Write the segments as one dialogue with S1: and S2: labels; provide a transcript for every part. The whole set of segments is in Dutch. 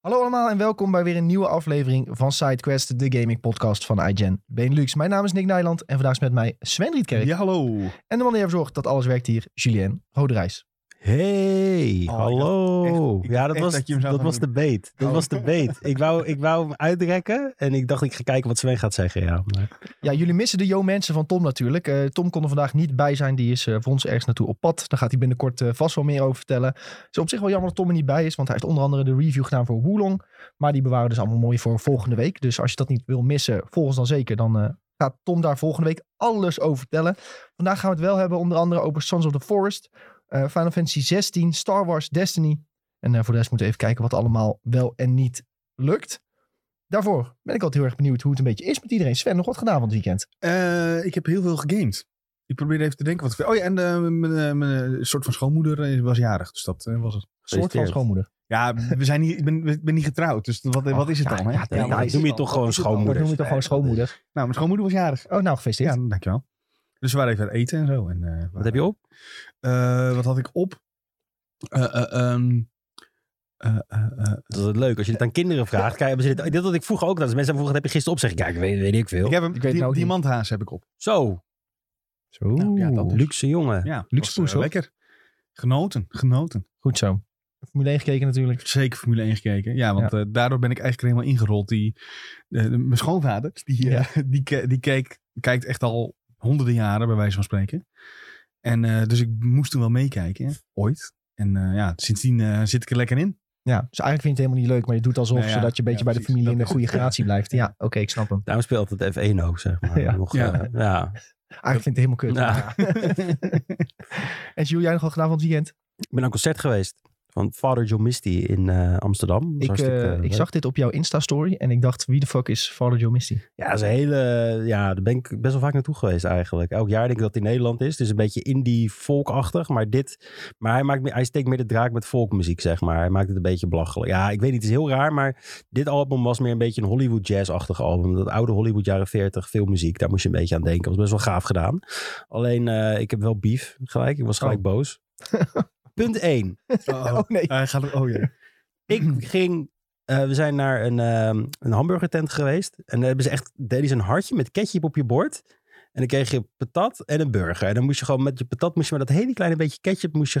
S1: Hallo allemaal en welkom bij weer een nieuwe aflevering van SideQuest, de gaming podcast van iGen Benelux. Mijn naam is Nick Nijland en vandaag is met mij Sven Rietkerk.
S2: Ja, hallo.
S1: En de man die ervoor zorgt dat alles werkt hier, Julien Roderijs.
S3: Hey,
S2: Oh, ik
S3: hallo.
S2: dacht echt- ik
S3: ja,
S2: dacht
S3: dat
S2: echt
S3: was,
S2: dat je hem
S3: dat
S2: zou gaan
S3: was de beet. Dat
S2: Oh.
S3: was de beet. Ik wou, ik wou hem uitrekken en ik dacht ik ga kijken wat Sven gaat zeggen. Ja, maar...
S1: Ja, jullie missen de Yo Mensen van Tom natuurlijk. Eh, Tom kon er vandaag niet bij zijn, die is eh, voor ons ergens naartoe op pad. Daar gaat hij binnenkort eh, vast wel meer over vertellen. Het is op zich wel jammer dat Tom er niet bij is, want hij heeft onder andere de review gedaan voor Woelong. Maar die bewaren we dus allemaal mooi voor volgende week. Dus als je dat niet wil missen, volg ons dan zeker. Dan eh, gaat Tom daar volgende week alles over vertellen. Vandaag gaan we het wel hebben onder andere over Sons of the Forest, eh, Final Fantasy 16, Star Wars, Destiny. En eh, voor de rest moeten we even kijken wat allemaal wel en niet lukt. Daarvoor ben ik altijd heel erg benieuwd hoe het een beetje is met iedereen. Sven, nog wat gedaan van het weekend?
S2: Eh, ik heb heel veel gegamed. Ik probeer even te denken wat ik... Oh ja, en eh, mijn, eh, mijn eh, soort van schoonmoeder eh, was jarig, dus dat eh, was het.
S1: soort van
S3: Gefeliciteerd.
S1: schoonmoeder.
S2: Ja, we zijn niet, ik, ben, ik ben niet getrouwd, dus wat, wat is het
S1: ja,
S2: dan? Hè?
S1: ja, ja,
S3: Ja,
S1: maar
S3: ik noem je toch gewoon
S1: Dat
S3: schoonmoeder.
S1: noem je toch gewoon schoonmoeder?
S2: Nou, mijn schoonmoeder was jarig.
S1: Oh, nou, gefeliciteerd.
S2: Ja, dankjewel. Dus we waren even aan het eten en zo. En, eh,
S3: Wat heb je op?
S2: eh, wat had ik op? Eh, eh, ehm, eh, eh, eh,
S3: Dat is het leuk. Als je dit aan kinderen vraagt, kijk, hebben ze dit, dit had ik vroeger ook. Dat mensen vroegen, heb je gisteren op? Zeg ik, ja, ik weet, weet nou ik veel.
S2: ik heb hem,
S1: Ik weet het
S2: di-
S1: nou ook niet.
S2: diamanthaas heb ik op.
S3: Zo,
S1: Zo.
S2: Nou, ja, dat-
S3: luxe jongen.
S2: Ja,
S1: Luxe
S2: was,
S1: poes,
S2: eh,
S1: hoor.
S2: Lekker. Genoten, genoten.
S1: Goed zo. Formule 1 gekeken natuurlijk.
S2: zeker Formule 1 gekeken. Ja, want eh, daardoor ben ik eigenlijk helemaal ingerold. Die, eh, de- mijn schoonvader, die, eh, die, ke- die keek, kijkt echt al honderden jaren, bij wijze van spreken. En eh, dus ik moest toen wel meekijken, ooit. En eh, ja, sindsdien eh, zit ik er lekker in.
S1: Ja, dus eigenlijk vind je het helemaal niet leuk, maar je doet alsof,
S2: Nou ja,
S1: zodat je een beetje
S2: ja,
S1: bij de
S2: precies.
S1: familie in
S2: Dat
S1: de
S2: is
S1: goede
S2: het.
S1: gratie blijft. Ja, oké, ik snap hem.
S3: Daarom speelt het F1 ook, zeg maar.
S1: Ja.
S3: Nog,
S2: Ja.
S3: eh, ja.
S1: Eigenlijk vind ik het helemaal kut.
S3: Ja.
S1: en Jules, jij nog wat gedaan van het weekend?
S3: Ik ben aan een concert geweest van Father John Misty in eh, Amsterdam. Dat was
S1: Ik,
S3: hartstikke,
S1: eh, ik
S3: leuk.
S1: zag dit op jouw Insta-story en ik dacht, wie de fuck is Father Joe Misty?
S3: Ja, dat is een hele, ja, daar ben ik best wel vaak naartoe geweest eigenlijk. Elk jaar denk ik dat het in Nederland is. Het is een beetje indie folkachtig, maar dit... Maar hij, maakt, meer- hij steekt meer de draak met folkmuziek, zeg maar. Hij maakt het een beetje belachelijk. Ja, ik weet niet, het is heel raar, maar dit album was meer een beetje een Hollywood jazz-achtig album. Dat oude Hollywood jaren 40, veel muziek, daar moest je een beetje aan denken. was best wel gaaf gedaan. Alleen, eh, ik heb wel beef gelijk. Ik was gelijk
S1: Oh.
S3: boos. Punt 1.
S2: Oh,
S1: nee.
S2: eh, gaat het, oh jee.
S3: Ik ging. eh, we zijn naar een, ehm een hamburgertent geweest. En daar hebben ze echt. deden ze een hartje met ketchup op je bord. En dan kreeg je patat en een burger. En dan moest je gewoon met je patat. moest je maar dat hele kleine beetje ketchup moest je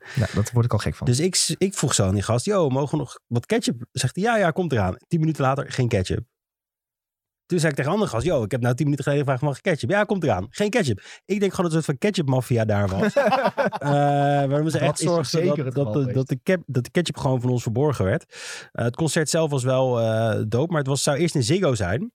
S1: Nou, dat word ik al gek van.
S3: Dus ik, ik vroeg zo aan die gast. Yo, mogen we nog wat ketchup? Zegt hij. Ja, ja, komt eraan. Tien minuten later, geen ketchup. Toen zei ik tegen een andere gast. Yo, ik heb nou tien minuten geleden gevraagd. Mag ik ketchup? Ja, komt eraan. Geen ketchup. Ik denk gewoon dat het een soort van ketchup-maffia daar was. Eh, waarom ze
S1: Dat
S3: echt
S1: is
S3: zorgden
S1: zeker
S3: dat,
S1: het
S3: dat,
S1: geval
S3: de, dat, de cap, dat de ketchup gewoon van ons verborgen werd. Eh, het concert zelf was wel eh dope, maar het was, zou eerst in Ziggo zijn.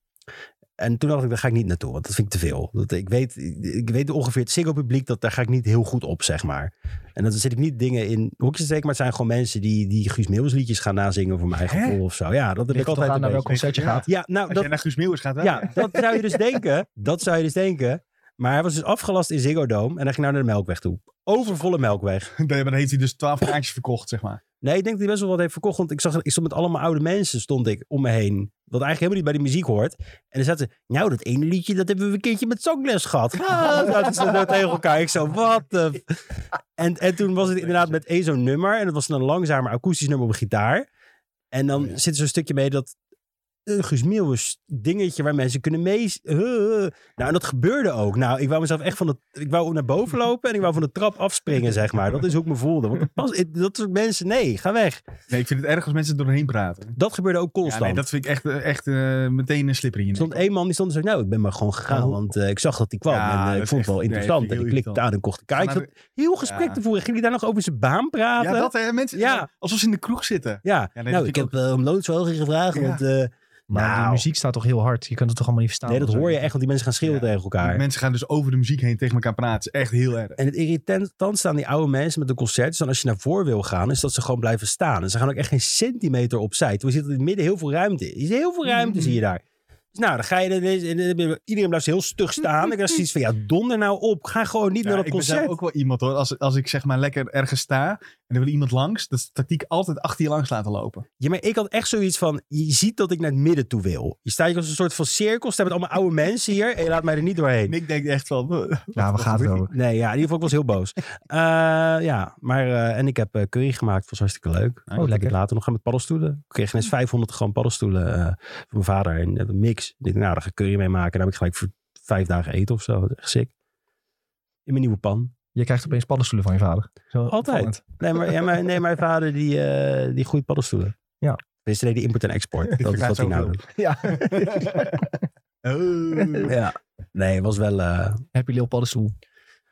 S3: En toen dacht ik, daar ga ik niet naartoe, want dat vind ik te veel. Dat, ik, weet, ik weet ongeveer het Ziggo-publiek, dat, daar ga ik niet heel goed op, zeg maar. En dan zit ik niet dingen in hokjes te steken, maar het zijn gewoon mensen die, die Guus Meeuwis liedjes gaan nazingen voor mijn eigen
S2: Hè?
S3: gevoel of zo. Ja, dat heb
S1: Ligt
S3: ik
S1: er toch
S3: altijd
S1: aan
S3: een
S1: naar welk
S3: beetje.
S1: concert je
S2: Ja.
S1: gaat.
S3: Ja, nou,
S2: Als
S3: dat,
S2: jij naar Guus Meeuwis gaat, wel.
S3: ja, dat zou je dus denken. Dat zou je dus denken. Maar hij was dus afgelast in Ziggo Dome en hij ging nou naar de Melkweg toe. Overvolle Melkweg.
S2: Nee, maar dan heeft hij dus twaalf kaartjes verkocht, zeg maar.
S3: Nee, ik denk dat hij best wel wat heeft verkocht. Want ik, zag, ik stond met allemaal oude mensen stond ik om me heen. Wat eigenlijk helemaal niet bij de muziek hoort. En dan zaten ze, nou dat ene liedje dat hebben we een keertje met zangles gehad. Ah, zaten ze zo tegen elkaar. Ik zo, wat de... f- En, en toen was het inderdaad met één zo'n nummer. En dat was een langzamer akoestisch nummer op gitaar. En dan
S2: Oh ja.
S3: zit er zo'n stukje mee dat... eh, Guus Meeuwis dingetje waar mensen kunnen mee... eh, eh, eh. Nou, en dat gebeurde ook. Nou, ik wou mezelf echt van de... Ik wou naar boven lopen en ik wou van de trap afspringen, zeg maar. Dat is hoe ik me voelde. Want dat, pas, het- dat soort mensen, nee, ga weg.
S2: Nee, ik vind het erg als mensen er doorheen praten.
S3: Dat gebeurde ook
S2: Ja,
S3: constant.
S2: nee, dat vind ik echt, eh, echt eh, meteen een slipper in je
S3: Er
S2: nek.
S3: stond één man die stond en zei, nou, ik ben maar gewoon gegaan,
S1: Oh.
S3: want eh, ik zag dat hij kwam
S2: Ja,
S3: en eh,
S2: dat
S3: ik
S2: is
S3: vond het wel
S2: echt- nee,
S3: interessant.
S2: vind ik
S3: en ik
S2: heel
S3: klikte aan en kocht
S2: Ga
S3: een kaartje.
S2: naar
S3: Ik zat heel gesprek
S2: Ja.
S3: te voeren. Ging hij daar nog over zijn baan praten?
S2: Ja, dat hè, mensen.
S3: Ja.
S2: Alsof ze in de kroeg zitten.
S3: Ja.
S2: Ja, nee,
S3: nou,
S2: dat
S3: ik
S2: vind
S3: heb eh, om loonsverhoging gevraagd,
S2: Ja.
S3: want... eh,
S1: Maar die
S3: Nou.
S1: muziek staat toch heel hard? Je kunt het toch allemaal niet verstaan?
S3: nee, dat
S1: of zo?
S3: hoor je echt, want die mensen gaan schreeuwen
S2: Ja.
S3: tegen elkaar.
S2: Mensen gaan dus over de muziek heen tegen elkaar praten. Het is echt heel erg.
S3: En het irritant staan die oude mensen met de concerten. Dan als je naar voor wil gaan, is dat ze gewoon blijven staan. En ze gaan ook echt geen centimeter opzij. Toen zit er in het midden heel veel ruimte. Er is heel veel
S2: Mm-hmm.
S3: ruimte, zie je daar. Dus nou, dan ga je... er- en dan- Iedereen blijft heel stug staan. Ik dacht zoiets van, ja, donder nou op. Ga gewoon niet
S2: Ja,
S3: naar dat
S2: ik ben
S3: concert.
S2: zelf ook wel iemand hoor. Als, als ik zeg maar lekker ergens sta En dan wil iemand langs. Dat is de tactiek altijd achter je langs laten lopen.
S3: Ja, maar ik had echt zoiets van, je ziet dat ik naar het midden toe wil. Je staat hier als een soort van cirkel, staan met allemaal oude mensen hier en je laat mij er niet doorheen.
S2: En ik denk echt van... Nou, "Wat-
S1: Ja, Nou, we
S2: wat
S1: gaan het
S2: gebeurt
S1: over.
S3: Nee, ja, in ieder geval, ik was heel boos. Eh, ja, maar, eh, en ik heb eh, curry gemaakt, was hartstikke leuk.
S2: Oh,
S3: Ik
S1: Ah,
S3: heb
S1: lekker. Oh.
S3: het later nog gaan met paddenstoelen. Ik kreeg ineens 500 gram paddenstoelen eh, van mijn vader en eh, een mix. Ik dacht, nou, daar ga ik curry mee maken. Daar heb ik gelijk voor vijf dagen eten of zo. Dat is Echt sick. In mijn nieuwe pan.
S1: Je krijgt opeens paddenstoelen van je vader. Zo
S3: Altijd.
S1: opvallend.
S3: Nee, maar, ja, maar, nee, mijn vader die, eh die groeit paddenstoelen.
S1: Ja.
S3: Dus nee, die import en export. Dat is
S2: verklaart
S3: wat hij nou
S2: zoveel.
S3: doet.
S1: Ja.
S2: Oh.
S3: Ja. Nee, was wel, eh,
S1: Happy Lil paddenstoel.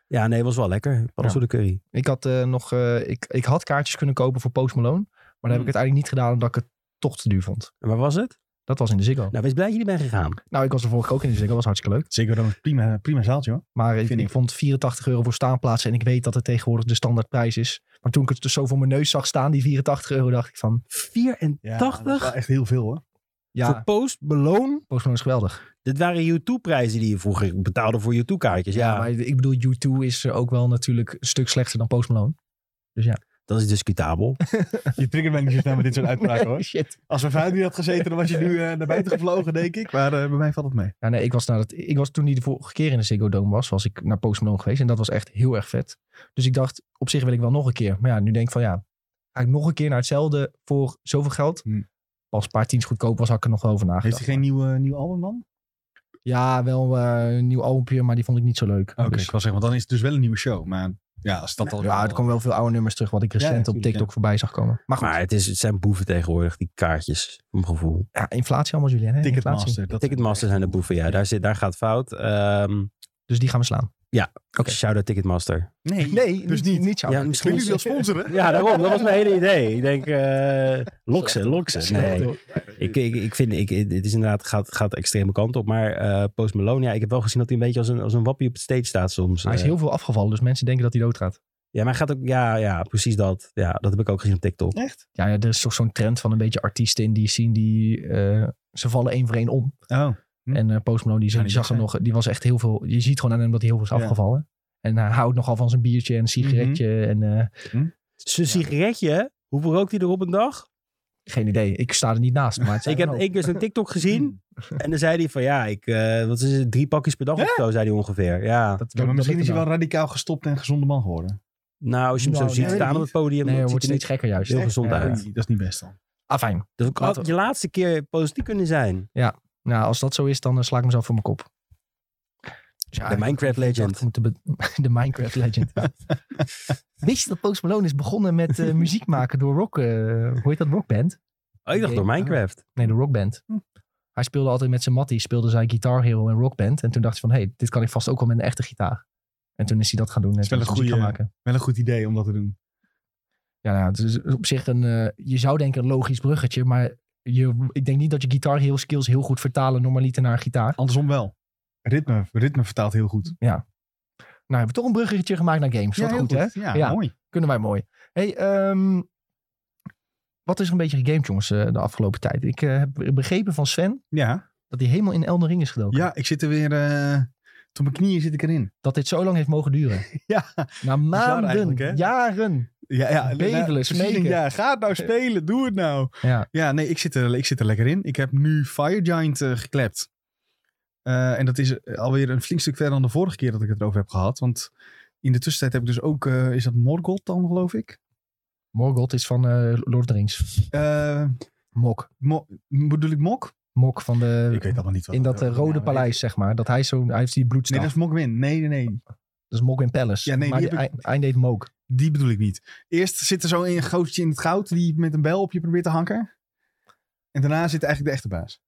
S3: ja, nee, was wel lekker. Paddenstoelencurry. curry.
S1: Ik had eh, nog, eh, ik, ik had kaartjes kunnen kopen voor Post Malone. Maar dat heb ik
S2: Hmm.
S1: uiteindelijk niet gedaan omdat ik het toch te duur vond.
S3: En waar was het?
S1: Dat was in de Ziggo.
S3: Nou, wees blij dat je niet bent gegaan.
S1: Nou, ik was er vorige keer ook in de Ziggo. Dat was hartstikke leuk.
S2: Zeker dan een prima, prima zaaltje hoor.
S1: Maar ik,
S2: Vind
S1: ik
S2: ik.
S1: vond 84 euro voor staanplaatsen. En ik weet dat het tegenwoordig de standaardprijs is. Maar toen ik het dus zo voor mijn neus zag staan, die 84 euro, dacht ik van...
S3: 84
S2: dat is wel echt heel veel hoor.
S1: Ja,
S3: voor post, beloon.
S1: Post Malone is geweldig.
S3: Dit waren U2-prijzen die je vroeger betaalde voor U2-kaartjes. Ja,
S1: Maar ik bedoel, U2 is eh, ook wel natuurlijk een stuk slechter dan Post Malone.
S3: dat is discutabel.
S2: Je triggert mij niet zo snel met dit soort uitspraken hoor.
S1: Shit.
S2: Als mijn vader nu had gezeten, dan was je nu eh, naar buiten gevlogen, denk ik. Maar eh, bij mij valt het mee.
S1: Ja, nee, ik was, naar dat, ik was toen die de vorige keer in de Ziggo Dome was, was ik naar Post Malone geweest. En dat was echt heel erg vet. Dus ik dacht, op zich wil ik wel nog een keer. Maar ja, nu denk ik van ja, ga ik nog een keer naar hetzelfde voor zoveel geld?
S2: Hmm.
S1: Als een paar tiens goedkoop was, had ik er nog wel over
S2: Heeft
S1: nagedacht.
S2: hij geen nieuw, eh, nieuw album dan?
S1: Ja, wel eh, een nieuw albumpje, maar die vond ik niet zo leuk.
S2: Oké,
S1: Dus-
S2: ik wil zeggen, want dan is het dus wel een nieuwe show. Maar ja, als dat al...
S1: ja, er komen wel veel oude nummers terug, wat ik
S2: Ja,
S1: recent op
S2: natuurlijk,
S1: TikTok voorbij zag komen. Maar goed,
S3: Maar het, is, het zijn boeven tegenwoordig, die kaartjes, voor mijn gevoel.
S1: ja, inflatie allemaal, Julian. Hè? Inflatie.
S2: Ticketmaster. dat-
S3: Ticketmaster zijn de boeven, ja. Daar, zit, daar gaat fout. Ehm
S1: Dus die gaan we slaan. Oké.
S3: Shout-out Ticketmaster.
S2: Nee,
S1: Nee,
S2: dus niet.
S1: niet jou.
S3: Ja,
S2: Misschien jullie wel sponsoren.
S3: Ja, daarom. Dat was mijn hele idee. Ik denk, eh lok ze, lok ze. Nee, ik, ik, ik vind, ik, het is inderdaad, gaat, gaat de extreme kant op. Maar eh, Post Malone, ja, ik heb wel gezien dat hij een beetje als een, als een wappie op het stage staat soms.
S1: Hij is
S3: Eh,
S1: heel veel afgevallen, dus mensen denken dat hij doodgaat.
S3: Ja, maar hij gaat ook, ja, ja, precies dat. Ja, dat heb ik ook gezien op TikTok.
S2: Echt?
S1: Ja, ja, er is toch zo'n trend van een beetje artiesten in die scene die... eh, ze vallen één voor één om.
S2: Oh. Hm.
S1: En eh Post Malone, die,
S2: Ja,
S1: die
S2: die
S1: zag hem
S2: weg,
S1: nog, die was echt heel veel. Je ziet gewoon aan hem dat hij heel veel is
S2: Ja.
S1: afgevallen. En hij houdt nogal van zijn biertje en een sigaretje. En eh,
S3: Zijn sigaretje, hoeveel rookt hij er op een dag?
S1: geen idee. Ik sta er niet naast. Maar het zijn
S3: Ik heb
S1: er ook.
S3: één keer zijn TikTok gezien. En dan zei hij van, ja, ik, eh, wat is het, drie pakjes per dag of zo, zei hij ongeveer. Ja,
S1: dat,
S2: Ja,
S1: dat
S2: maar misschien is
S1: lukt
S2: hij
S1: hem
S2: wel radicaal gestopt en gezonde man geworden.
S3: nou, als je hem
S1: Nou,
S3: zo
S1: nee,
S3: ziet
S2: weet
S3: staan
S2: ik
S3: op het podium,
S1: Nee, hij
S3: dat ziet
S1: wordt
S3: er
S1: steeds
S3: niet...
S1: gekker juist.
S3: heel gezond
S1: Ja,
S3: uit.
S2: Oei, Dat is niet best dan.
S1: Ah, fijn.
S3: Dat had
S1: Laten we-
S3: je laatste keer positief kunnen zijn.
S1: Nou, als dat zo is, dan eh, sla ik mezelf voor mijn kop. Dus ja,
S3: De
S1: ik
S3: Minecraft
S1: dacht,
S3: Legend.
S1: ik moet De, be- de Minecraft Legend. Wist je dat Post Malone is begonnen met eh, muziek maken door rock... eh, hoe heet dat? Rockband?
S3: Oh, ik dacht door Minecraft.
S1: Nee, de rockband.
S2: Hm.
S1: Hij speelde altijd met zijn mattie, speelde zijn Guitar Hero en Rockband. En toen dacht hij van, hé, hey, dit kan ik vast ook wel met een echte gitaar. En toen is hij dat gaan doen en
S2: Is wel
S1: toen is
S2: een
S1: hij muziek gaan
S2: goeie- eh,
S1: maken.
S2: Wel een goed idee om dat te doen.
S1: Ja, nou, het is op zich een, eh, je zou denken een logisch bruggetje, maar je, ik denk niet dat je Guitar Hero skills heel goed vertalen normaliter naar een gitaar.
S2: Andersom wel. Ritme, ritme vertaalt heel goed.
S1: Nou, hebben we toch een bruggetje gemaakt naar games. Wat
S2: heel
S1: goed, hè?
S2: Ja,
S1: Ja.
S2: mooi.
S1: Kunnen wij mooi. hey, ehm, wat is er een beetje gegamed, jongens, eh, de afgelopen tijd? Ik eh, heb begrepen van Sven
S2: Ja.
S1: dat hij helemaal in Elden Ring is gedoken.
S2: ja, ik zit er weer... eh, tot mijn knieën zit ik erin.
S1: Dat dit zo lang heeft mogen duren.
S2: Ja.
S1: Na
S2: eigenlijk, hè?
S1: maanden, jaren.
S2: Ja, ja.
S1: Bedelen,
S2: nou, precies,
S1: smeken.
S2: Ja, ga het nou spelen. Doe het nou.
S1: Ja.
S2: Ja, nee, ik zit er, ik zit er lekker in. Ik heb nu Fire Giant eh, geklept. Eh, en dat is alweer een flink stuk verder dan de vorige keer dat ik het erover heb gehad. Want in de tussentijd heb ik dus ook... eh, is dat Morgoth dan, geloof ik?
S1: Morgoth is van eh, Lord of the Rings.
S2: Eh,
S1: Mok.
S2: Mo- bedoel ik Mok?
S1: Mok van de...
S2: ik weet allemaal niet wat
S1: in dat eh,
S2: wat-
S1: rode
S2: nou,
S1: paleis, zeg maar. Dat hij zo... Hij heeft die bloedstaf.
S2: Nee, dat is Mokmin. Nee, nee, nee.
S1: Dat is Mok in Palace.
S2: Ja, nee,
S1: maar
S2: die
S1: die-
S2: heb
S1: hij, hij deed Mok.
S2: Die bedoel ik niet. Eerst zit er zo een gootje in het goud die met een bel op je probeert te hanken. En daarna zit eigenlijk de echte baas.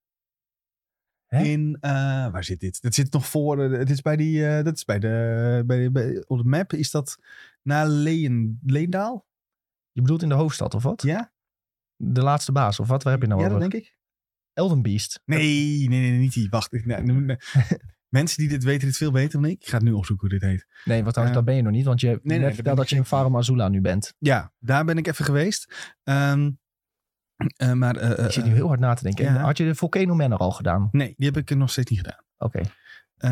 S1: Hè?
S2: In, eh, waar zit dit? Dat zit nog voor, eh, dit is bij die, eh, dat is bij de, bij, bij, op de map is dat na Leen, Leendaal?
S1: Je bedoelt in de hoofdstad, of wat?
S2: Ja?
S1: De laatste baas, of wat? Waar heb je nou
S2: ja,
S1: over?
S2: dat denk ik.
S1: Elden Beast.
S2: Nee, nee, nee, niet die. Wacht. ik- nou, nu- nee. Mensen die dit weten, dit veel beter dan ik. Ik ga het nu opzoeken hoe dit heet.
S1: Nee, wat trouwens,
S2: Eh,
S1: dat ben je nog niet. Want je hebt
S2: nee,
S1: net
S2: dat
S1: verteld
S2: ben
S1: dat
S2: ik
S1: je in Farum Azula nu bent.
S2: Ja, daar ben ik even geweest. Ehm, eh, maar, eh,
S1: ik zit
S2: eh,
S1: nu heel hard na te denken. En
S2: ja.
S1: Had je de Volcano Manor al gedaan? Oké.
S2: Nee, die heb ik nog steeds niet gedaan. Eh,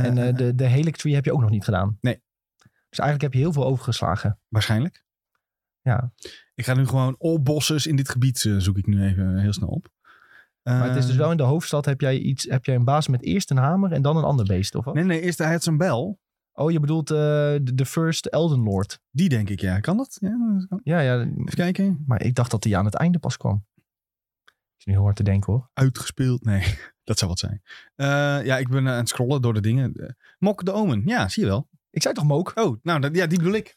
S1: en eh, de, de Helic Tree heb je ook nog niet gedaan?
S2: Nee.
S1: Dus eigenlijk heb je heel veel overgeslagen.
S2: Waarschijnlijk.
S1: Ja.
S2: Ik ga nu gewoon opbossers in dit gebied eh, zoek ik nu even heel snel op.
S1: Maar het is
S2: Ehm.
S1: dus wel in de hoofdstad heb jij, iets, heb jij een baas met eerst een hamer en dan een ander beest, of wat?
S2: Eh, Nee, nee, eerst hij had zijn bel.
S1: Oh, je bedoelt eh, de de First Elden Lord.
S2: Die denk ik, ja. Kan dat? Ja, dat kan.
S1: Ja, ja.
S2: Even kijken.
S1: Maar ik dacht dat die aan het einde pas kwam. Is nu heel hard te denken hoor.
S2: Uitgespeeld. Nee, dat zou wat zijn. Eh, ja, ik ben eh, aan het scrollen door de dingen. Eh, Mok de Omen. Ja, zie je wel.
S1: Ik zei toch Mook?
S2: Oh, nou, dat, ja, die bedoel ik.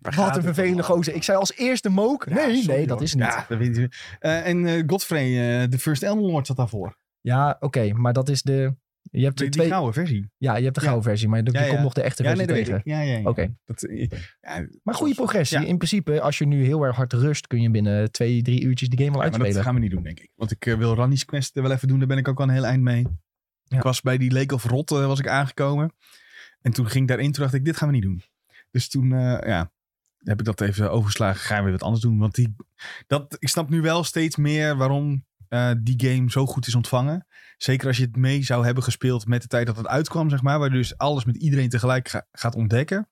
S1: Wat een vervelende gozer. Ik zei als eerste Mook.
S2: Ja,
S1: nee,
S2: sorry,
S1: nee, dat
S2: hoor.
S1: is niet.
S2: Ja, dat weet je. Eh, en eh, Godfrey, eh, de First Elden Lord zat daarvoor.
S1: Ja, oké, maar dat is de. Je hebt de
S2: Die, die
S1: twee.
S2: gouden versie.
S1: Ja, je hebt de
S2: Ja.
S1: gouden versie, maar er
S2: Ja,
S1: er
S2: ja.
S1: komt nog de echte
S2: Ja, nee,
S1: versie
S2: dat weet
S1: tegen.
S2: ik. Ja, ja, ja.
S1: Oké,
S2: Dat, eh, ja,
S1: maar goede progressie.
S2: Ja.
S1: In principe, als je nu heel erg hard rust, kun je binnen twee, drie uurtjes die game wel
S2: Ja, maar
S1: uitspelen.
S2: dat gaan we niet doen, denk ik. Want ik eh, wil Ranny's Quest eh, wel even doen. Daar ben ik ook al een heel eind mee.
S1: Ja.
S2: Ik was bij die Lake of Rot eh, was ik aangekomen. En toen ging ik daarin. Toen dacht ik, dit gaan we niet doen. Dus toen eh, ja, heb ik dat even overgeslagen. Gaan we weer wat anders doen. Want die, dat, ik snap nu wel steeds meer waarom eh, die game zo goed is ontvangen. Zeker als je het mee zou hebben gespeeld met de tijd dat het uitkwam, zeg maar. Waar je dus alles met iedereen tegelijk ga- gaat ontdekken.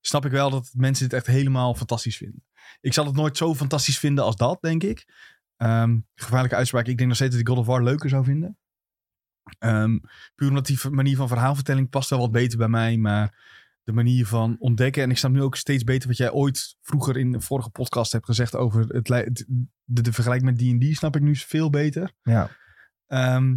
S2: Snap ik wel dat mensen dit echt helemaal fantastisch vinden. Ik zal het nooit zo fantastisch vinden als dat, denk ik. Ehm, gevaarlijke uitspraak. Ik denk nog steeds dat ik God of War leuker zou vinden. Ehm, puur omdat die v- manier van verhaalvertelling past wel wat beter bij mij. Maar de manier van ontdekken. En ik snap nu ook steeds beter wat jij ooit vroeger in de vorige podcast hebt gezegd over het, lei- het- de, de vergelijking met D&D. Snap ik nu veel beter.
S1: Ja.
S2: Ehm,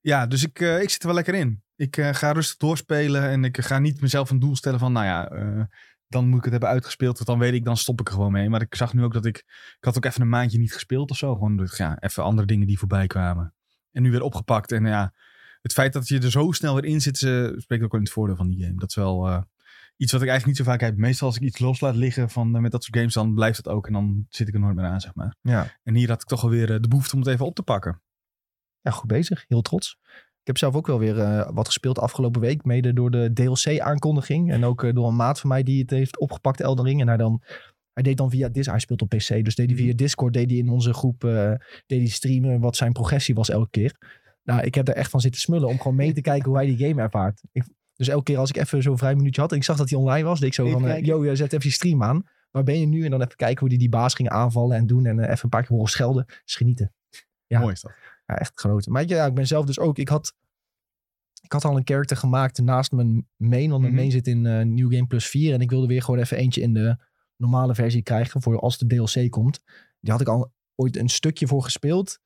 S2: ja, dus ik, eh, ik zit er wel lekker in. Ik eh, ga rustig doorspelen en ik ga niet mezelf een doel stellen van, nou ja, eh, dan moet ik het hebben uitgespeeld. Want dan weet ik, dan stop ik er gewoon mee. Maar ik zag nu ook dat ik, ik had ook even een maandje niet gespeeld of zo. Gewoon dus, ja, even andere dingen die voorbij kwamen. En nu weer opgepakt. En ja, het feit dat je er zo snel weer in zit, eh, spreekt ook wel in het voordeel van die game. Dat is wel eh, iets wat ik eigenlijk niet zo vaak heb. Meestal als ik iets los laat liggen van, eh, met dat soort games, dan blijft dat ook. En dan zit ik er nooit meer aan, zeg maar.
S1: ja.
S2: En hier had ik toch alweer weer eh, de behoefte om het even op te pakken.
S1: Ja, goed bezig. Heel trots. Ik heb zelf ook wel weer eh, wat gespeeld afgelopen week. Mede door de DLC-aankondiging. En ook eh, door een maat van mij die het heeft opgepakt, Elden Ring. En hij, dan, hij deed dan via Discord. Hij speelt op PC. Dus deed hij
S2: Mhm.
S1: via Discord. Deed hij in onze groep. eh, deed hij streamen wat zijn progressie was elke keer. Nou, ik heb daar echt van zitten smullen. Om gewoon mee te kijken hoe hij die game ervaart. Ik, dus elke keer als ik even zo'n vrij minuutje had. En ik zag dat hij online was. Deed ik zo
S2: Even
S1: van. eh,
S2: kijken.
S1: Yo, eh, zet even je stream aan. Waar ben je nu? En dan even kijken hoe hij die baas ging aanvallen en doen. En eh, even een paar keer horen schelden. Dus genieten. Ja.
S2: Mooi is dat.
S1: Ja, echt genoten. Maar ja, ik ben zelf dus ook. Ik had, ik had al een character gemaakt naast mijn main. Want mijn
S2: Mhm.
S1: main zit in eh, New Game Plus 4. En ik wilde weer gewoon even eentje in de normale versie krijgen. Voor als de DLC komt. Die had ik al ooit een stukje voor gespeeld.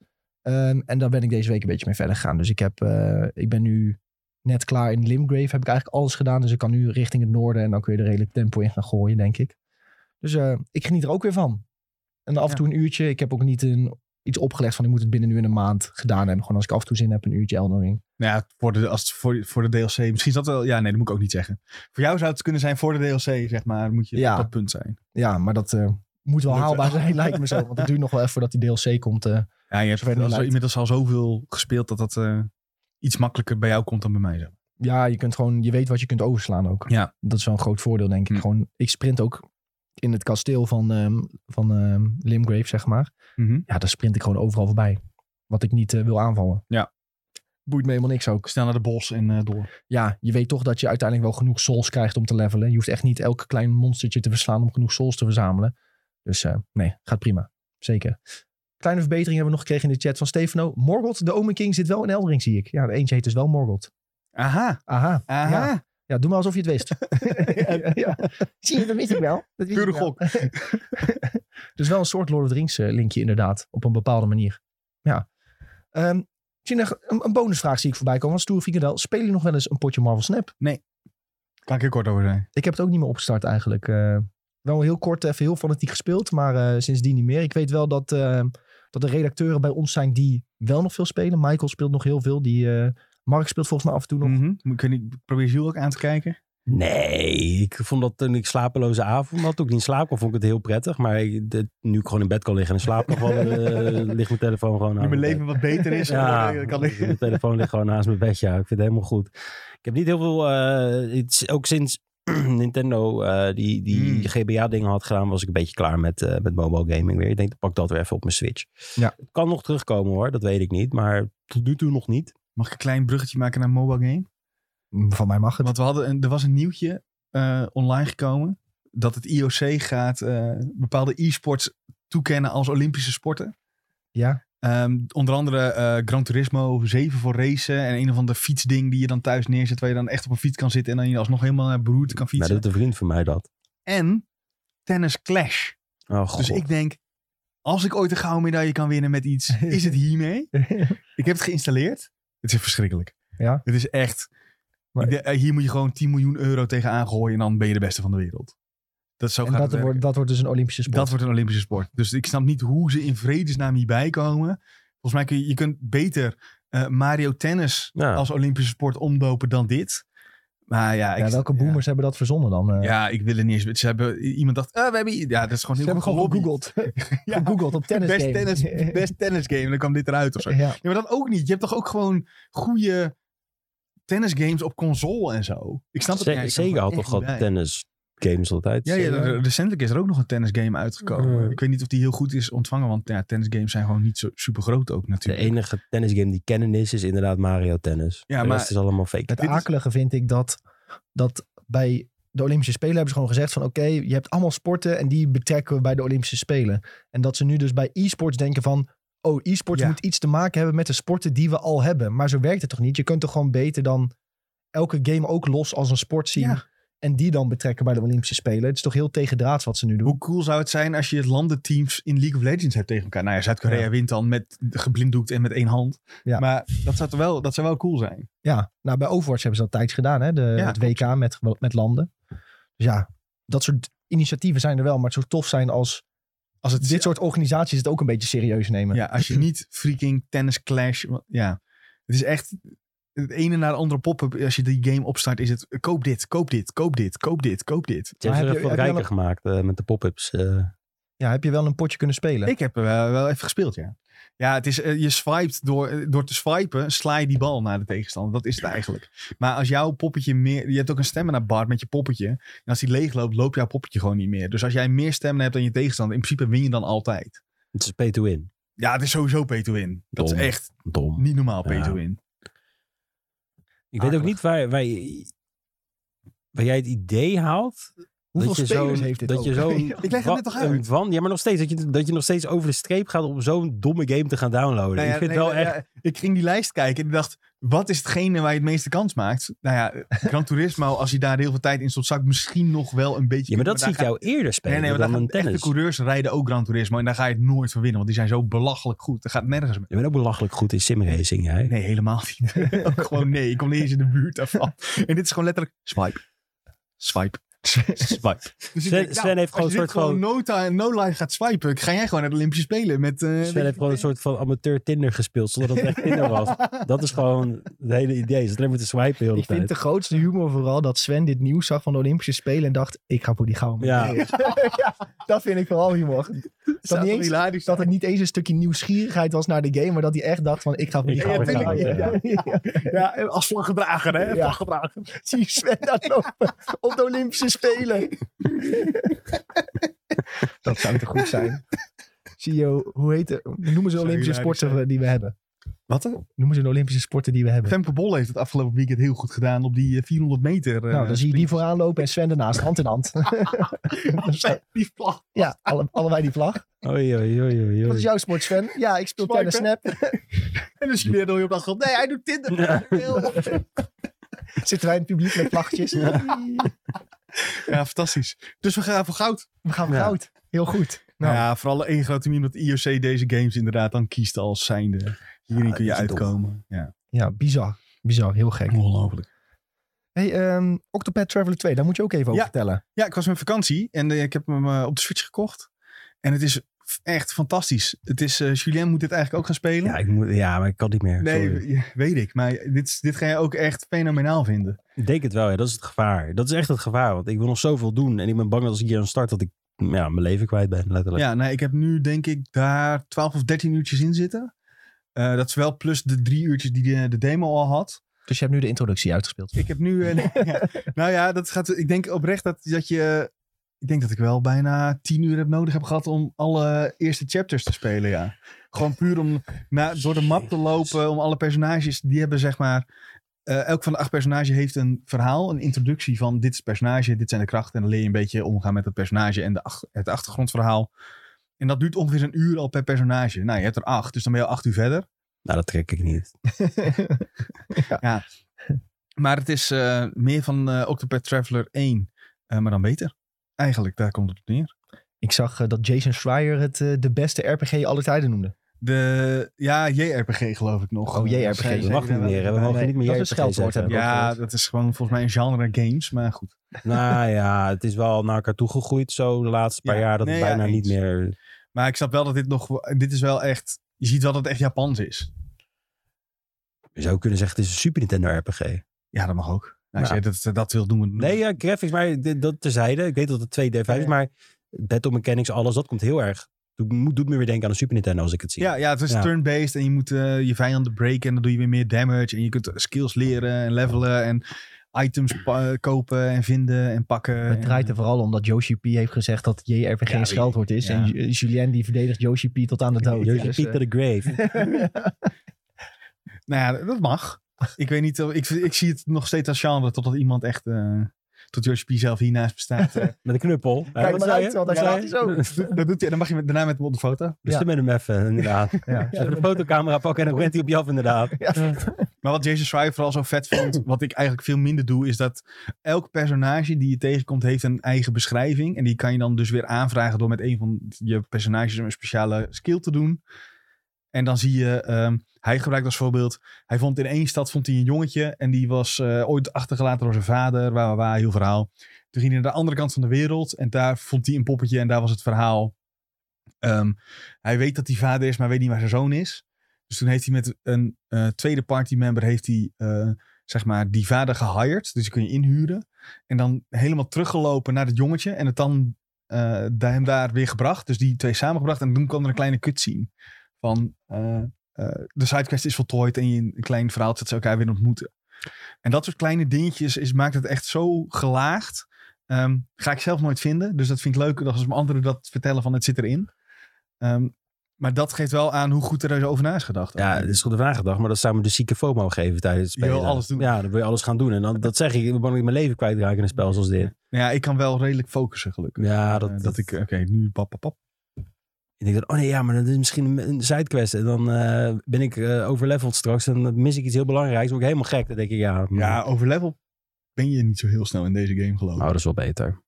S1: Ehm, en daar ben ik deze week een beetje mee verder gegaan. Dus ik, heb, eh, ik ben nu net klaar in Limgrave. Heb ik eigenlijk alles gedaan. Dus ik kan nu richting het noorden. En dan kun je er redelijk tempo in gaan gooien, denk ik. Dus eh, ik geniet er ook weer van. En af en
S2: Ja.
S1: toe een uurtje. Ik heb ook niet een iets opgelegd van ik moet het binnen nu in een maand gedaan hebben. Gewoon als ik af en toe zin heb, een uurtje Elden Ring.
S2: Nou ja, voor de, als, voor, voor de DLC. Misschien is dat wel... Ja, nee, dat moet ik ook niet zeggen. Voor jou zou het kunnen zijn voor de DLC, zeg maar. Moet je
S1: Ja.
S2: op dat punt zijn.
S1: Ja, maar dat eh, moet wel
S2: Lukt
S1: haalbaar
S2: wel.
S1: zijn, lijkt me zo. Want het duurt nog wel even voordat die DLC komt. eh.
S2: Ja, je hebt
S1: Zover het
S2: al zo-
S1: lijkt.
S2: inmiddels al zoveel gespeeld dat dat eh, iets makkelijker bij jou komt dan bij mij. Zeg. maar.
S1: ja, je kunt gewoon, je weet wat je kunt overslaan ook.
S2: Ja.
S1: Dat is wel een groot voordeel, denk ik.
S2: Hm.
S1: Gewoon, ik sprint ook in het kasteel van, ehm, van ehm, Limgrave, zeg maar.
S2: Mhm.
S1: Ja, daar sprint ik gewoon overal voorbij. Wat ik niet eh, wil aanvallen.
S2: Ja.
S1: Boeit me helemaal niks ook.
S2: Snel naar de bos en eh, door.
S1: ja, je weet toch dat je uiteindelijk wel genoeg souls krijgt om te levelen. Je hoeft echt niet elk klein monstertje te verslaan om genoeg souls te verzamelen. Dus eh, nee, gaat prima. Zeker. Kleine verbetering hebben we nog gekregen in de chat van Stefano. Morgoth, de Omen King, zit wel in Eldering, zie ik. Ja, de eentje heet dus wel Morgoth.
S2: Aha,
S1: Aha.
S2: aha.
S1: Ja. Ja, doe maar alsof je het wist. ja. Zie je, dat wist ik wel. Dat wist
S2: Pure
S1: ik wel.
S2: gok.
S1: Dus wel een soort Lord of the Rings eh, linkje inderdaad. Op een bepaalde manier. Ja. Ehm, ik zie nog een, een bonusvraag zie ik voorbij komen. Van Stoer Frikandel. Speel je nog wel eens een potje Marvel Snap?
S2: Kan ik er kort over zijn.
S1: Ik heb het ook niet meer opgestart eigenlijk. Eh, wel heel kort even heel fanatiek gespeeld, maar eh, sindsdien niet meer. Ik weet wel dat, eh, dat er redacteuren bij ons zijn die wel nog veel spelen. Michael speelt nog heel veel. Die, eh, Mark speelt volgens mij af en toe nog.
S2: Mhm. Moet ik- ik probeer Jules ook aan te
S1: Nou,
S2: kijken.
S3: Nee, ik vond dat toen ik slapeloze avond had, toen ik niet in slaap kon, vond ik het heel prettig. Maar ik- dit- nu ik gewoon in bed kan liggen en in slaap kan vallen, eh, ligt mijn telefoon gewoon aan.
S2: Nu mijn
S3: mijn bed.
S2: leven wat beter is.
S3: Ja,
S2: dan kan ik...
S3: mijn telefoon ligt gewoon naast mijn bed. Ja, ik vind het helemaal goed. Ik heb niet heel veel. eh, het is ook sinds Nintendo eh, die, die
S2: Hmm.
S3: GBA-dingen had gedaan, was ik een beetje klaar met, eh, met mobile gaming weer. Ik denk, dan pak ik dat weer even op mijn Switch.
S1: Ja.
S3: Het kan nog terugkomen hoor, dat weet ik niet. Maar tot nu toe nog niet.
S2: Mag ik een klein bruggetje maken naar mobile game?
S1: Mm, Van mij mag het.
S2: Want we hadden een- er was een nieuwtje eh, online gekomen. dat het IOC gaat eh, bepaalde e-sports toekennen als Olympische sporten.
S1: Ja.
S2: Ehm, onder andere eh, Gran Turismo 7 voor racen en een of ander fietsding die je dan thuis neerzet, waar je dan echt op een fiets kan zitten en dan je alsnog helemaal naar beroerte kan
S3: Nou,
S2: fietsen.
S3: dat doet een vriend van mij dat.
S2: En Tennis Clash.
S3: Oh, god.
S2: Dus ik denk, als ik ooit een gouden medaille kan winnen met iets, is het hiermee. Ik heb het geïnstalleerd. Het is verschrikkelijk.
S1: Ja?
S2: Het is echt.
S1: Maar-
S2: Ik denk, eh, hier moet je gewoon 10 miljoen euro tegenaan gooien en dan ben je de beste van de wereld. Dat is zo
S1: en
S2: gaat
S1: dat
S2: het
S1: wordt,
S2: werken.
S1: dat wordt dus een Olympische sport.
S2: dat wordt een Olympische sport. Dus ik snap niet hoe ze in vredesnaam hierbij komen. Volgens mij kun je, je kunt beter eh, Mario Tennis
S3: Ja.
S2: als Olympische sport omdopen dan dit. Maar ja, ik,
S1: ja, welke boomers hebben dat verzonnen dan? eh?
S2: Ja, ja, ik wil er niet eens. met- Ze hebben iemand dacht, eh, we hebben. hier- Ja, dat is gewoon
S1: Ze
S2: heel
S1: hebben
S2: goed
S1: gewoon
S2: gelobby.
S1: gegoogeld.
S2: Ja.
S1: Gegoogeld op tennis
S2: Best
S1: game.
S2: tennis, best tennis game. En dan kwam dit eruit of zo. Ja,
S1: ja.
S2: maar dat ook niet. Je hebt toch ook gewoon goede tennisgames op console en zo. Ik snap het
S3: Ze-
S2: ja, ik kan
S3: Sega
S2: er
S3: had
S2: echt
S3: toch al
S2: niet bij.
S3: tennis games altijd?
S2: Ja, ja,
S3: Sega?
S2: re- recentelijk is er ook nog een tennisgame uitgekomen.
S3: Eh.
S2: Ik weet niet of die heel goed is ontvangen, want ja, tennisgames zijn gewoon niet zo super groot ook
S3: De
S2: natuurlijk.
S3: enige tennisgame die kennen is, is inderdaad Mario Tennis.
S2: Ja,
S3: Ja, de
S2: maar-
S3: rest is allemaal fake.
S1: Het
S2: Dit is-
S1: akelige vind ik dat, dat bij de Olympische Spelen hebben ze gewoon gezegd van oké, je hebt allemaal sporten en die betrekken we bij de Olympische Spelen. En dat ze nu dus bij e-sports denken van oh, e-sports
S2: Ja.
S1: moet iets te maken hebben met de sporten die we al hebben. Maar zo werkt het toch niet? Je kunt toch gewoon beter dan elke game ook los als een sport zien
S2: Ja.
S1: en die dan betrekken bij de Olympische Spelen. Het is toch heel tegendraads wat ze nu doen.
S2: Hoe cool zou het zijn als je het landenteams in League of Legends hebt tegen elkaar? Nou ja, Zuid-Korea
S1: Ja.
S2: wint dan met geblinddoekt en met één hand.
S1: Ja.
S2: Maar dat zou, toch wel, dat zou wel cool zijn.
S1: Ja, nou bij Overwatch hebben ze dat tijds gedaan, hè? De,
S2: Ja,
S1: het WK met, met landen. Dus ja, dat soort initiatieven zijn er wel, maar het zou tof zijn als
S2: Als het,
S1: dit soort organisaties het ook een beetje serieus nemen.
S2: Ja, als je niet freaking tennis clash. wa- Ja, het is echt het ene naar de andere pop-up. Als je die game opstart, is het eh, koop dit, koop dit, koop dit, koop dit, koop dit.
S3: Ze
S1: Maar
S3: hebben
S1: heb
S3: ze
S1: je-
S3: wat
S1: heb je
S3: rijker
S1: wel-
S3: gemaakt eh, met de pop-ups. eh.
S1: Ja, heb je wel een potje kunnen spelen?
S2: Ik heb er wel, wel even gespeeld, ja. Ja, het is, eh, je swipet door, eh, door te swipen, sla je die bal naar de tegenstander. Dat is het eigenlijk. Maar als jouw poppetje meer... Je hebt ook een stamina bar met je poppetje. En als die leeg loopt, loopt jouw poppetje gewoon niet meer. Dus als jij meer stemmen hebt dan je tegenstander, in principe win je dan altijd.
S3: het is pay to win.
S2: Ja, het is sowieso pay to win. Dat
S3: Dom.
S2: is echt
S3: Dom.
S2: niet normaal pay
S3: Ja.
S2: to win.
S3: Ik weet ook
S1: Akelig.
S3: niet waar, waar, je- waar jij het idee haalt.
S1: Hoeveel
S3: dat je
S1: spelers
S3: zo'n-
S1: heeft dit
S3: dat
S1: ook?
S3: Je zo'n
S2: Ik leg het net toch uit?
S3: een wan- ja, maar nog steeds. Dat je, dat je nog steeds over de streep gaat om zo'n domme game te gaan downloaden.
S2: Nou ja,
S3: ik vind
S2: nee,
S3: wel
S2: nou
S3: echt...
S2: ja, ik ging die lijst kijken en ik dacht, wat is hetgene waar je het meeste kans maakt? Nou ja, Gran Turismo, als je daar heel veel tijd in stopt, zou ik misschien nog wel een beetje...
S3: Ja, maar dat
S2: daar
S3: ziet
S2: ga-
S3: jou eerder spelen
S2: Nee, nee, maar daar
S3: dan
S2: gaan de
S3: een
S2: echte
S3: tennis.
S2: coureurs rijden ook Gran Turismo en daar ga je het nooit van winnen, want die zijn zo belachelijk goed. Dat gaat nergens mee.
S3: Je bent ook belachelijk goed in simracing, jij.
S2: Nee, helemaal niet. ook gewoon nee, ik kom niet eens in de buurt daarvan. En dit is gewoon letterlijk swipe, swipe, swipe. Dus ik
S3: Sven-
S2: denk,
S3: Sven
S2: als
S3: heeft
S2: je
S3: gewoon een
S2: dit
S3: soort
S2: gewoon no, time, no life gaat swipen, ga jij gewoon naar de Olympische Spelen met... eh, weet
S3: Sven heeft
S2: je-
S3: gewoon een soort van amateur Tinder gespeeld, zonder dat het echt Tinder was. Dat is gewoon het hele idee. Ze alleen maar te swipen heel de
S1: ik vind
S3: tijd.
S1: de grootste humor vooral dat Sven dit nieuws zag van de Olympische Spelen en dacht, ik ga voor die gouden
S3: Ja.
S1: medaille. Ja, dat vind ik vooral humor. Dat,
S2: Zou
S1: niet
S2: toch
S1: eens,
S2: hilarisch
S1: dat het niet eens een stukje nieuwsgierigheid was naar de game, maar dat hij echt dacht van, ik ga voor die
S3: Ik
S2: ga
S1: gouden
S2: voor die
S1: medaille.
S3: gouden
S1: Ja.
S2: Ja, als vlaggedrager, hè?
S1: Ja.
S2: Vlaggedrager.
S1: Zie je Sven daar lopen op de Olympische Spelen. dat zou toch goed zijn. Zie je, hoe heet het? Noemen ze de
S2: Zou
S1: Olympische
S2: hilarisch
S1: sporten
S2: zijn.
S1: die we hebben?
S2: Wat dan?
S1: Noemen ze de Olympische sporten die we hebben?
S2: Femke Bol heeft het afgelopen weekend heel goed gedaan op die eh, 400 meter. eh,
S1: Nou, dan zie je die vooraan lopen en Sven ernaast, hand in hand. Dus, eh,
S2: sprint. Die vlag.
S1: ja, alle, allebei die vlag.
S3: Oei, oei, oei, oei,
S1: Wat
S3: oei.
S1: is jouw sport, Sven? Ja, ik speel
S2: Swipen.
S1: tennis snap.
S2: En dan zie je weer op de achtergrond. Nee, hij doet Tinder.
S3: Ja.
S1: Zitten wij in het publiek met vlaggetjes.
S2: Ja, fantastisch. Dus we gaan voor goud.
S1: We gaan voor
S3: Ja.
S1: goud. Heel goed.
S2: Nou,
S1: Nou,
S2: ja, vooral één grote meme dat IOC deze games inderdaad dan kiest als zijnde. Hierin
S3: Ja,
S2: kun je
S3: dat is dom.
S2: uitkomen. Ja,
S1: ja, bizar. Bizar, heel gek.
S2: ongelooflijk.
S1: Hey, ehm Octopath Traveler 2, daar moet je ook even over
S2: Ja.
S1: vertellen.
S2: Ja, ik was met vakantie en eh, ik heb hem eh, op de Switch gekocht. En het is f- echt fantastisch. Het is, eh, Julien moet dit eigenlijk ook gaan spelen.
S3: Ja, ik moet, ja, maar ik kan niet meer.
S2: Nee,
S3: Sorry.
S2: we- weet ik. Maar dit, is- dit ga je ook echt fenomenaal vinden.
S3: Ik denk het wel, ja. Dat is het gevaar. Dat is echt het gevaar, want ik wil nog zoveel doen. En ik ben bang dat als ik hier aan start, dat ik ja, mijn leven kwijt ben, letterlijk.
S2: Ja, nou, ik heb nu denk ik daar 12 of 13 uurtjes in zitten. Eh, dat is wel plus de drie uurtjes die de, de demo al had.
S1: Dus je hebt nu de introductie uitgespeeld.
S2: Ik heb nu... eh, ja, nou ja, dat gaat, ik denk oprecht dat, dat je... Ik denk dat ik wel bijna 10 uur heb nodig heb gehad om alle eerste chapters te spelen, ja. Gewoon puur om na, door de map te lopen, om alle personages... Die hebben zeg maar eh, elk van de acht personages heeft een verhaal, een introductie van dit is het personage, dit zijn de krachten. En dan leer je een beetje omgaan met het personage en de ach- het achtergrondverhaal. En dat duurt ongeveer een uur al per personage. Nou, je hebt er acht, dus dan ben je al acht uur verder.
S3: Nou, dat trek ik niet.
S2: Maar het is eh, meer van eh Octopath Traveler 1, eh, maar dan beter. Eigenlijk, daar komt het op neer.
S1: Ik zag eh, dat Jason Schreier het eh, de beste RPG aller tijden noemde.
S2: De, ja, JRPG geloof ik nog. Eh,
S1: Oh, JRPG,
S2: Zij-
S1: dat
S2: zij-
S3: mag niet meer, hè? We mogen
S1: Nee,
S3: niet meer
S1: dat is
S3: JRPG
S1: een scheldwoord,
S3: zeggen.
S1: heb ik ook
S2: Ja,
S1: gehoord.
S2: dat is gewoon volgens mij een genre games, maar goed.
S3: nou ja, het is wel naar elkaar toegegroeid zo de laatste paar
S2: Ja,
S3: jaar. Dat
S2: nee,
S3: het bijna
S2: ja,
S3: niet
S2: eens.
S3: meer...
S2: Maar ik snap wel dat dit nog... Dit is wel echt... Je ziet wel dat het echt Japans is.
S3: Je zou kunnen zeggen, het is een Super Nintendo RPG.
S2: Ja, dat mag ook. Nou, als
S3: Ja.
S2: jij dat, dat wil doen...
S3: Nee, ja, graphics, maar dit- dat terzijde. Ik weet dat het 2D5 is,
S2: Ja.
S3: maar battle mechanics, alles, dat komt heel erg... Doet, moet- doet me weer denken aan een Super Nintendo als ik het zie.
S2: Ja, ja, het is
S3: Ja.
S2: turn-based en je moet eh, je vijanden breken en dan doe je weer meer damage. En je kunt skills leren en levelen en items pa- eh, kopen en vinden en pakken.
S1: Het draait er vooral om dat Yoshi P heeft gezegd dat JRPG
S2: Ja,
S1: een scheldwoord is.
S2: ja.
S1: En Ju- Julien die verdedigt Yoshi P tot aan de dood.
S3: Yoshi
S1: Dus,
S3: Pete to the Grave.
S1: eh,
S2: Nou ja, dat mag. Ik weet niet, of- ik, ik zie het nog steeds als genre totdat iemand echt... eh, tot Yoshi P zelf hiernaast bestaat. eh.
S3: Met een knuppel.
S1: Kijk
S3: wat
S1: maar
S3: zei
S1: uit,
S3: je?
S1: want hij
S3: Ja,
S1: staat hier zo.
S2: dat doet hij, dan mag je met- daarna met hem op de foto.
S3: Dus
S1: Ja.
S3: met hem even, inderdaad.
S1: ja.
S3: Even de fotocamera pakken en dan rent hij op je af, inderdaad.
S2: Maar wat Jason Schreier vooral zo vet vond, wat ik eigenlijk veel minder doe, is dat elk personage die je tegenkomt heeft een eigen beschrijving. En die kan je dan dus weer aanvragen door met een van je personages een speciale skill te doen. En dan zie je, ehm, hij gebruikt als voorbeeld, hij vond in één stad vond hij een jongetje en die was eh, ooit achtergelaten door zijn vader, waar, waar, waar, heel verhaal. Toen ging hij naar de andere kant van de wereld en daar vond hij een poppetje en daar was het verhaal. Ehm, hij weet dat hij vader is, maar weet niet waar zijn zoon is. Dus toen heeft hij met een eh, tweede partymember, heeft hij, eh, zeg maar, die vader gehired. Dus die kun je inhuren. En dan helemaal teruggelopen naar het jongetje. En het dan eh, daar hem daar weer gebracht. Dus die twee samengebracht. En toen kwam er een kleine cutscene. Van eh, eh, de sidequest is voltooid. En je een klein verhaaltje dat ze elkaar weer ontmoeten. En dat soort kleine dingetjes is, maakt het echt zo gelaagd. Ehm, ga ik zelf nooit vinden. Dus dat vind ik leuk dat als mijn anderen dat vertellen van het zit erin. Ehm, maar dat geeft wel aan hoe goed er dus over na is gedacht.
S3: Ja, dat is goed de nagedacht, maar dat zou me de zieke FOMO geven tijdens het
S2: Je wil
S3: spelen.
S2: alles doen.
S3: Ja, dan wil je alles gaan doen. En dan, dat zeg ik, ik ben bang dat ik mijn leven kwijtraak in een spel zoals dit.
S2: Nou ja, ik kan wel redelijk focussen, gelukkig.
S3: Ja,
S2: Ah, dat,
S3: dat,
S2: Eh, dat ik, oké, nu pap, pap, pap.
S3: Ik denk dat, oh nee, ja, maar dat is misschien een- een sidequest. En dan eh, ben ik eh, overleveld straks en dan mis ik iets heel belangrijks. Dan word ik helemaal gek. Dan denk ik, ja, maar-
S2: Ja, over level ben je niet zo heel snel in deze game, geloof ik.
S3: nou, dat is wel beter.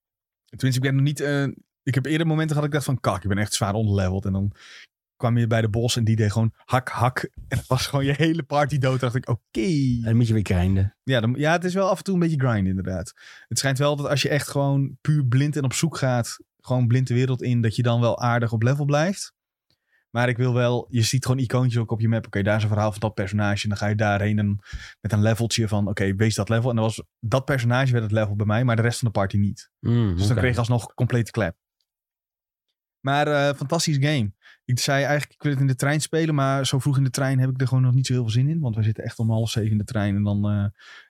S2: Tenminste, ik ben nog niet... eh, ik heb eerder momenten gehad dat ik dacht van, kak, ik ben echt zwaar onderleveld. En dan kwam je bij de bos en die deed gewoon hak, hak. En het was gewoon je hele party dood. dacht ik, oké.
S3: En dan moet je weer krijnden.
S2: Ja, dan- ja, het is wel af en toe een beetje grind, inderdaad. Het schijnt wel dat als je echt gewoon puur blind en op zoek gaat, gewoon blind de wereld in, dat je dan wel aardig op level blijft. Maar ik wil wel, je ziet gewoon icoontjes ook op je map. Oké, daar is een verhaal van dat personage. En dan ga je daarheen en met een leveltje van, oké, wees dat level. En dan was dat personage werd het level bij mij, maar de rest van de party niet.
S3: Mm,
S2: Dus dan
S3: oké.
S2: kreeg je alsnog complete klep. Maar eh fantastisch game. Ik zei eigenlijk, ik wil het in de trein spelen, maar zo vroeg in de trein heb ik er gewoon nog niet zo heel veel zin in. Want we zitten echt om half zeven in de trein en dan eh,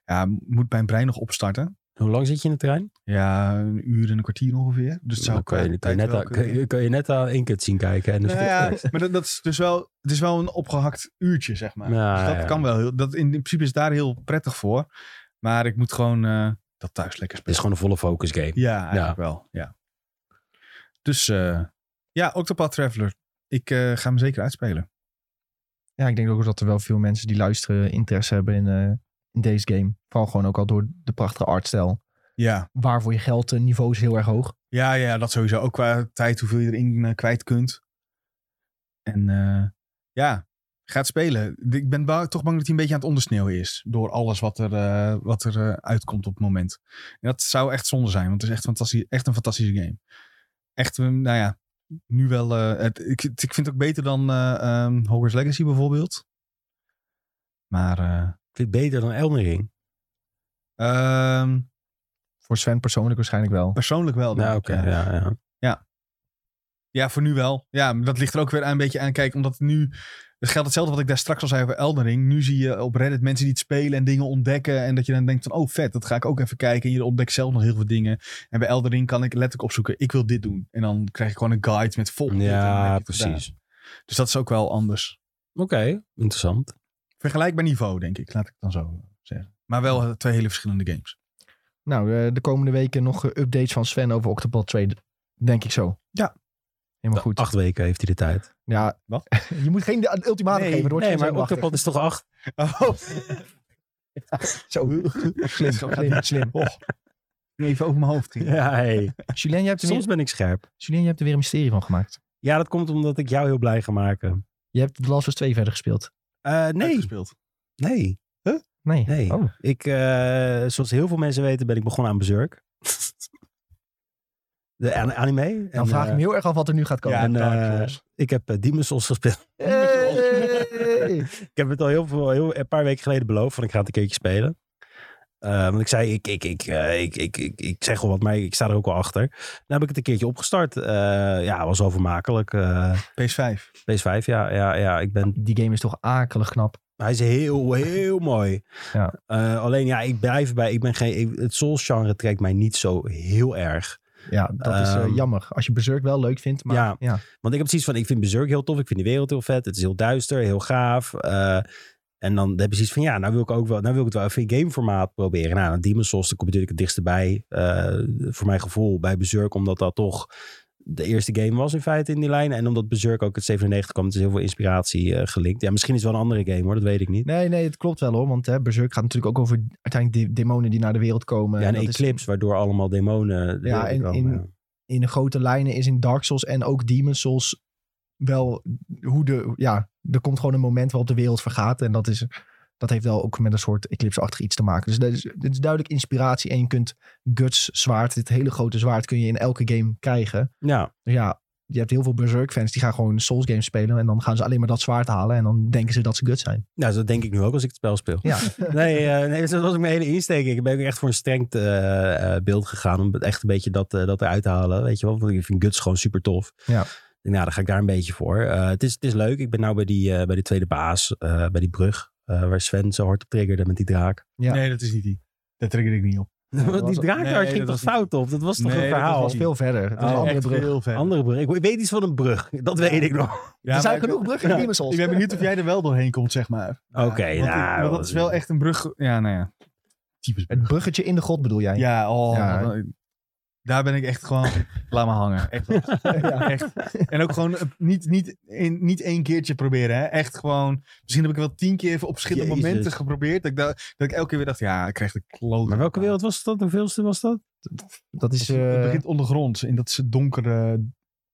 S2: ja, moet mijn brein nog opstarten.
S3: Hoe lang zit je in de trein?
S2: Ja, een uur en een kwartier ongeveer. Dus het zou
S3: Dan kan je,
S2: qua
S3: kan
S2: tijd
S3: je net,
S2: wel
S3: aan-
S2: kunnen.
S3: kan je, kan je net aan één kut zien kijken. En dan
S2: Nou ja, maar dat, dat is dus wel, het is wel een opgehakt uurtje, zeg maar.
S3: Ja,
S2: dus dat
S3: Nou ja.
S2: kan wel. Heel, dat in, in principe is daar heel prettig voor. Maar ik moet gewoon eh, dat thuis lekker
S3: Het
S2: spelen.
S3: is gewoon een volle focus game.
S2: Ja, eigenlijk wel. Ja. Dus eh, ja, Octopath Traveler. Ik eh, ga hem zeker uitspelen.
S1: ja, ik denk ook dat er wel veel mensen die luisteren interesse hebben in, eh, in deze game. Vooral gewoon ook al door de prachtige artstijl.
S2: Ja.
S1: Waarvoor je geld eh, niveau is heel erg hoog.
S2: Ja, ja, dat sowieso. Ook qua tijd, hoeveel je erin eh, kwijt kunt. En eh, ja, ga het spelen. D- Ik ben ba- toch bang dat hij een beetje aan het ondersneeuwen is. Door alles wat er, eh, wat er eh, uitkomt op het moment. En dat zou echt zonde zijn, want het is echt, fantastisch, echt een fantastische game. Echt, eh, nou ja, nu wel... eh, het, ik, ik vind het ook beter dan eh ehm, Hogwarts Legacy bijvoorbeeld. Maar... eh,
S3: Ik vind het beter dan Elden Ring.
S2: Ehm,
S1: Voor Sven persoonlijk waarschijnlijk wel.
S2: persoonlijk wel. denk
S3: Nou,
S2: ik,
S3: oké.
S2: ja.
S3: ja, ja.
S2: Ja, voor nu wel. Ja, maar dat ligt er ook weer een beetje aan. Kijk, omdat nu... Het geldt hetzelfde wat ik daar straks al zei over Elden Ring. Nu zie je op Reddit mensen die het spelen en dingen ontdekken. En dat je dan denkt van, oh vet, dat ga ik ook even kijken. En je ontdekt zelf nog heel veel dingen. En bij Elden Ring kan ik letterlijk opzoeken, ik wil dit doen. En dan krijg ik gewoon een guide met vol. dit en dan heb je
S3: Ja,
S2: het gedaan.
S3: precies.
S2: Dus dat is ook wel anders.
S3: Oké, interessant.
S2: Vergelijkbaar niveau, denk ik. Laat ik het dan zo zeggen. Maar wel eh, twee hele verschillende games.
S1: Nou, eh, de komende weken nog eh, updates van Sven over Octopath Trade. Denk ik zo.
S2: Ja.
S1: Helemaal goed.
S3: Nou, Acht weken heeft hij de tijd.
S1: Ja,
S2: Wat?
S1: je moet geen de- ultimatum
S2: Nee,
S1: geven. Dan word je
S3: Nee,
S1: nee,
S3: maar Octopad is toch acht?
S2: Oh,
S1: Zo, slim, slim, slim.
S2: even over mijn hoofd. Ja.
S3: Ja, hey.
S1: Julien, jij hebt, er weer,
S3: Soms ben ik scherp.
S1: Julien, jij hebt er weer een mysterie van gemaakt.
S3: Ja, dat komt omdat ik jou heel blij ga maken.
S1: Je hebt The Last of Us 2 verder gespeeld.
S3: Eh,
S1: dus-
S3: nee,
S2: Uitgespeeld.
S3: nee,
S1: Nee.
S3: nee.
S1: Oh.
S3: Ik, eh, zoals heel veel mensen weten, ben ik begonnen aan Berserk. De an- anime.
S1: Dan vraag ik me heel erg af wat er nu gaat komen.
S2: Ja,
S3: en,
S2: Dark
S3: eh,
S2: Souls.
S3: ik heb eh, Demon's Souls gespeeld.
S1: Hey!
S3: Ik heb het al heel veel, heel, een paar weken geleden beloofd van ik ga het een keertje spelen. Eh, want ik zei, ik, ik, ik, eh, ik, ik, ik, ik zeg wel wat, maar ik sta er ook wel achter. Dan heb ik het een keertje opgestart. Eh, ja, was overmakelijk. Eh
S2: PS5.
S3: PS5, ja, ja, ja. Ik ben,
S1: Die game is toch akelig knap.
S3: hij is heel, heel mooi.
S1: Ja.
S3: Eh, alleen ja, ik blijf bij, ik ben geen, ik- het Souls-genre trekt mij niet zo heel erg.
S1: Ja, dat is eh,
S3: Ehm,
S1: jammer. Als je Berserk wel leuk vindt, maar ja.
S3: Ja. Want ik heb zoiets van, ik vind Berserk heel tof. Ik vind die wereld heel vet. Het is heel duister, heel gaaf. eh, en dan heb je zoiets van, ja, nou wil ik, ook wel, nou wil ik het wel even in gameformaat proberen. Nou, dan Demon's Souls, daar kom je natuurlijk het dichtst bij. eh, voor mijn gevoel, bij Berserk. Omdat dat toch de eerste game was in feite in die lijn. En omdat Berserk ook het 97 kwam, het is heel veel inspiratie eh, gelinkt. Ja, misschien is het wel een andere game hoor, dat weet ik niet.
S1: Nee, nee, het klopt wel hoor. Want hè, Berserk gaat natuurlijk ook over uiteindelijk de- demonen die naar de wereld komen.
S3: Ja,
S1: En
S3: een
S1: dat is-
S3: eclipse, waardoor allemaal demonen... de
S1: Ja,
S3: wereld
S1: en
S3: komen,
S1: in-
S3: ja.
S1: in de grote lijnen is in Dark Souls en ook Demon Souls wel hoe de... Ja, er komt gewoon een moment waarop de wereld vergaat. En dat, is, dat heeft wel ook met een soort eclipse-achtig iets te maken. Dus dat is, dit is duidelijk inspiratie. En je kunt Guts zwaard, dit hele grote zwaard, kun je in elke game krijgen.
S3: ja,
S1: Dus ja, je hebt heel veel Berserk-fans die gaan gewoon Souls games spelen. En dan gaan ze alleen maar dat zwaard halen. En dan denken ze dat ze Guts zijn.
S3: nou, dat denk ik nu ook als ik het spel speel.
S1: Ja,
S3: Nee, eh, nee, dat was ook mijn hele insteek. Ik ben ook echt voor een streng eh, eh, beeld gegaan. Om echt een beetje dat, eh, dat eruit te halen. Weet je wel? Want ik vind Guts gewoon super tof.
S1: Ja.
S3: Ik denk, Nou, dan ga ik daar een beetje voor. Eh, het, is, het is leuk. Ik ben nou bij die, eh, bij die tweede baas. eh, bij die brug. eh, waar Sven zo hard op triggerde met die draak.
S1: Ja.
S2: Nee, dat is niet die. Daar trigger ik niet op.
S1: dat
S3: Want
S1: was-
S3: die draak
S2: nee,
S3: daar
S2: dat
S3: ging toch
S2: was niet-
S3: fout op? Dat was toch
S2: Nee, dat
S3: een
S2: was
S1: dat
S3: verhaal?
S1: was veel verder. Het is
S3: Oh,
S1: een andere
S2: Echt
S1: brug.
S2: heel vet.
S3: Andere brug. Ik weet iets van een brug. Dat
S1: Ja.
S3: weet ik nog.
S2: Ja,
S1: er
S2: maar
S1: zijn
S2: ik-
S1: genoeg bruggen in
S2: Ja.
S1: Demon Souls.
S2: Ik ben benieuwd of jij er wel doorheen komt, zeg maar.
S3: Oké,
S2: Ja, want-
S3: nou,
S2: want dat is
S1: eh,
S2: wel echt een brug. Ja, nou ja. Typisch brug.
S1: Het bruggetje in de god bedoel jij?
S2: Ja, oh,
S1: Ja.
S2: dan- daar ben ik echt gewoon. laat me hangen. Echt,
S1: Ja.
S2: echt. En ook gewoon eh, niet, niet, in, niet één keertje proberen. Hè. Echt gewoon. Misschien heb ik wel tien keer op verschillende
S3: Jezus.
S2: momenten geprobeerd. Dat ik, da- dat ik elke keer weer dacht, ja, ik krijg de kloot.
S3: Maar welke wereld was dat? Hoeveelste was dat?
S1: Dat is...
S2: het
S1: eh,
S2: begint ondergronds. In dat is het donkere.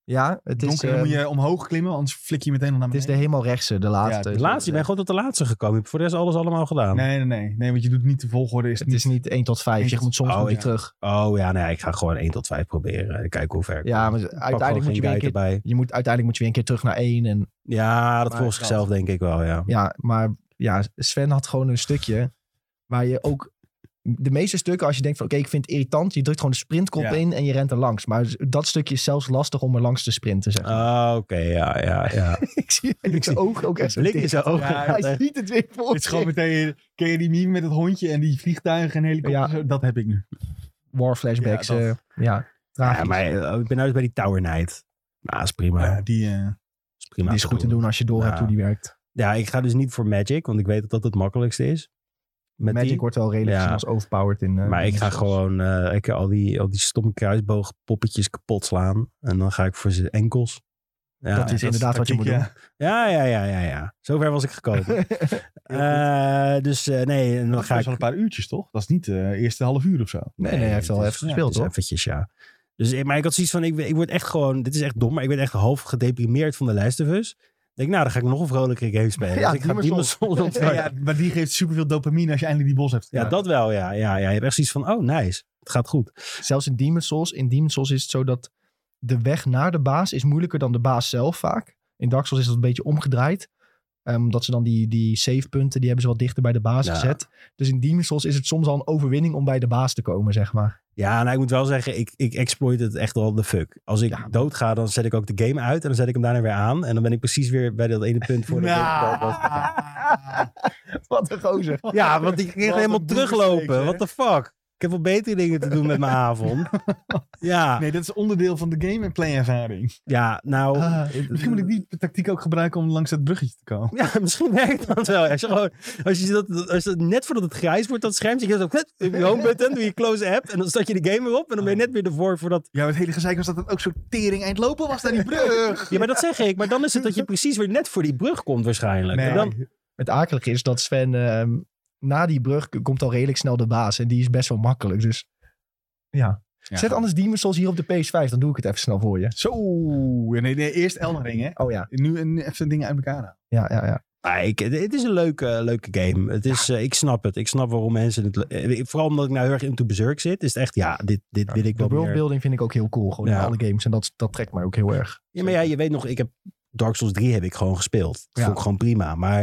S1: ja, het is...
S2: donkere
S1: eh,
S2: moet je omhoog klimmen, anders flik je meteen al naar
S1: Het is
S2: beneden.
S1: de helemaal rechtse, de laatste.
S2: Ja,
S3: De laatste. Ik ben gewoon tot de laatste gekomen. Ik heb voor de rest alles allemaal gedaan.
S2: Nee, nee, nee. Nee, want je doet niet de volgorde. Is
S1: Het is niet 1 tot 5. Je
S2: Eén-
S1: moet soms
S3: Oh,
S1: moet je
S2: ja.
S1: terug.
S3: Oh ja, nee, ik ga gewoon 1 tot 5 proberen. Kijken hoe ver ik
S1: Ja,
S3: kom.
S1: maar uiteindelijk moet je weer een keer...
S3: bij.
S1: Je moet, uiteindelijk moet je weer een keer terug naar 1. En,
S3: Ja, dat
S2: Maar
S3: volgens
S2: dat-
S3: zichzelf denk ik wel, ja.
S1: ja, maar ja, Sven had gewoon een stukje waar je ook... De meeste stukken, als je denkt van oké, ik vind het irritant. Je drukt gewoon de sprintkop
S2: Ja.
S1: in en je rent er langs. Maar dat stukje is zelfs lastig om er langs te sprinten. Zeg. maar.
S3: Ah, Oké, ja, ja, ja.
S1: ik zie ik zijn oog ook echt zo
S3: Blik in
S1: dicht.
S3: zijn ogen.
S2: Ja,
S3: gaat
S1: Hij
S3: echt-
S1: ziet het weer voor
S2: Het is gewoon
S1: zich.
S2: meteen. Ken je die meme met het hondje en die vliegtuigen en helikopters? Dat heb ik nu.
S1: war flashbacks.
S2: Ja,
S1: eh,
S2: dat.
S1: Ja,
S3: ja,
S1: tragisch.
S3: maar eh, ik ben uit bij die Tower Knight. Nou, is prima.
S2: Ja, die. eh,
S3: is prima
S1: die is
S3: te
S1: goed te doen als je door hebt
S3: Ja.
S1: hoe die werkt.
S3: Ja, ik ga dus niet voor Magic, want ik weet dat dat het makkelijkste is. Met
S1: Magic
S3: die.
S1: wordt wel redelijk
S3: Ja.
S1: gezien als overpowered in. eh,
S3: Maar ik ga
S1: Souls.
S3: gewoon eh, ik ga al, die, al die stomme kruisboogpoppetjes kapot slaan. En dan ga ik voor zijn enkels. Ja,
S1: Dat is inderdaad wat je moet
S2: tactiek,
S1: doen.
S2: ja.
S3: ja, ja, ja, ja, ja. Zover was ik gekomen. Eh, dus eh, nee, en dan
S2: Dat
S3: ga
S2: gaat
S3: ik...
S2: wel een paar uurtjes, toch? Dat is niet de eerste half uur of zo.
S1: Nee, nee, hij heeft wel
S3: het
S1: even gespeeld,
S3: het is
S1: hoor.
S3: Eventjes, ja. Dus, eh, maar ik had zoiets van, ik, ik word echt gewoon, dit is echt dom, maar ik ben echt half gedeprimeerd van de Last of Us. Ik denk, nou, dan ga ik nog een vrolijke game spelen.
S1: Ja,
S3: Dus ik ga
S1: Demon's
S3: Demon's Souls
S2: Ja,
S3: ontvangen. Ja,
S2: ja, maar die geeft superveel dopamine als je eindelijk die bos hebt. gedaan.
S3: dat wel, ja, ja, ja. Je hebt echt zoiets van, oh, nice. Het gaat goed.
S1: Zelfs in Demon Souls. In Demon Souls is het zo dat de weg naar de baas is moeilijker dan de baas zelf vaak. In Dark Souls is dat een beetje omgedraaid. Ehm, Omdat ze dan die, die savepunten, die hebben ze wat dichter bij de baas
S3: Ja.
S1: gezet. Dus in Demon Souls is het soms al een overwinning om bij de baas te komen, zeg maar.
S3: Ja, nou, ik moet wel zeggen, ik, ik exploit het echt wel de fuck. Als ik
S1: Ja.
S3: doodga, dan zet ik ook de game uit en dan zet ik hem daarna weer aan. En dan ben ik precies weer bij dat ene punt voor de
S2: Nou.
S1: Wat een gozer.
S3: Ja, want ik ging
S2: Wat een
S3: helemaal
S2: boerenstreek,
S3: teruglopen.
S2: hè?
S3: What the fuck? Ik heb wel betere dingen te doen met mijn avond. Ja,
S2: Nee, dat is onderdeel van de game- en play-ervaring.
S3: ja nou...
S1: Ah,
S3: het-
S2: Misschien moet ik die tactiek ook gebruiken om langs dat bruggetje te komen.
S3: Ja, misschien werkt dat wel. Als je, gewoon, als je dat, als dat net voordat het grijs wordt, dat scherm, zie je zo klet, op je home button, doe je close app en dan start je de game weer op en dan ben
S2: Ah.
S3: je net weer ervoor voor dat...
S2: Ja, maar het hele gezeik was dat het ook zo tering eindlopen was naar die brug.
S3: Ja, maar dat zeg ik. Maar dan is het dat je precies weer net voor die brug komt waarschijnlijk.
S2: Nee.
S3: En dan,
S1: Het akelige is dat Sven ehm, na die brug k- komt al redelijk snel de baas. En die is best wel makkelijk. Dus ja.
S2: Ja.
S1: Zet anders Demon's Souls hier op de PS5. Dan doe ik het even snel voor je.
S2: Zo. Nee, nee, eerst Elden Ring, hè.
S1: Oh ja.
S2: Nu en even dingen uit elkaar halen.
S1: Ja, ja, ja.
S3: Ah, ik, het is een leuke, leuke game. Het is, eh, ik snap het. Ik snap waarom mensen het... le- eh, Vooral omdat ik nou heel erg into Berserk zit, is het echt, ja, dit, dit wil ik
S1: de
S3: wel meer.
S1: worldbuilding vind ik ook heel cool. Gewoon in
S3: Ja.
S1: alle games. En dat, dat trekt mij ook heel erg.
S3: Ja, maar ja, je weet nog, ik heb Dark Souls 3 heb ik gewoon gespeeld. Dat
S1: Ja.
S3: vond ik gewoon prima. Maar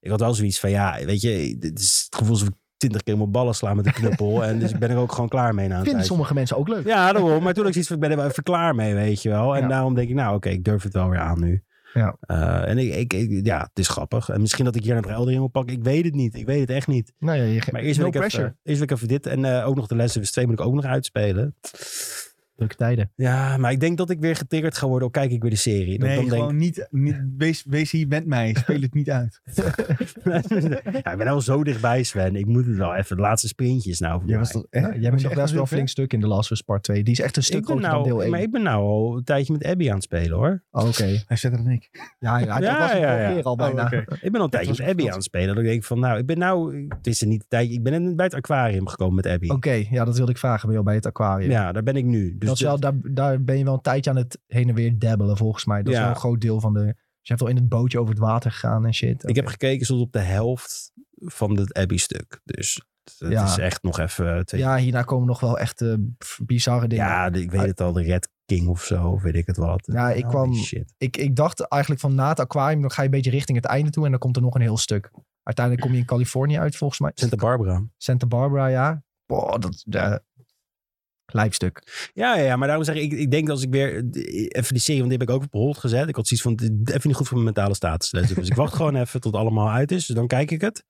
S3: ik had wel zoiets van, ja, weet je, dit is het gevoel alsof ik twintig keer mijn ballen sla met een knuppel. en dus ik ben er ook gewoon klaar mee na een
S1: Vinden
S3: tijd.
S1: sommige mensen ook leuk.
S3: Ja, daarom. Maar toen had ik zoiets van, ik ben er wel even klaar mee, weet je wel. En
S1: Ja.
S3: daarom denk ik, nou oké, ik durf het wel weer aan nu.
S1: Ja.
S3: Eh, en ik, ik, ik- ja, het is grappig. En misschien dat ik hier een Elden Ring op pak. Ik weet het niet. Ik weet het echt niet.
S1: Nou ja, je,
S3: Maar eerst
S1: no
S3: wil ik,
S1: pressure.
S3: even, eerst wil ik even dit. En eh, ook nog de lessen 2 moet ik ook nog uitspelen.
S1: Drukke tijden.
S3: Ja, maar ik denk dat ik weer getriggerd ga worden. Of kijk ik weer de serie. Dat,
S2: Nee,
S3: dan denk
S2: gewoon niet, niet wees, wees hier met mij. Speel het niet uit.
S3: ja, ik ben nou al zo dichtbij, Sven. Ik moet het wel even. De laatste sprintjes nou.
S2: Jij was toch- hè?
S1: Nou, jij
S2: Was
S1: bent
S2: je
S1: nog
S2: echt
S1: best wel
S2: een
S1: flink stuk in de Last of Us Part 2. Die is echt een stuk
S3: ik ben
S1: groter dan deel
S3: nou,
S1: 1.
S3: maar ik ben nou al een tijdje met Abby aan het spelen, hoor.
S1: Oké.
S2: Hij zet er dan ik.
S1: Ja, ja, dat
S3: Ja,
S1: was het
S3: ja,
S1: vorige
S3: ja.
S1: keer al bijna.
S2: Oh, oké.
S3: Ik ben al een tijdje
S2: was
S3: met
S2: een
S3: Abby
S2: vakantie.
S3: aan het spelen. Dat ik denk van, nou, ik ben nou... Het is er niet een tijdje... Ik ben net bij het aquarium gekomen met Abby.
S1: Oké, ja, dat wilde ik vragen. Ben je al bij het aquarium?
S3: Ja, daar ben ik nu. Dus
S1: oh, dat is wel, daar, daar ben je wel een tijdje aan het heen en weer dabbelen, volgens mij. Dat is
S3: Ja.
S1: wel een groot deel van de... Dus je hebt al in het bootje over het water gegaan en shit.
S3: Ik heb gekeken tot op de helft van het Abby-stuk. Dus het
S1: Ja.
S3: is echt nog even... eh, Twee... Ja,
S1: Ja, hierna komen nog wel echt eh, pff, bizarre dingen. Ah,
S3: de- ik weet het al. De Red King of zo, of weet ik het wat.
S1: Ja, ik
S3: Holy
S1: kwam-
S3: Shit.
S1: Ik, ik dacht eigenlijk van na het aquarium, dan ga je een beetje richting het einde toe en dan komt er nog een heel stuk. Uiteindelijk kom je in Californië uit, volgens mij.
S3: Santa Barbara.
S1: Santa Barbara, ja. Boah, dat... eh lijpstuk.
S3: Ja, ja, ja, maar daarom zeg ik, ik denk als ik weer even die serie, want die heb ik ook op hold gezet. Ik had zoiets van, dit- even niet goed voor mijn mentale status. letterlijk. Dus ik wacht gewoon even tot het allemaal uit is, dus dan kijk ik het.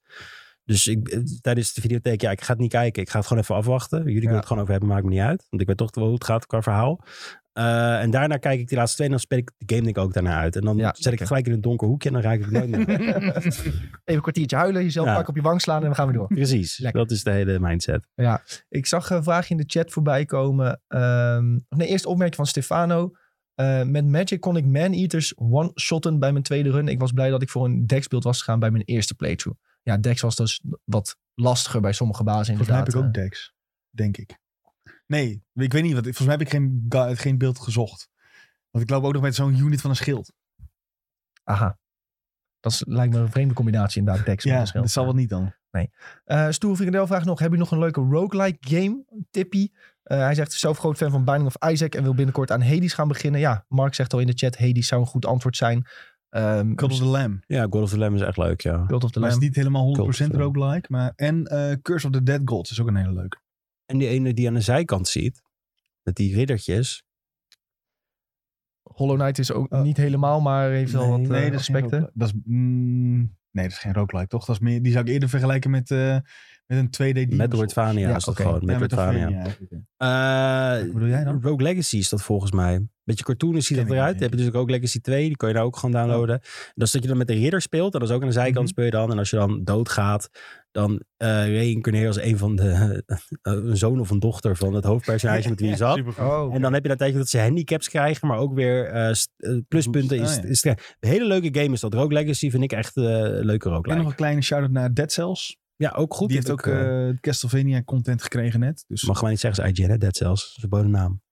S3: Dus ik, eh, tijdens de videotheek, ja, ik ga het niet kijken. Ik ga het gewoon even afwachten. Jullie kunnen het gewoon over hebben, maakt me niet uit. Want ik weet toch wel hoe het gaat qua verhaal. Eh, en daarna kijk ik die laatste twee en dan speel ik de game denk ik ook daarna uit. En dan
S1: Ja,
S3: zet ik
S1: oké.
S3: het gelijk in een donker hoekje en dan raak ik het nooit meer. uit.
S1: Even een kwartiertje huilen, jezelf
S3: Ja.
S1: pak op je wang slaan en dan gaan we door.
S3: Precies,
S1: Lekker.
S3: dat is de hele mindset.
S1: Ik zag een vraagje in de chat voorbij komen. Ehm, of nee, eerst een opmerking van Stefano. Eh, met Magic kon ik man-eaters one-shotten bij mijn tweede run. Ik was blij dat ik voor een decksbeeld was gegaan bij mijn eerste playthrough. Ja, dex was dus wat lastiger bij sommige bazen
S2: Volgens mij
S1: inderdaad.
S2: heb ik ook Dex. Denk ik. Nee, ik weet niet. Wat, volgens mij heb ik geen, ga- geen beeld gezocht. Want ik loop ook nog met zo'n unit van een schild.
S1: Eh, Aha. Dat is, lijkt me een vreemde combinatie inderdaad, dex
S2: Ja, dat zal wel niet dan.
S1: Eh Stoer Frikandel vraagt nog, heb je nog een leuke roguelike game? Tippie. Eh, hij zegt zelf groot fan van Binding of Isaac en wil binnenkort aan Hades gaan beginnen. Ja, Mark zegt al in de chat, Hades zou een goed antwoord zijn. Ehm
S2: Cult of the Lamb.
S3: Ja, God of the Lamb is echt leuk, ja.
S1: Cult of the
S2: Maar
S1: Lamb.
S2: is niet helemaal 100%
S3: Cult of the Lamb.
S2: roguelike. Maar, en eh, Curse of the Dead Gods is ook een hele leuke.
S3: En die ene die aan de zijkant ziet, met die riddertjes...
S1: Hollow Knight is ook
S2: Oh.
S1: niet helemaal, maar heeft wel
S3: Nee,
S1: wat eh,
S2: nee, dat is geen
S1: aspecten.
S2: roguelike. Dat is, mm, nee, dat is geen roguelike, toch? Dat is meer, die zou ik eerder vergelijken met, eh, met een 2D Demon's
S3: Metroidvania
S1: Ja,
S3: is dat
S1: oké.
S3: gewoon.
S2: Souls. Ja,
S3: Metroidvania. Eh,
S2: Wat bedoel jij dan?
S3: Rogue Legacy is dat volgens mij. Beetje cartoon ziet
S2: Ken
S3: dat
S2: ik
S3: eruit.
S2: niet.
S3: Heb je dus ook Rogue Legacy 2, die kan je daar ook gewoon downloaden. Dat is dat je dan met de ridder speelt. En dat is ook aan de zijkant
S2: Mhm.
S3: speel je dan. En als je dan doodgaat, dan eh reïncarneer je als een van de een zoon of een dochter van het hoofdpersonage met wie je zat.
S2: Supergoed.
S1: Oh,
S3: En dan heb je na een tijdje dat ze handicaps krijgen, maar ook weer eh, st- eh, pluspunten.
S2: Ah,
S3: is
S2: ja.
S3: is- Een hele leuke game is dat. Rogue Legacy vind ik echt eh leuker ook.
S2: En nog een kleine shout-out naar Dead Cells.
S3: Ja, ook goed.
S2: die heeft ook
S3: eh,
S2: eh, Castlevania content gekregen net. Dus...
S3: mag mij niet zeggen, is IGN, hè? Dead Cells. Dat is een bodemnaam.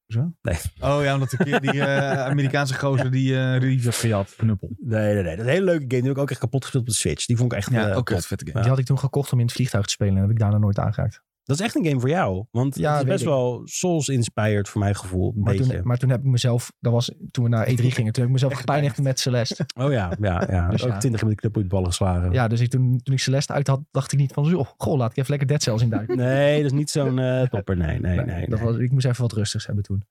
S2: Oh ja, omdat een keer die eh, Amerikaanse gozer die eh reviews had gejat. Knuppel.
S3: Nee, nee, nee. Dat is een hele leuke game. Die heb ik ook echt kapot gespeeld op de Switch. Die vond ik echt... eh, top.
S2: vette
S1: die had ik toen gekocht om in het vliegtuig te spelen en heb ik daarna nooit aangeraakt.
S3: Dat is echt een game voor jou. Want
S1: Ja,
S3: het is
S1: weet
S3: best
S1: ik.
S3: wel Souls-inspired voor mijn gevoel. Een
S1: Maar
S3: beetje.
S1: toen, maar toen heb ik mezelf, dat was toen we naar E3 gingen, toen heb ik mezelf gepijnigd met Celeste.
S3: Oh ja, ja, ja.
S1: Dus
S3: ook
S1: ja.
S3: 20 minuten knuppel in de ballen geslagen.
S1: Ja, dus ik, toen, toen ik Celeste uit had, dacht ik niet van, joh, goh, laat ik even lekker Dead Cells induiken.
S3: Nee, dat is niet zo'n eh, topper. Nee, nee, nee. nee.
S1: dat was, ik moest even wat rustigs hebben toen.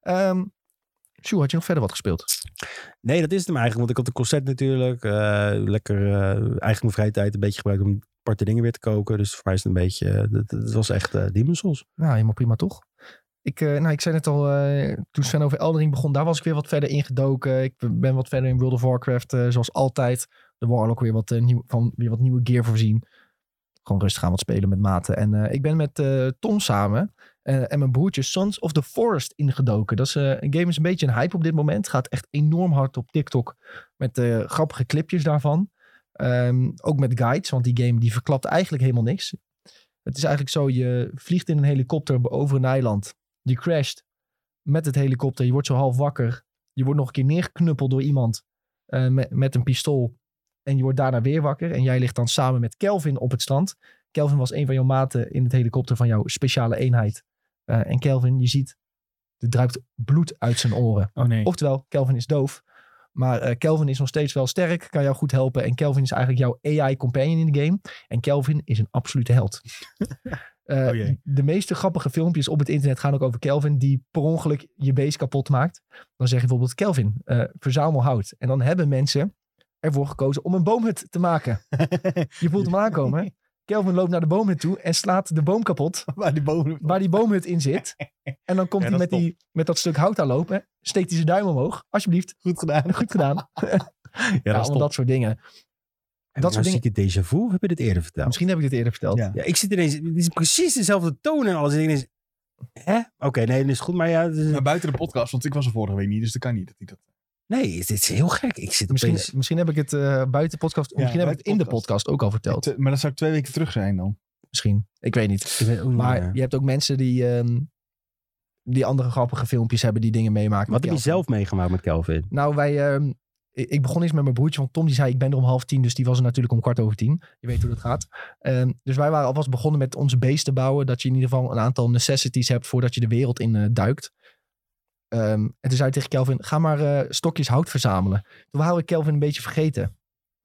S1: Ehm Sjoe, had je nog verder wat gespeeld?
S3: Nee, dat is het hem eigenlijk. Want ik had een concert natuurlijk. eh, lekker eh, eigenlijk mijn vrije tijd een beetje gebruikt om aparte dingen weer te koken. Dus voor mij is het een beetje, eh, dat, dat was echt eh Demon's Souls.
S1: Nou, helemaal prima toch? Ik, eh, nou, ik zei net al, eh, toen Sven over Eldering begon, daar was ik weer wat verder ingedoken. Ik ben- ben wat verder in World of Warcraft, eh, zoals altijd. De Warlock weer wat, eh, nieuw, van, weer wat nieuwe gear voorzien. Gewoon rustig aan wat spelen met maten. En eh, ik ben met eh, Tom samen eh, en mijn broertje Sons of the Forest ingedoken. Dat is, eh, een game is een beetje een hype op dit moment. Gaat echt enorm hard op TikTok met eh, grappige clipjes daarvan. Ehm, ook met guides, want die game die verklapt eigenlijk helemaal niks. Het is eigenlijk zo, je vliegt in een helikopter over een eiland. Je crasht met het helikopter. Je wordt zo half wakker. Je wordt nog een keer neergeknuppeld door iemand eh, met, met een pistool. En je wordt daarna weer wakker. En jij ligt dan samen met Kelvin op het strand. Kelvin was een van jouw maten in het helikopter van jouw speciale eenheid. Eh, en Kelvin, je ziet, er druipt bloed uit zijn oren.
S2: Oh nee.
S1: Oftewel, Kelvin is doof. Maar eh, Kelvin is nog steeds wel sterk, kan jou goed helpen. En Kelvin is eigenlijk jouw AI-companion in de game. En Kelvin is een absolute held. Eh,
S2: Oh jee.
S1: de meeste grappige filmpjes op het internet gaan ook over Kelvin... die per ongeluk je beest kapot maakt. Dan zeg je bijvoorbeeld, Kelvin, eh, verzamel hout. En dan hebben mensen ervoor gekozen om een boomhut te maken. Je voelt hem aankomen. Kelvin loopt naar de boomhut toe en slaat de boom kapot...
S2: Waar die boom...
S1: waar die boomhut in zit. En dan komt
S2: Ja,
S1: hij
S2: dat
S1: met,
S2: is top.
S1: die, met dat stuk hout aan lopen. Steekt hij zijn duim omhoog. Alsjeblieft,
S2: Goed gedaan.
S1: goed gedaan.
S2: Ja,
S1: Ja,
S2: dat is
S1: allemaal
S2: top.
S1: dat soort dingen.
S3: En
S1: Dat
S3: dat
S1: soort
S3: soort
S1: dingen.
S3: déjà vu, heb je dit eerder verteld?
S1: Misschien heb ik dit eerder verteld.
S2: Ja.
S3: Ja, ik zit ineens, het is precies dezelfde toon en alles. En ik ineens, hè? Oké, nee, dat is goed, maar ja, het is-
S2: Maar buiten de podcast, want ik was er vorige week niet, dus dat kan niet. Dat hij dat...
S3: nee, het is heel gek. Ik zit
S1: Misschien,
S3: opeens-
S1: misschien heb ik het eh, buiten de podcast,
S2: Ja,
S1: misschien heb ik het
S2: buiten
S1: in de
S2: podcast.
S1: podcast ook al verteld.
S2: Te- Maar dat zou ik twee weken terug zijn dan.
S1: misschien, ik weet niet.
S3: Ik oh, weet ook niet
S1: Maar
S3: meer.
S1: je hebt ook mensen die, ehm, die andere grappige filmpjes hebben die dingen meemaken.
S3: wat
S1: met
S3: heb je
S1: Kelvin.
S3: zelf meegemaakt met Kelvin?
S1: Nou, wij, ehm, ik ik begon eens met mijn broertje, want Tom die zei ik ben er om half tien, dus die was er natuurlijk om kwart over tien. Je weet hoe dat gaat. Ehm, dus wij waren alvast begonnen met onze beest te bouwen, dat je in ieder geval een aantal necessities hebt voordat je de wereld in eh, duikt. Ehm, en toen zei hij tegen Kelvin, ga maar eh, stokjes hout verzamelen. Toen waren we Kelvin een beetje vergeten.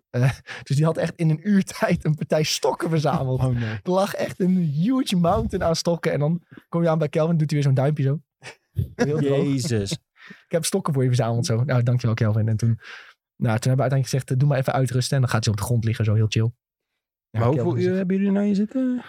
S1: Eh, dus die had echt in een uur tijd een partij stokken verzameld.
S2: Oh nee.
S1: Er lag echt een huge mountain aan stokken. En dan kom je aan bij Kelvin, doet hij weer zo'n duimpje zo. Heel droog
S3: Jezus.
S1: ik heb stokken voor je verzameld zo. Nou, dankjewel Kelvin. En toen, nou, toen hebben we uiteindelijk gezegd, eh, doe maar even uitrusten. En dan gaat ze op de grond liggen, zo heel chill. Ja,
S3: maar
S1: Kelvin
S3: hoeveel uur
S1: zegt,
S3: hebben jullie nou hier zitten?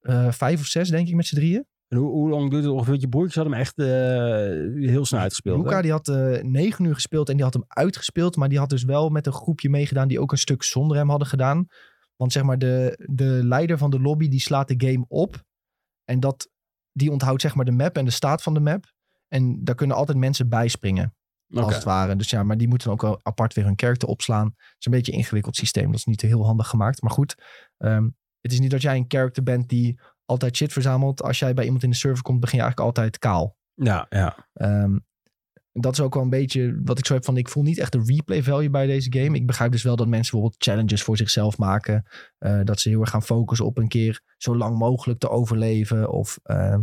S1: eh, vijf of zes, denk ik, met z'n drieën.
S3: En hoe, hoe lang duurt het ongeveer? Want Je broertjes hadden hem echt eh, heel snel uitgespeeld.
S1: Luca,
S3: hè?
S1: die had eh, negen uur gespeeld en die had hem uitgespeeld. Maar die had dus wel met een groepje meegedaan die ook een stuk zonder hem hadden gedaan. Want zeg maar, de, de leider van de lobby, die slaat de game op. En dat, die onthoudt zeg maar de map en de staat van de map. En daar kunnen altijd mensen bij springen.
S3: Oké.
S1: als het ware. Dus ja, maar die moeten ook wel apart weer hun character opslaan. Het is een beetje een ingewikkeld systeem. Dat is niet heel handig gemaakt. Maar goed, ehm, het is niet dat jij een character bent die altijd shit verzamelt. Als jij bij iemand in de server komt, begin je eigenlijk altijd kaal.
S3: Ja, ja.
S1: Ehm, dat is ook wel een beetje wat ik zo heb van... ik voel niet echt de replay value bij deze game. Ik begrijp dus wel dat mensen bijvoorbeeld challenges voor zichzelf maken. eh, dat ze heel erg gaan focussen op een keer zo lang mogelijk te overleven. Of, ehm,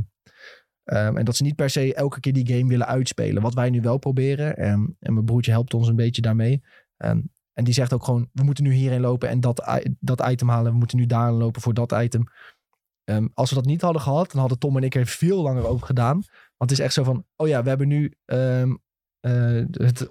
S1: ehm, en dat ze niet per se elke keer die game willen uitspelen. Wat wij nu wel proberen. ehm, en mijn broertje helpt ons een beetje daarmee. Ehm, en die zegt ook gewoon, we moeten nu hierheen lopen en dat, i- dat item halen. We moeten nu daarheen lopen voor dat item. Ehm, als we dat niet hadden gehad, dan hadden Tom en ik er veel langer over gedaan. Want het is echt zo van, oh ja, we hebben nu ehm, eh, het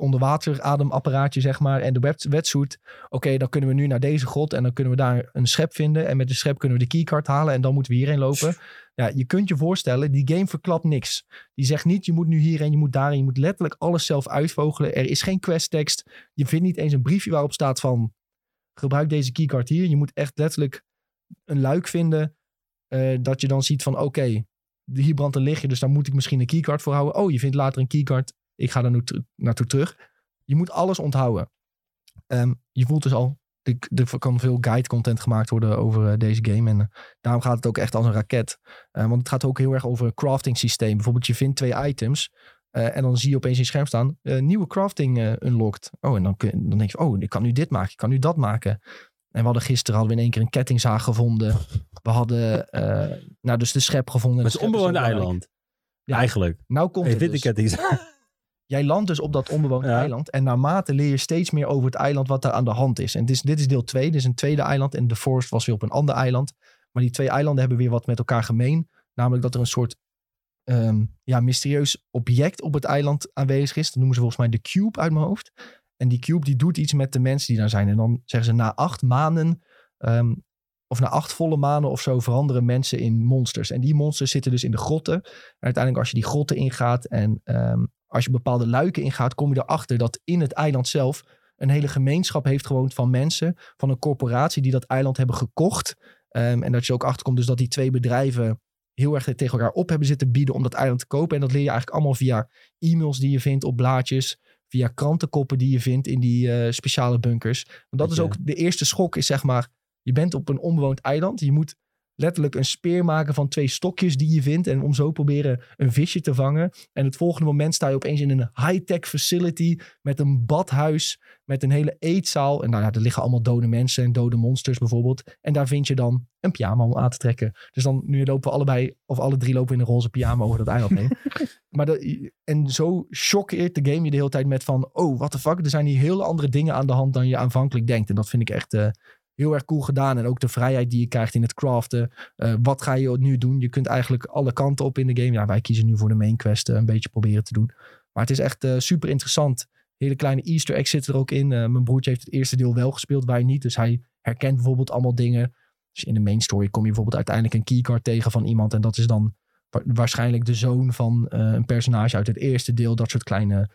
S1: onderwateradaemapparaatje, zeg maar, en de wet- wetsuit. Oké, dan kunnen we nu naar deze grot en dan kunnen we daar een schep vinden. En met de schep kunnen we de keycard halen en dan moeten we hierheen lopen. Ja, je kunt je voorstellen, die game verklapt niks. Die zegt niet, je moet nu hierheen, je moet daarheen. Je moet letterlijk alles zelf uitvogelen. Er is geen questtekst. Je vindt niet eens een briefje waarop staat van, gebruik deze keycard hier. Je moet echt letterlijk een luik vinden, eh, dat je dan ziet van, oké, de- hier brandt een lichtje, dus daar moet ik misschien een keycard voor houden. Oh, je vindt later een keycard. Ik ga daar nu ter- naartoe terug. Je moet alles onthouden. Ehm, je voelt dus al, er, er kan veel guide content gemaakt worden over eh, deze game. En eh, daarom gaat het ook echt als een raket. Eh, want het gaat ook heel erg over een crafting systeem. Bijvoorbeeld je vindt twee items. eh, en dan zie je opeens in je scherm staan, eh, nieuwe crafting eh, unlocked. Oh, en dan, kun, dan denk je, oh, ik kan nu dit maken, ik kan nu dat maken. En we hadden gisteren hadden we in één keer een kettingzaag gevonden. We hadden, eh, nou dus de schep gevonden.
S3: Met
S1: De
S3: een
S1: schep is heel
S3: onbewoond
S1: belangrijk.
S3: eiland.
S1: Ja.
S3: Eigenlijk.
S1: Nou komt
S3: Hey,
S1: het
S3: dit
S1: dus.
S3: ik het is.
S1: Jij landt dus op dat onbewoond
S3: Ja.
S1: eiland. En naarmate leer je steeds meer over het eiland wat daar aan de hand is. En dit is, dit is deel 2. Dit is een tweede eiland. En The Forest was weer op een ander eiland. Maar die twee eilanden hebben weer wat met elkaar gemeen. Namelijk dat er een soort ehm, ja, mysterieus object op het eiland aanwezig is. Dat noemen ze volgens mij de Cube uit mijn hoofd. En die Cube die doet iets met de mensen die daar zijn. En dan zeggen ze na acht maanden ehm, of na acht volle maanden of zo veranderen mensen in monsters. En die monsters zitten dus in de grotten. En uiteindelijk als je die grotten ingaat en ehm, als je bepaalde luiken ingaat, kom je erachter dat in het eiland zelf een hele gemeenschap heeft gewoond van mensen, van een corporatie die dat eiland hebben gekocht. Ehm, en dat je ook achterkomt dus dat die twee bedrijven heel erg tegen elkaar op hebben zitten bieden om dat eiland te kopen. En dat leer je eigenlijk allemaal via e-mails die je vindt op blaadjes, via krantenkoppen die je vindt in die eh, speciale bunkers. Want dat
S3: Dat
S1: is
S3: je-
S1: ook de eerste schok, is zeg maar, je bent op een onbewoond eiland. Je moet letterlijk een speer maken van twee stokjes die je vindt en om zo proberen een visje te vangen. En het volgende moment sta je opeens in een high-tech facility met een badhuis, met een hele eetzaal. En nou ja, er liggen allemaal dode mensen en dode monsters bijvoorbeeld. En daar vind je dan een pyjama om aan te trekken. Dus dan, nu lopen we allebei, of alle drie lopen in een roze pyjama over dat eiland heen. maar dat, en zo choqueert de game je de hele tijd met van, oh, what the fuck, er zijn hier hele andere dingen aan de hand dan je aanvankelijk denkt. En dat vind ik echt eh, heel erg cool gedaan. En ook de vrijheid die je krijgt in het craften. Eh, wat ga je nu doen? Je kunt eigenlijk alle kanten op in de game. Ja, wij kiezen nu voor de main quest eh, een beetje proberen te doen. Maar het is echt eh, super interessant. Hele kleine easter eggs zitten er ook in. Eh, mijn broertje heeft het eerste deel wel gespeeld, wij niet. Dus hij herkent bijvoorbeeld allemaal dingen. Dus in de main story kom je bijvoorbeeld uiteindelijk een keycard tegen van iemand. En dat is dan wa- waarschijnlijk de zoon van eh, een personage uit het eerste deel. Dat soort kleine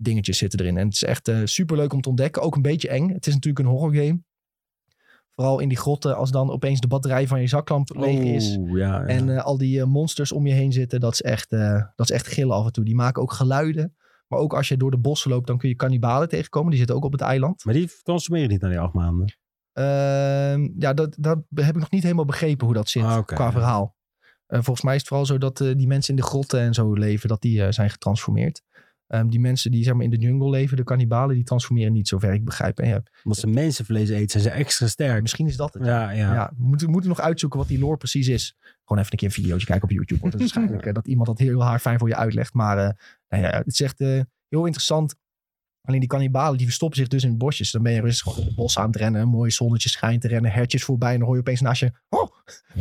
S1: dingetjes zitten erin. En het is echt super leuk om te ontdekken. Ook een beetje eng. Het is natuurlijk een horror game. Vooral in die grotten als dan opeens de batterij van je zaklamp leeg is.
S3: Oeh, ja, ja.
S1: En eh, al die eh, monsters om je heen zitten, dat is, echt, eh, dat is echt gillen af en toe. Die maken ook geluiden. Maar ook als je door de bossen loopt, dan kun je kannibalen tegenkomen. Die zitten ook op het eiland.
S3: Maar die consumeren niet na die acht maanden.
S1: Ehm, ja, dat, dat heb ik nog niet helemaal begrepen hoe dat zit
S3: Ah, oké,
S1: qua
S3: ja.
S1: verhaal. Eh, volgens mij is het vooral zo dat eh, die mensen in de grotten en zo leven, dat die eh, zijn getransformeerd. Ehm, die mensen die zeg maar, in de jungle leven, de kannibalen, die transformeren niet, zover ik begrijp. En ja,
S3: Omdat ze mensenvlees eten, zijn ze extra sterk.
S1: misschien is dat het.
S3: Ja, ja.
S1: Ja, we moeten, we moeten nog uitzoeken wat die lore precies is. Gewoon even een keer een videootje kijken op YouTube. Want het is waarschijnlijk eh, dat iemand dat heel haar fijn voor je uitlegt. Maar eh, nou ja, het is echt eh, heel interessant. Alleen die kannibalen die verstoppen zich dus in bosjes. Dan ben je rustig gewoon in het bos aan het rennen. Een mooi zonnetje schijnt te rennen. Hertjes voorbij. En dan hoor je opeens naast je... Oh!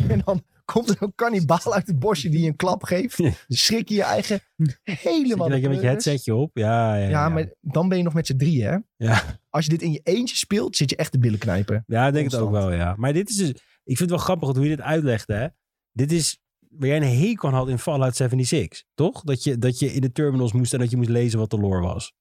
S1: En dan komt er een kannibaal uit het bosje die je een klap geeft.
S3: Ja.
S1: Schrik je je eigen
S3: Zit je
S1: helemaal...
S3: lekker
S1: de
S3: met je
S1: pleuris.
S3: headsetje op. Ja, ja, ja.
S1: Ja, maar dan ben je nog met z'n drieën, hè?
S3: Ja.
S1: Als je dit in je eentje speelt, zit je echt de billen knijpen.
S3: Ja, ik denk het ook
S1: Constant.
S3: wel, ja. Maar dit is dus... Ik vind het wel grappig hoe je dit uitlegde, hè. Dit is waar jij een hekel aan had in Fallout 76, toch? Dat je, dat je in de terminals moest en dat je moest lezen wat de lore was.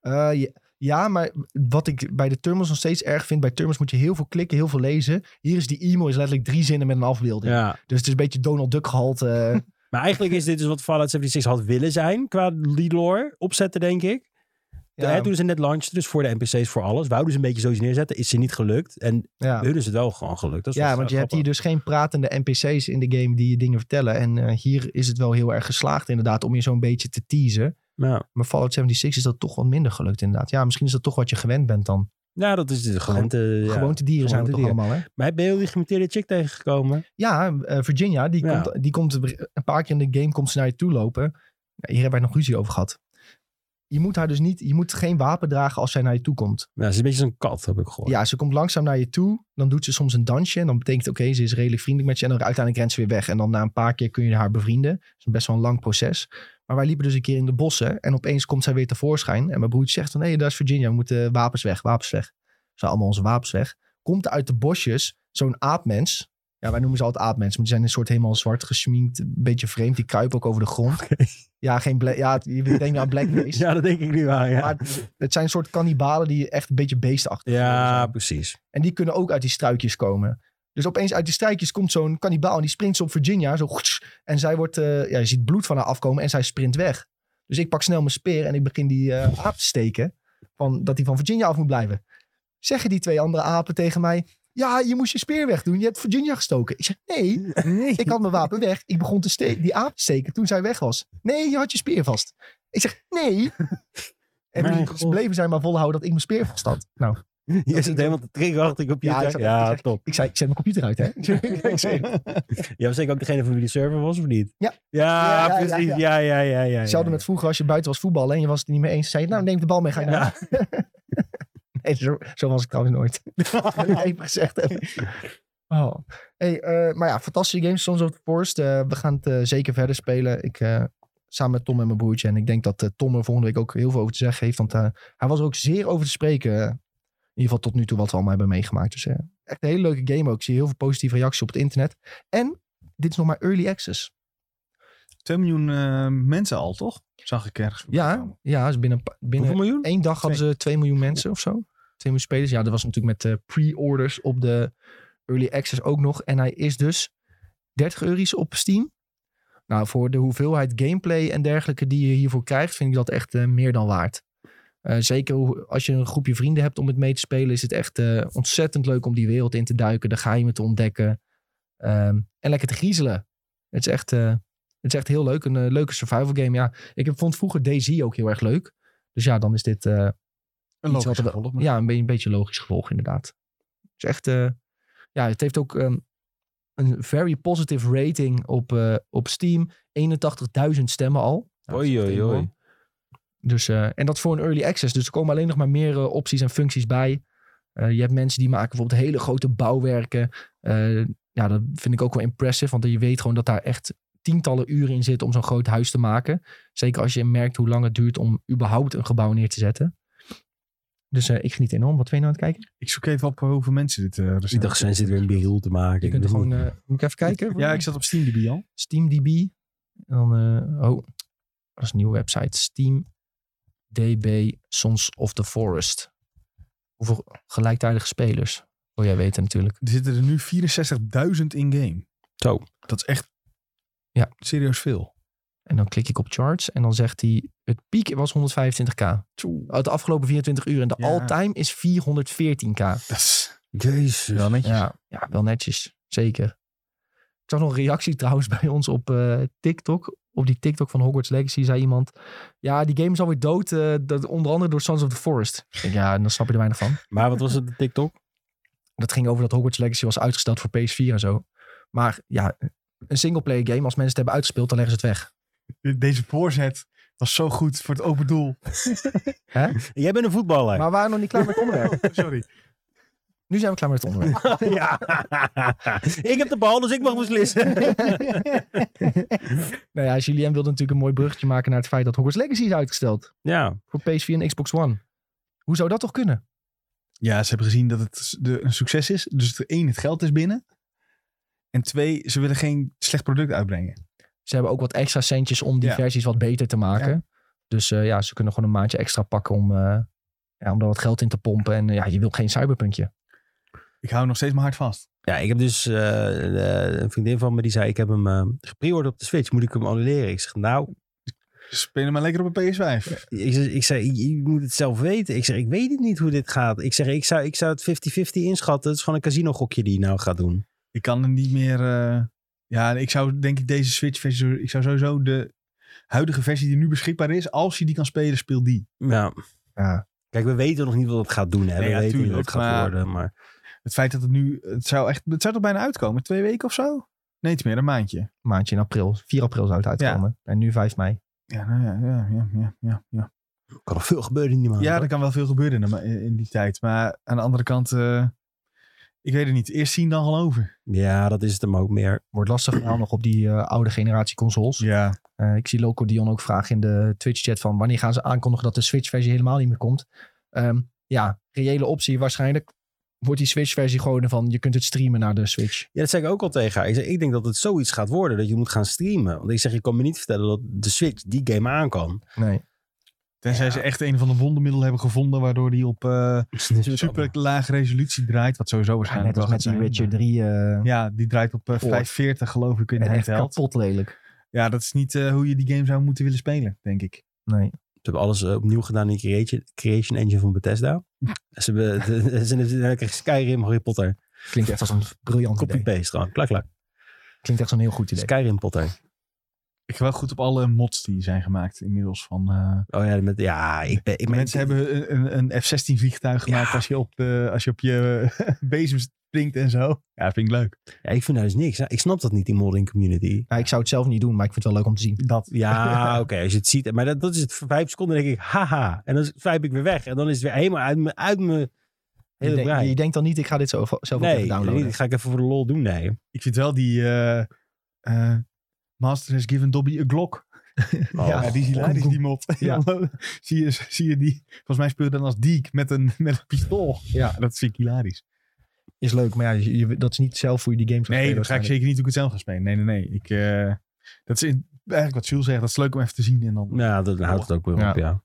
S1: Eh, ja, ja, maar wat ik bij de terminals nog steeds erg vind... bij terminals moet je heel veel klikken, heel veel lezen. Hier is die e-mail is letterlijk drie zinnen met een afbeelding.
S3: Ja.
S1: Dus het is een beetje Donald Duck gehalte. eh.
S3: Maar eigenlijk is dit dus wat Fallout 76 had willen zijn qua die lore opzetten, denk ik.
S1: ja,
S3: Hè, toen ze net launchten, dus voor de NPC's, voor alles. Wouden ze een beetje zoiets neerzetten, is ze niet gelukt. En
S1: ja.
S3: hun is het wel gewoon gelukt. Dat is
S1: ja,
S3: wel
S1: want je hebt hier
S3: grappig.
S1: dus geen pratende NPC's in de game die je dingen vertellen. En eh, hier is het wel heel erg geslaagd inderdaad om je zo'n beetje te teasen.
S3: Ja,
S1: Maar Fallout 76 is dat toch wat minder gelukt inderdaad. Ja, misschien is dat toch wat je gewend bent dan.
S3: ja dat is de gewoonte. ja.
S1: Gewoonte dieren zijn we toch
S3: gewoontedier.
S1: allemaal, hè?
S3: Maar ben je die gemuteerde chick tegengekomen?
S1: Ja, eh, Virginia, die,
S3: Ja.
S1: Komt, die komt een paar keer in de game komt ze naar je toe lopen. Nou, Hier hebben wij nog ruzie over gehad. Je moet haar dus niet, je moet geen wapen dragen als zij naar je toe komt.
S3: Ja, ze is een beetje zo'n kat, heb ik gehoord.
S1: Ja, ze komt langzaam naar je toe. Dan doet ze soms een dansje. En dan betekent, oké, ze is redelijk vriendelijk met je. En dan uiteindelijk rent ze weer weg. En dan na een paar keer kun je haar bevrienden. Dat is best wel een lang proces. Maar wij liepen dus een keer in de bossen. En opeens komt zij weer tevoorschijn. En mijn broertje zegt van, hé, daar is Virginia. We moeten wapens weg, wapens weg. Ze allemaal onze wapens weg. Komt uit de bosjes zo'n aapmens. Ja, wij noemen ze altijd aapmens. Maar die zijn een soort helemaal zwart geschminkt. Een beetje vreemd. Die kruipen ook over de grond. Ja, geen bla- ja, je denkt nou aan blackface.
S3: Ja, dat denk ik nu wel, ja.
S1: Maar het- het zijn een soort kannibalen die echt een beetje beestenachtig
S3: ja,
S1: zijn.
S3: precies.
S1: En die kunnen ook uit die struikjes komen. Dus opeens uit die struikjes komt zo'n kannibaal en die sprint op Virginia. Zo, goets. en zij wordt, eh, ja, je ziet bloed van haar afkomen en zij sprint weg. Dus ik pak snel mijn speer en ik begin die eh, aap te steken. Van, dat hij van Virginia af moet blijven. Zeggen die twee andere apen tegen mij. Ja, je moest je speer wegdoen. Je hebt Virginia gestoken. Ik zeg, nee, ik had mijn wapen weg. Ik begon te ste- die aap te steken toen zij weg was. Nee, je had je speer vast. Ik zeg, nee. En
S3: Mijn
S1: toen
S3: God.
S1: bleven zij maar volhouden dat ik mijn speer vast had. Nou,
S3: Je zit helemaal te trigger achter je
S1: Ja, ik
S3: computer.
S1: zat
S3: Ja,
S1: echt te
S3: top.
S1: ik zei, ik zet mijn computer uit, hè. Ik zei,
S3: Jij was zeker ook degene van wie de server was, of niet?
S1: Ja.
S3: Ja,
S1: Ja, ja,
S3: precies.
S1: ja,
S3: Ja, ja, ja. ja, ja,
S1: Hetzelfde met vroeger als je buiten was voetballen en je was het niet mee eens. zei je, nou neem de bal mee, ga je naar
S3: Ja.
S1: Nee, zo, zo was ik trouwens nooit. Dat ik even gezegd heb. Oh. Hey, eh, maar ja, fantastische games. Sons of the Forest. Eh, we gaan het eh, zeker verder spelen. Ik, eh, samen met Tom en mijn broertje. En ik denk dat eh, Tom er volgende week ook heel veel over te zeggen heeft. Want eh, hij was er ook zeer over te spreken. eh, in ieder geval tot nu toe wat we allemaal hebben meegemaakt. Dus eh, Echt een hele leuke game ook. Ik zie heel veel positieve reacties op het internet. En dit is nog maar early access.
S2: 2 miljoen eh, mensen al, toch? Zag ik ergens. voorbij
S1: Ja,
S2: komen.
S1: ja dus binnen, binnen
S3: Hoeveel miljoen?
S1: één dag hadden ze 2 miljoen mensen of zo. 2 miljoen spelers. Ja, dat was natuurlijk met eh, pre-orders op de early access ook nog. En hij is dus 30 euro's op Steam. Nou, voor de hoeveelheid gameplay en dergelijke die je hiervoor krijgt, vind ik dat echt eh, meer dan waard. Eh, zeker hoe- als je een groepje vrienden hebt om het mee te spelen, is het echt eh, ontzettend leuk om die wereld in te duiken, de geheimen te ontdekken ehm, en lekker te griezelen. Het is echt, eh, het is echt heel leuk, een eh, leuke survival game. Ja, ik heb- vond vroeger DayZ ook heel erg leuk. Dus ja, dan is dit eh,
S2: Een
S1: iets
S2: logisch
S1: wat er-
S2: gevolg. maar-
S1: ja, een, be- een beetje logisch gevolg, inderdaad. Het is echt. eh, ja, het heeft ook ehm, een very positive rating op, eh, op Steam. 81.000 stemmen al. Nou, dat is
S3: Oei,
S1: echt
S3: oei,
S1: enorm.
S3: oei.
S1: Dus, eh, en dat is voor een early access. Dus er komen alleen nog maar meer eh, opties en functies bij. Eh, je hebt mensen die maken bijvoorbeeld hele grote bouwwerken. Eh, ja, dat vind ik ook wel impressive. Want je weet gewoon dat daar echt tientallen uren in zitten om zo'n groot huis te maken. Zeker als je merkt hoe lang het duurt om überhaupt een gebouw neer te zetten. Dus eh, ik geniet enorm. Wat ben je nou aan het kijken?
S2: Ik zoek even op hoeveel mensen dit eh
S3: Ik dacht, zijn ze weer een behiel te maken.
S1: Je
S3: Ik
S1: kunt er
S3: weet
S1: gewoon...
S3: niet.
S1: eh, moet ik even kijken?
S2: Ja, ik zat op SteamDB al.
S1: SteamDB. En dan... eh, oh, dat is een nieuwe website. SteamDB Sons of the Forest. Hoeveel gelijktijdige spelers? Wil jij weten natuurlijk.
S2: Er zitten er nu 64.000 in game.
S3: Zo.
S2: Dat is echt
S1: Ja.
S2: serieus veel.
S1: En dan klik ik op charts en dan zegt hij... Het piek was 125k. Uit de afgelopen 24 uur. En de
S2: Ja.
S1: all-time is 414k.
S2: Dat is
S3: Jezus.
S2: wel netjes.
S1: Ja, ja, wel netjes. Zeker. Ik zag nog een reactie trouwens bij ons op eh, TikTok. Op die TikTok van Hogwarts Legacy zei iemand... Ja, die game is alweer dood. eh, dat, onder andere door Sons of the Forest. Ik denk, ja, dan snap je er weinig van.
S3: Maar wat was het, de TikTok?
S1: Dat ging over dat Hogwarts Legacy was uitgesteld voor PS4 en zo. Maar ja, een singleplayer game... Als mensen het hebben uitgespeeld, dan leggen ze het weg.
S2: De- Deze voorzet was zo goed voor het open doel.
S3: Jij bent een voetballer.
S1: Maar we waren nog niet klaar met het onderwerp.
S2: Sorry.
S1: Nu zijn we klaar met het onderwerp.
S3: ja. ik heb de bal, dus ik mag beslissen.
S1: Nou ja, Julien wilde natuurlijk een mooi bruggetje maken... naar het feit dat Hogwarts Legacy is uitgesteld.
S3: ja.
S1: Voor PS4 en Xbox One. Hoe zou dat toch kunnen?
S2: Ja, ze hebben gezien dat het s- de, een succes is. Dus er- één, het geld is binnen. En twee, ze willen geen slecht product uitbrengen.
S1: Ze hebben ook wat extra centjes om die
S2: Ja.
S1: versies wat beter te maken. Dus eh, ja, ze kunnen gewoon een maandje extra pakken om, eh, ja, om daar wat geld in te pompen. En eh, ja, je wil geen cyberpunkje.
S2: Ik hou nog steeds mijn hart vast.
S3: Ja, ik heb dus eh, eh, een vriendin van me die zei: Ik heb hem eh gepreorderd op de Switch. Moet ik hem annuleren? Ik zeg: Nou,
S2: Ze spelen maar lekker op een PS5.
S3: ik, zeg- ik zei, je je moet het zelf weten. Ik zeg: Ik weet het niet hoe dit gaat. Ik zeg: Ik zou, ik zou het 50-50 inschatten. Het is gewoon een casino-gokje die je nou gaat doen.
S2: Ik kan er niet meer... eh, Ja, ik zou denk ik deze Switch-versie... Ik zou sowieso de huidige versie die nu beschikbaar is... Als je die kan spelen, speel die.
S3: Ja.
S1: Ja.
S3: Kijk, we weten nog niet wat het gaat doen. Hè?
S2: Nee,
S3: we
S2: ja,
S3: weten niet
S2: tuurlijk,
S3: wat het gaat
S2: maar-
S3: worden. Maar
S2: Het feit dat het nu... Het zou, echt, het zou toch bijna uitkomen? Twee weken of zo? Nee, iets meer. Een maandje.
S1: Maandje in april. 4 april zou het uitkomen. En nu 5 mei.
S2: Ja, nou ja, ja, ja, ja, ja, ja.
S3: er kan nog veel gebeuren in die maand.
S2: Ja,
S3: hoor.
S2: er kan wel veel gebeuren in, de ma- in die tijd. Maar aan de andere kant... eh, ik weet het niet. Eerst zien, dan geloven.
S3: ja, dat is het hem ook meer.
S1: Wordt lastig verhaal nog op die eh, oude generatie consoles.
S2: Ja.
S1: Eh, ik zie Loco Dion ook vragen in de Twitch-chat van... wanneer gaan ze aankondigen dat de Switch-versie helemaal niet meer komt? Ehm, ja, reële optie waarschijnlijk wordt die Switch-versie gewoon van... je kunt het streamen naar de Switch.
S3: Ja, dat zei ik ook al tegen haar. Ik, zeg, ik denk dat het zoiets gaat worden dat je moet gaan streamen. Want ik zeg, je kan me niet vertellen dat de Switch die game aan kan.
S1: Nee.
S2: Tenzij ze echt een van de wondermiddelen hebben gevonden... waardoor die op eh,
S3: Dus
S2: super lage resolutie draait. Wat sowieso
S1: Ja,
S2: waarschijnlijk
S1: net als
S2: wel
S1: met
S2: gaat
S1: die
S2: zijn.
S1: Witcher 3. eh,
S2: Ja, die draait op eh, 540 geloof ik in de
S1: en echt
S2: handheld.
S1: kapot lelijk.
S2: Ja, dat is niet eh, hoe je die game zou moeten willen spelen, denk ik.
S1: Nee.
S3: Ze hebben alles eh, opnieuw gedaan in de creation, creation engine van Bethesda. Ze hebben ze- ze- ze- ze- ze- Skyrim, Harry Potter.
S1: Klinkt echt als een briljant idee.
S3: Copy-paste gewoon. Klak, klak.
S1: Klinkt echt zo'n heel goed idee.
S3: Skyrim Potter.
S2: Ik ga wel goed op alle mods die zijn gemaakt inmiddels. Van, eh,
S3: Oh ja, met, ja ik ben... Ik ben-
S2: mensen hebben een, een, een F-16 vliegtuig gemaakt als, je op de, als je op je bezem springt en zo. Ja, vind ik leuk.
S3: Ja, ik vind daar dus niks. Ik snap dat niet, die modding community.
S1: Nou, ik zou het zelf niet doen, maar ik vind het wel leuk om te zien.
S2: Dat,
S3: Ja, oké, als je het ziet. Maar dat, dat is het. Voor Vijf seconden denk ik, haha. En dan swipe ik weer weg. En dan is het weer helemaal uit mijn uit mijn
S1: Je,
S3: hele
S1: denkt-
S3: brein.
S1: je denkt dan niet, ik ga dit zelf, zelf ook even
S3: Nee,
S1: downloaden.
S3: dat ga ik even voor de lol doen, nee.
S2: Ik vind wel die eh, eh, Master has given Dobby a Glock.
S3: Oh.
S2: Ja, die is hilarisch, die mod.
S1: Ja.
S2: zie, je, zie je die? Volgens mij speelde dan als Deke met een, met een pistool.
S1: Ja.
S2: Dat vind ik hilarisch.
S1: is leuk. Maar ja, je- je- dat is niet zelf hoe je die games gaat
S2: Nee,
S1: spelen
S2: dat ga ik zeker niet hoe ik het zelf ga spelen. Nee, nee, nee. Ik, eh, dat is in- eigenlijk wat Jules zegt. Dat is leuk om even te zien. En dan,
S3: Ja, dat houdt het ook weer op, ja.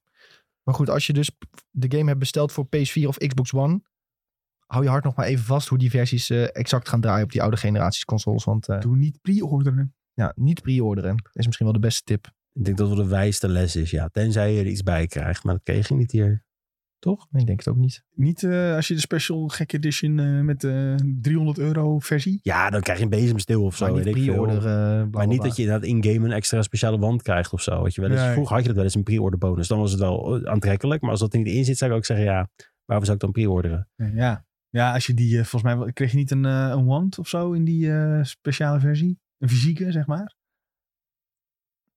S1: Maar goed, als je dus de game hebt besteld voor PS4 of Xbox One, hou je hart nog maar even vast hoe die versies eh, exact gaan draaien op die oude generaties consoles. Want eh,
S2: Doe niet pre-orderen.
S1: ja, niet pre-orderen is misschien wel de beste tip.
S3: Ik denk dat dat wel de wijste les is, ja. Tenzij je er iets bij krijgt, maar dat kreeg je niet hier.
S1: Toch? Ik denk het ook niet.
S2: Niet eh, als je de special gekke edition eh, met eh 300 euro versie.
S3: Ja, dan krijg je een bezemstil of zo,
S1: maar niet
S3: weet ik veel.
S1: pre-orderen. eh,
S3: Maar niet dat je inderdaad in-game een extra speciale wand krijgt of zo. Weet je wel. eens
S2: Nee.
S3: Vroeger had je dat wel eens een pre-order bonus. Dan was het wel eh, aantrekkelijk. Maar als dat er niet in zit, zou ik ook zeggen, ja, waarom zou ik dan pre-orderen?
S2: Nee, ja. ja, als je die, eh, volgens mij wel- kreeg je niet een, eh, een wand of zo in die eh, speciale versie. Een fysieke, zeg maar.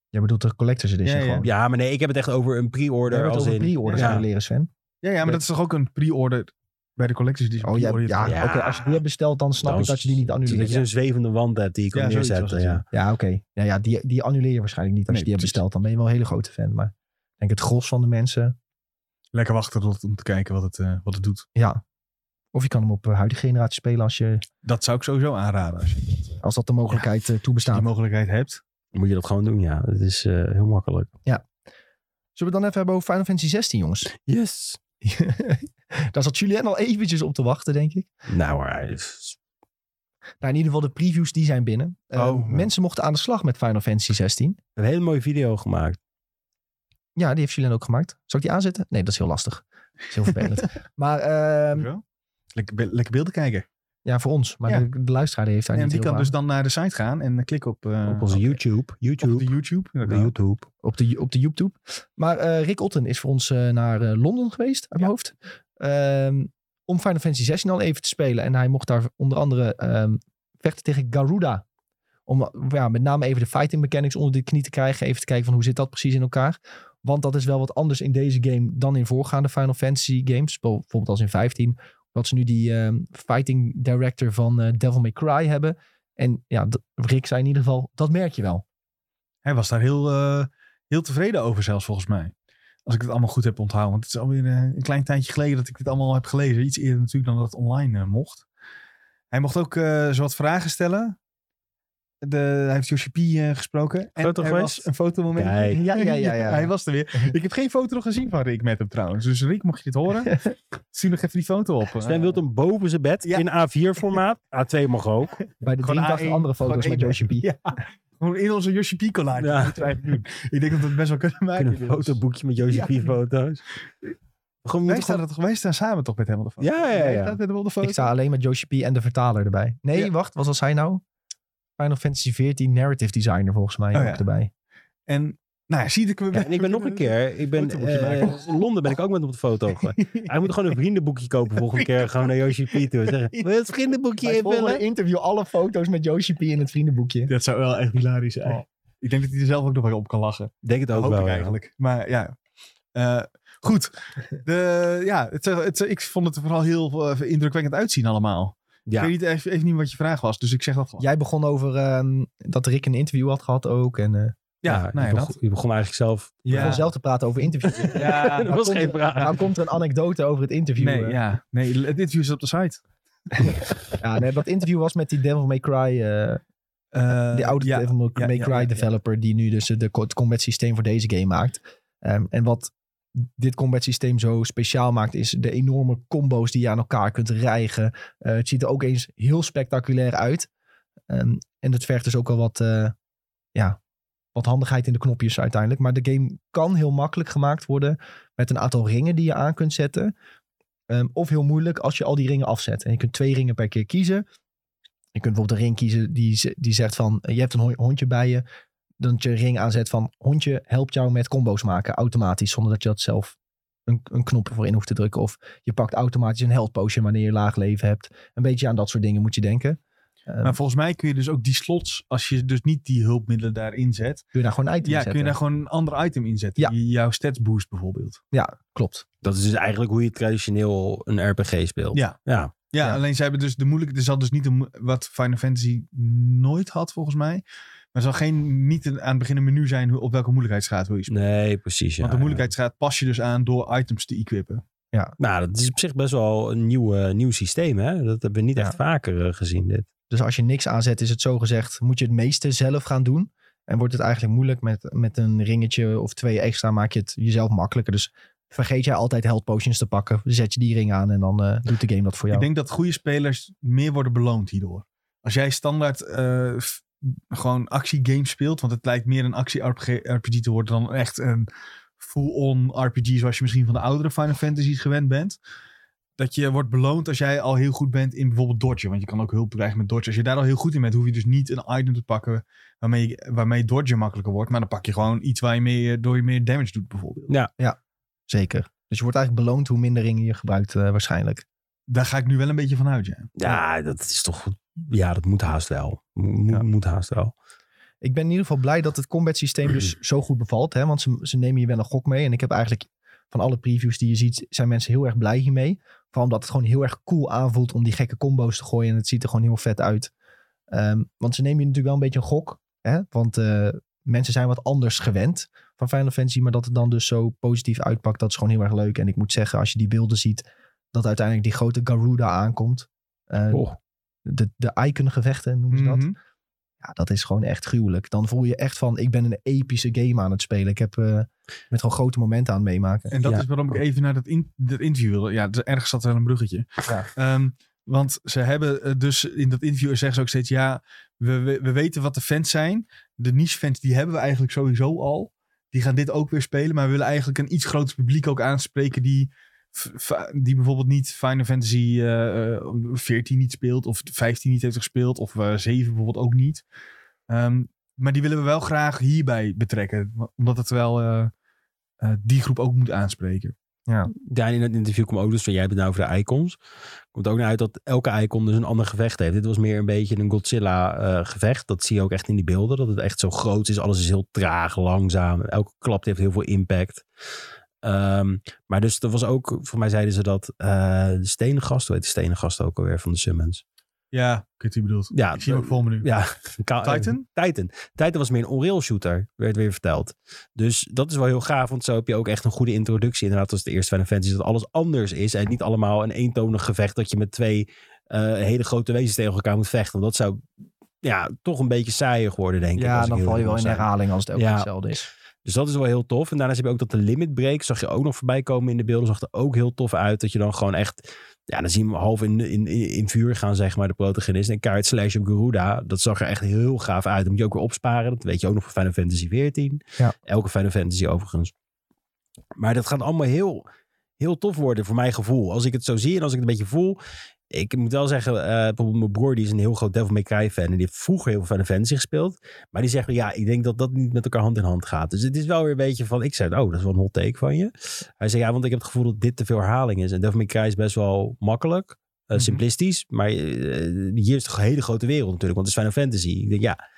S1: Jij bedoelt de collector's edition
S2: Ja, ja.
S1: gewoon.
S3: Ja, maar nee, ik heb het echt over een
S1: We
S3: pre-order
S1: hebben het
S3: als
S1: over
S3: in...
S1: pre-orders
S3: ja.
S1: aan leren, Sven.
S2: Ja, ja maar
S1: Ja.
S2: dat is toch ook een pre-order bij de collectors die
S1: Oh, ja, ja,
S3: Ja.
S1: oké. Als je die hebt besteld, dan snap
S3: Dan
S1: ik dat je die niet
S3: Dat
S1: annuleert.
S3: je zo'n zwevende wand hebt die je kan
S2: Ja, zoiets was
S3: neerzetten,
S2: het,
S3: ja.
S1: Ja, oké. Ja, ja, die, die annuleer je waarschijnlijk niet als je
S2: Nee,
S1: die hebt besteld.
S2: precies.
S1: Dan ben je wel een hele grote fan. Maar ik denk het gros van de mensen,
S2: Lekker wachten tot, om te kijken wat het, eh, wat het doet.
S1: ja. Of je kan hem op eh, huidige generatie spelen als, je,
S2: Dat zou ik sowieso aanraden als je
S1: als dat de mogelijkheid eh,
S2: die
S1: toebestaat.
S2: mogelijkheid hebt.
S3: Moet je dat gewoon doen, ja. Dat is eh, heel makkelijk.
S1: Zullen we het dan even hebben over Final Fantasy 16, jongens?
S3: Yes.
S1: Daar zat Julien al eventjes op te wachten, denk ik.
S3: Nou, maar hij is-
S1: Nou, in ieder geval de previews die zijn binnen. Eh,
S2: Oh, ja.
S1: Mensen mochten aan de slag met Final Fantasy 16.
S3: een hele mooie video gemaakt.
S1: Ja, die heeft Julien ook gemaakt. Zal ik die aanzetten? Nee, dat is heel lastig. Dat is heel vervelend. maar ehm,
S2: Zo. lekker, be- lekker beelden kijken.
S1: ja, voor ons. Maar
S2: Ja.
S1: de, de luisteraar die heeft daar
S2: En
S1: niet
S2: die
S1: heel
S2: kan
S1: veel
S2: dus dan naar de site gaan en eh, klik op, eh,
S3: op onze
S2: op-
S3: YouTube. YouTube.
S2: op de YouTube.
S3: de
S2: inderdaad.
S3: YouTube.
S1: op de, op de YouTube. Maar eh, Rick Otten is voor ons eh, naar eh, Londen geweest, uit mijn hoofd. Ehm, om Final Fantasy 16 al even te spelen. En hij mocht daar onder andere ehm, vechten tegen Garuda. Om eh, ja, met name even de fighting mechanics onder de knie te krijgen. Even te kijken van hoe zit dat precies in elkaar. Want dat is wel wat anders in deze game dan in voorgaande Final Fantasy games. Bijv- Bijvoorbeeld als in 15. Dat ze nu die ehm, fighting director van eh, Devil May Cry hebben. En ja, d- Rick zei in ieder geval, dat merk je wel.
S2: Hij was daar heel, eh, heel tevreden over zelfs volgens mij. Als ik het allemaal goed heb onthouden. Want het is alweer eh, een klein tijdje geleden dat ik dit allemaal heb gelezen. Iets eerder natuurlijk dan dat het online eh, mocht. Hij mocht ook eh zo wat vragen stellen. De, hij heeft Yoshi P eh, gesproken. En
S3: Foto
S2: er
S3: geweest?
S2: was een fotomoment.
S3: Kijk.
S1: Ja, ja, ja, ja.
S2: Hij was er weer. Ik heb geen foto nog gezien van Rick met hem trouwens. Dus Rick, mocht je dit horen, stuur nog even die foto op.
S3: Sven wilt hem boven zijn bed
S2: Ja.
S3: in A4-formaat. A2 mag ook.
S1: Bij de
S2: Gewoon
S1: 83
S2: A1,
S1: andere foto's
S2: gewoon
S1: met Yoshi
S2: één
S1: P.
S2: Ja, gewoon in onze Yoshi P collage.
S3: Ja.
S2: Dat moeten we eigenlijk doen. Ik denk dat we het best wel kunnen maken.
S3: Kunnen we een
S2: inmiddels.
S3: fotoboekje met Jozef
S2: Ja.
S3: foto's. Gewoon,
S2: Wij
S3: moet
S2: staan,
S3: gewoon...
S2: er toch- wij staan samen toch met hem op de foto?
S3: Ja, ja, ja.
S2: Jij staat met hem op de foto.
S1: Ik sta alleen met Yoshi P en de vertaler erbij. Nee,
S2: Ja.
S1: wacht, wat was hij nou? Final Fantasy 14 narrative designer volgens mij
S2: Oh
S1: ook
S2: ja.
S1: erbij.
S2: En nou, ja, zie je, we,
S3: Ja, en ik ben nog een keer, ik ben,
S2: Fotoboekje
S3: eh,
S2: maken.
S3: in Londen ben ik ook met hem op de foto. gegaan. Hij moet gewoon een vriendenboekje kopen volgende keer. Gewoon naar Yoshi P toe. en Zeggen, wil je het vriendenboekje invullen?
S1: interview alle foto's met Yoshi P in het vriendenboekje.
S2: Dat zou wel echt hilarisch zijn. Oh. Ik denk dat hij er zelf ook nog wel op kan lachen.
S3: Denk het ook
S2: Hoop
S3: wel.
S2: ik
S3: ja.
S2: eigenlijk. Maar ja. Eh, goed. De, ja, het, eh, het, ik vond het er vooral heel eh, indrukwekkend uitzien allemaal.
S3: Ja.
S2: Ik weet niet, even, even niet wat je vraag was, dus ik zeg dat gewoon.
S1: Jij begon over ehm, dat Rick een interview had gehad ook. En eh
S2: Ja, nou ja,
S3: je, begon,
S2: dat.
S3: je begon eigenlijk zelf.
S1: je
S2: Ja.
S1: begon zelf te praten over interviews.
S2: Ja,
S3: Er was geen vraag.
S1: Nou komt er een anekdote over het interview.
S2: nee,
S1: eh.
S2: ja. nee, dit interview is op de site.
S1: Ja, nee, dat interview was met die Devil May Cry, eh,
S2: Eh,
S1: die oude
S2: ja,
S1: Devil May
S2: ja,
S1: May
S2: ja,
S1: Cry
S2: ja, ja.
S1: developer die nu dus eh, de, co- het combat systeem voor deze game maakt. Ehm, en wat dit combat systeem zo speciaal maakt is de enorme combo's die je aan elkaar kunt rijgen. Eh, het ziet er ook eens heel spectaculair uit. Ehm, en het vergt dus ook al wat, eh, ja, wat handigheid in de knopjes uiteindelijk. Maar de game kan heel makkelijk gemaakt worden met een aantal ringen die je aan kunt zetten. Ehm, of heel moeilijk als je al die ringen afzet. En je kunt twee ringen per keer kiezen. Je kunt bijvoorbeeld een ring kiezen die, ze- die zegt van... eh, je hebt een hon- hondje bij je. Dan dat je een ring aanzet van... hondje helpt jou met combo's maken automatisch... zonder dat je dat zelf een, een knop ervoor in hoeft te drukken. Of je pakt automatisch een health potion wanneer je laag leven hebt. Een beetje aan dat soort dingen moet je denken. Ehm,
S2: Maar volgens mij kun je dus ook die slots, als je dus niet die hulpmiddelen daarin zet,
S1: kun je daar gewoon uit
S2: Ja, kun je daar gewoon een ander item in zetten?
S1: Ja.
S2: Die Jouw stats boost bijvoorbeeld.
S1: Ja, klopt.
S3: Dat is dus eigenlijk hoe je traditioneel een RPG speelt.
S2: Ja.
S3: ja.
S2: Ja,
S1: Ja.
S2: alleen ze hebben dus de moeilijke... Er zat dus niet een, mo- wat Final Fantasy nooit had volgens mij. Maar er zal geen, niet een- aan het begin een menu zijn hoe, op welke moeilijkheidsgraad wil je spelen.
S3: Nee, precies. Ja,
S2: Want de moeilijkheidsgraad pas je dus aan door items te equippen.
S1: Ja.
S3: Nou, dat is op zich best wel een nieuw, eh, nieuw systeem, hè? Dat hebben we niet
S1: Ja.
S3: echt vaker eh, gezien, dit.
S1: Dus als je niks aanzet, is het zo gezegd, moet je het meeste zelf gaan doen. En wordt het eigenlijk moeilijk met, met een ringetje of twee extra, maak je het jezelf makkelijker. Dus vergeet jij altijd health potions te pakken, zet je die ring aan en dan eh, doet de game dat voor jou.
S2: Ik denk dat goede spelers meer worden beloond hierdoor. Als jij standaard eh, f- gewoon actiegame speelt, want het lijkt meer een actie-RPG te worden dan echt een full-on RPG zoals je misschien van de oudere Final Fantasies gewend bent. Dat je wordt beloond als jij al heel goed bent in bijvoorbeeld dodgen. Want je kan ook hulp krijgen met dodgen. Als je daar al heel goed in bent, hoef je dus niet een item te pakken waarmee, je- waarmee dodgen makkelijker wordt. Maar dan pak je gewoon iets waar je meer, door je meer damage doet bijvoorbeeld.
S1: Zeker. Dus je wordt eigenlijk beloond hoe minder ringen je gebruikt eh, waarschijnlijk.
S2: Daar ga ik nu wel een beetje van uit, ja.
S3: Ja, dat is toch... Ja, dat moet haast wel. Mo-
S1: Ja.
S3: Moet haast wel.
S1: Ik ben in ieder geval blij dat het combat systeem dus zo goed bevalt. Hè? Want ze, ze nemen je wel een gok mee. En ik heb eigenlijk van alle previews die je ziet, zijn mensen heel erg blij hiermee. Vooral omdat het gewoon heel erg cool aanvoelt om die gekke combo's te gooien. En het ziet er gewoon heel vet uit. Ehm, want ze nemen je natuurlijk wel een beetje een gok. Hè? Want eh, mensen zijn wat anders gewend van Final Fantasy. Maar dat het dan dus zo positief uitpakt, dat is gewoon heel erg leuk. En ik moet zeggen, als je die beelden ziet, dat uiteindelijk die grote Garuda aankomt. Eh,
S3: Oh.
S1: de, de icon-gevechten noemen ze dat.
S2: Mhm.
S1: Ja, dat is gewoon echt gruwelijk. Dan voel je echt van, ik ben een epische game aan het spelen. Ik heb eh, met gewoon grote momenten aan het meemaken.
S2: En dat
S3: Ja.
S2: is waarom ik even naar dat, in, dat interview wilde. Ja, dus ergens zat wel een bruggetje.
S1: Ja.
S2: Ehm, want ze hebben eh, dus in dat interview zeggen ze ook steeds... ja, we, we, we weten wat de fans zijn. De niche-fans, die hebben we eigenlijk sowieso al. Die gaan dit ook weer spelen. Maar we willen eigenlijk een iets groter publiek ook aanspreken... die, f- fa- die bijvoorbeeld niet Final Fantasy eh, eh, 14 niet speelt... of 15 niet heeft gespeeld... of eh 7 bijvoorbeeld ook niet. Ehm, maar die willen we wel graag hierbij betrekken. Omdat het wel... eh, eh, die groep ook moet aanspreken.
S3: Ja, en in het interview kwam ook dus van jij hebt het nou over de icons. Komt ook naar uit dat elke icon dus een ander gevecht heeft. Dit was meer een beetje een Godzilla eh, gevecht. Dat zie je ook echt in die beelden. Dat het echt zo groot is. Alles is heel traag, langzaam. Elke klap die heeft heel veel impact. Ehm, maar dus er was ook, voor mij zeiden ze dat eh de stenen gast, hoe heet de stenen gast ook alweer van de Summons?
S2: Ja, ik weet wie je bedoelt.
S3: Ja,
S2: Ik zie hem ook voor me nu.
S3: ja, Ka-
S2: Titan?
S3: eh, Titan. Titan was meer een onrail shooter, werd weer verteld. Dus dat is wel heel gaaf, want zo heb je ook echt een goede introductie. Inderdaad, als de eerste Final Fantasy, dat alles anders is. En niet allemaal een eentonig gevecht dat je met twee eh, hele grote wezens tegen elkaar moet vechten. Want dat zou ja, toch een beetje saaier worden, denk ik.
S1: Ja,
S3: als ik
S1: dan
S3: heel
S1: val je wel
S3: eerlijk
S1: in
S3: moet zijn.
S1: herhaling als het elke
S3: Ja.
S1: keer hetzelfde is.
S3: Dus dat is wel heel tof. En daarnaast heb je ook dat de limit break. Zag je ook nog voorbij komen in de beelden. Zag er ook heel tof uit. Dat je dan gewoon echt... Ja, dan zien we hem half in, in, in in vuur gaan, zeg maar, de protagonist. En Kaart Slash op Garuda. Dat zag er echt heel gaaf uit. Dat moet je ook weer opsparen. Dat weet je ook nog van Final Fantasy XIV.
S1: Ja.
S3: Elke Final Fantasy overigens. Maar dat gaat allemaal heel, heel tof worden voor mijn gevoel. Als ik het zo zie en als ik het een beetje voel... Ik moet wel zeggen, eh, bijvoorbeeld mijn broer die is een heel groot Devil May Cry fan. En die heeft vroeger heel veel Final Fantasy gespeeld. Maar die zeggen, ja, ik denk dat dat niet met elkaar hand in hand gaat. Dus het is wel weer een beetje van, ik zei, oh, dat is wel een hot take van je. Hij zei, ja, want ik heb het gevoel dat dit te veel herhaling is. En Devil May Cry is best wel makkelijk, eh,
S2: Mhm.
S3: simplistisch. Maar eh, hier is toch een hele grote wereld natuurlijk, want het is Final Fantasy. Ik denk, ja,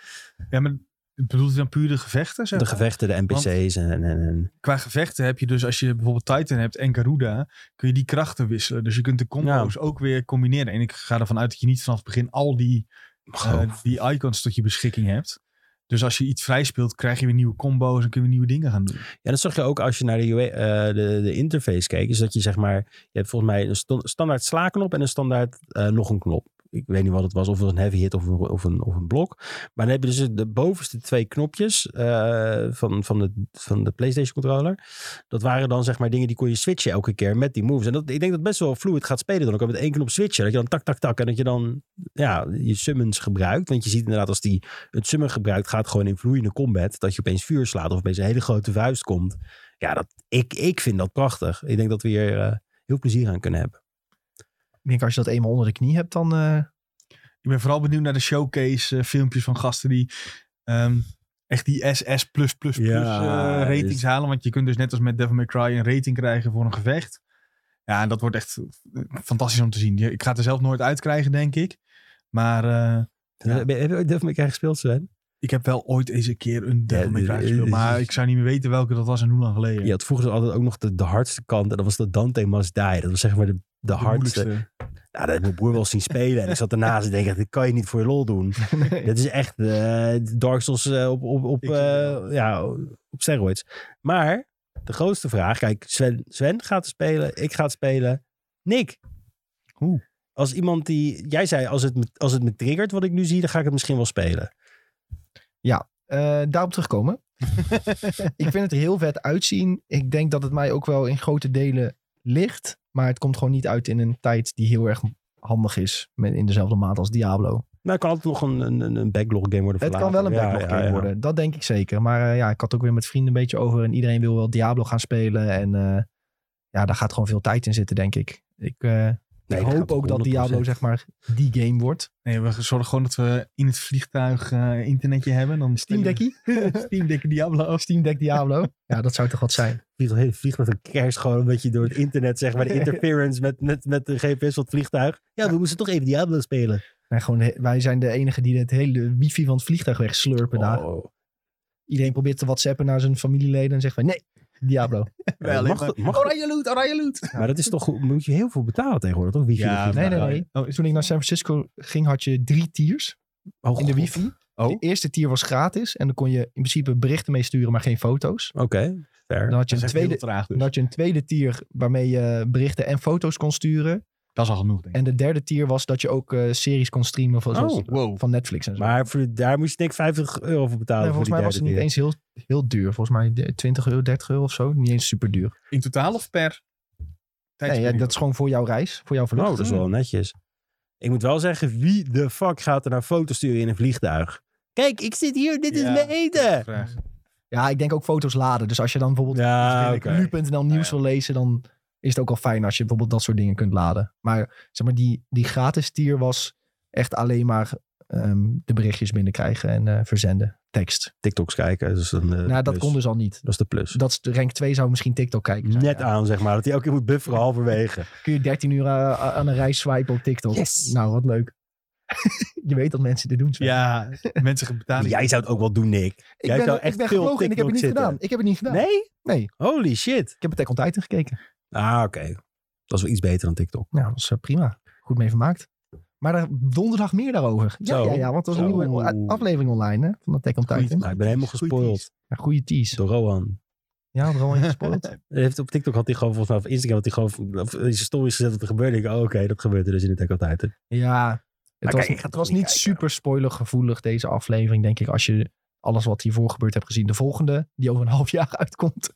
S2: Ja, maar bedoelt hij dan puur de gevechten? Zeg
S3: de
S2: maar?
S3: gevechten, de NPC's en... en, en
S2: Qua gevechten heb je dus, als je bijvoorbeeld Titan hebt en Garuda, kun je die krachten wisselen. Dus je kunt de combo's ook weer combineren. En ik ga ervan uit dat je niet vanaf het begin al die, eh,
S3: Goh.
S2: die icons tot je beschikking hebt. Dus als je iets vrij speelt, krijg je weer nieuwe combo's en kun je nieuwe dingen gaan doen.
S3: Ja, dat zag je ook als je naar de, UI eh, de, de interface keek. Is dat je zeg maar, je hebt volgens mij een sto- standaard slaaknop en een standaard eh, nog een knop. Ik weet niet wat het was, of een heavy hit of een, of een, of een blok. Maar dan heb je dus de bovenste twee knopjes eh, van, van, de, van de PlayStation controller. Dat waren dan zeg maar dingen die kon je switchen elke keer met die moves. En dat, ik denk dat het best wel fluid gaat spelen dan ook. Met één knop switchen, dat je dan tak, tak, tak. En dat je dan ja, je summons gebruikt. Want je ziet inderdaad als die het summon gebruikt, gaat gewoon in vloeiende combat. Dat je opeens vuur slaat of opeens een hele grote vuist komt. Ja, dat, ik, ik vind dat prachtig. Ik denk dat we hier eh, heel plezier aan kunnen hebben.
S1: Ik denk als je dat eenmaal onder de knie hebt, dan... eh,
S2: Ik ben vooral benieuwd naar de showcase eh, filmpjes van gasten die ehm, echt die SS++
S3: Ja,
S2: eh, ratings
S3: is-
S2: halen. Want je kunt dus net als met Devil May Cry een rating krijgen voor een gevecht. Ja, en dat wordt echt eh, fantastisch om te zien. Je- Ik ga het er zelf nooit uit krijgen, denk ik. Maar eh, Ja.
S3: Heb je- Heb je ooit Devil May Cry gespeeld, Sven?
S2: ik heb wel ooit eens een keer een Devil May
S3: dit
S2: Cry
S3: is-
S2: gespeeld. Maar ik zou niet meer weten welke dat was en hoe lang geleden.
S3: Je had vroeger altijd ook nog de, de hardste kant. En dat was de Dante Must Die. Dat was zeg maar de, de
S2: De
S3: hardste.
S2: moeilijkste.
S3: Nou, dat heb mijn broer wel eens zien spelen. En ik zat daarnaast en denk ik, dit kan je niet voor je lol doen. Dit is echt eh, Dark Souls eh, op, op, op,
S2: Ik zie het
S3: eh, ja, op steroids. Maar de grootste vraag. Kijk, Sven, Sven gaat spelen. Ik ga het spelen. Nick.
S2: Hoe?
S3: Als iemand die... Jij zei, als het, me, als het me triggert wat ik nu zie, dan ga ik het misschien wel spelen.
S1: Eh, daarop terugkomen. ik vind het er heel vet uitzien. Ik denk dat het mij ook wel in grote delen ligt. Maar het komt gewoon niet uit in een tijd die heel erg handig is. Met in dezelfde maand als Diablo.
S3: Nou, kan altijd nog een, een, een backlog game worden voor
S1: het kan wel
S3: later.
S1: een
S3: Ja,
S1: backlog
S3: ja,
S1: game
S3: ja.
S1: worden. Dat denk ik zeker. Maar eh, ja, ik had ook weer met vrienden een beetje over. En iedereen wil wel Diablo gaan spelen. En eh, ja, daar gaat gewoon veel tijd in zitten, denk ik. Ik eh,
S3: Nee,
S1: ik
S3: dat
S1: hoop
S3: gaat
S1: ook dat
S3: 100%.
S1: Diablo, zeg maar, die game wordt.
S2: Nee, we zorgen gewoon dat we in het vliegtuig eh, internetje hebben. Dan
S1: Steam Deckie?
S2: Steam Deck Diablo.
S1: Steam Deck Diablo? ja, dat zou toch wat zijn.
S3: vliegt, heel- vliegt met een kerst gewoon een beetje door het internet, zeg maar. De interference met, met, met de GPS van het vliegtuig. Ja, we moesten toch even Diablo spelen.
S1: Nee, gewoon, he- wij zijn de enige die het hele wifi van het vliegtuig wegslurpen daar.
S3: Oh.
S1: Iedereen probeert te whatsappen naar zijn familieleden en zegt van nee, Diablo.
S3: Ja, dat mag,
S1: Oh,
S3: mag,
S2: Oranje loot,
S3: Oh,
S2: oranje loot.
S3: maar dat is toch, goed- moet je heel veel betalen tegenwoordig, toch? Wifi
S2: Ja,
S3: ja,
S1: Nee, nee,
S2: maar-
S1: nee.
S2: Oh, is-
S1: Toen ik naar San Francisco ging had je drie tiers in de wifi. De
S2: oh.
S1: eerste tier was gratis en dan kon je in principe berichten mee sturen, maar geen foto's.
S3: Oké, fair.
S1: Dan had je een
S2: Dat is echt heel
S1: tweede,
S2: traag dus.
S1: dan had je een tweede tier waarmee je berichten en foto's kon sturen.
S2: Dat is al genoeg, denk ik.
S1: En de derde tier was dat je ook eh, series kon streamen van, zoals-
S3: Oh,
S2: wow.
S1: van Netflix en zo.
S3: maar voor, daar moest je denk ik 50 euro voor betalen.
S1: Nee, volgens
S3: voor die
S1: mij was het niet
S3: derde
S1: eens heel, heel duur. Volgens mij de- 20 euro, 30 euro of zo. Niet eens super duur.
S2: In totaal of per
S1: Nee, ja,
S2: tijdsperiode?
S1: dat is gewoon voor jouw reis, voor jouw
S3: keer.
S1: vlucht.
S3: Oh, dat is wel netjes. Ik moet wel zeggen, wie de fuck gaat er naar foto's sturen in een vliegtuig? Kijk, ik zit hier, dit is
S2: Ja,
S3: mijn eten.
S2: Vraag.
S1: Ja, ik denk ook foto's laden. Dus als je dan bijvoorbeeld
S3: Ja,
S1: iets
S3: Ah, oké.
S1: binnen- nu.nl nieuws wil lezen, dan is het ook al fijn als je bijvoorbeeld dat soort dingen kunt laden. Maar zeg maar, die, die gratis tier was echt alleen maar ehm, de berichtjes binnenkrijgen en eh, verzenden. Tekst.
S3: TikToks kijken, dat is een, eh,
S1: nou, dat
S3: plus.
S1: kon dus al niet.
S3: Dat is de plus.
S1: Dat is de rank 2 zou misschien TikTok kijken. zijn,
S3: Net
S1: ja.
S3: aan, zeg maar. Dat hij elke keer moet bufferen halverwege.
S1: Kun je 13 uur eh, aan een rij swipen op TikTok.
S3: Yes.
S1: Nou, wat leuk. je weet dat mensen dit doen. Sven.
S2: Ja, mensen gaan betalen.
S3: Jij zou het ook wel doen, Nick.
S1: Ik
S3: Jij
S1: ben,
S3: zou
S1: ik
S3: echt
S1: ben
S3: veel op
S1: gevlogen en ik heb het
S3: TikTok
S1: niet
S3: zitten.
S1: gedaan. Ik heb het niet gedaan.
S3: Nee?
S1: Nee.
S3: Holy shit.
S1: Ik heb het Attack on Titan gekeken.
S3: Ah, oké. Dat is wel iets beter dan TikTok.
S1: Nou, dat is eh, prima. Goed mee vermaakt. Maar daar, donderdag meer daarover. Ja,
S3: Zo.
S1: ja, ja want er is een
S3: Zo.
S1: nieuwe a- aflevering online hè, van Attack on
S2: Goeie
S1: Titan.
S2: tease.
S3: Nou, ik ben helemaal
S2: Goeie
S3: gespoild
S1: Ja, goede tease.
S3: door Rohan.
S1: Ja, had er al een gespoord.
S3: Hij Heeft, op TikTok had hij gewoon, volgens mij, of Instagram had hij gewoon of in zijn stories gezet wat er gebeurde. Ik, oh, oké, dat gebeurt er dus in de Attack on Titan.
S1: ja, het
S3: Maar
S1: was,
S3: kijk, ik ga
S1: het
S3: toch
S1: was
S3: niet
S1: niet
S3: kijken.
S1: super spoilergevoelig deze aflevering, denk ik. Als je alles wat hiervoor gebeurd hebt gezien. De volgende, die over een half jaar uitkomt,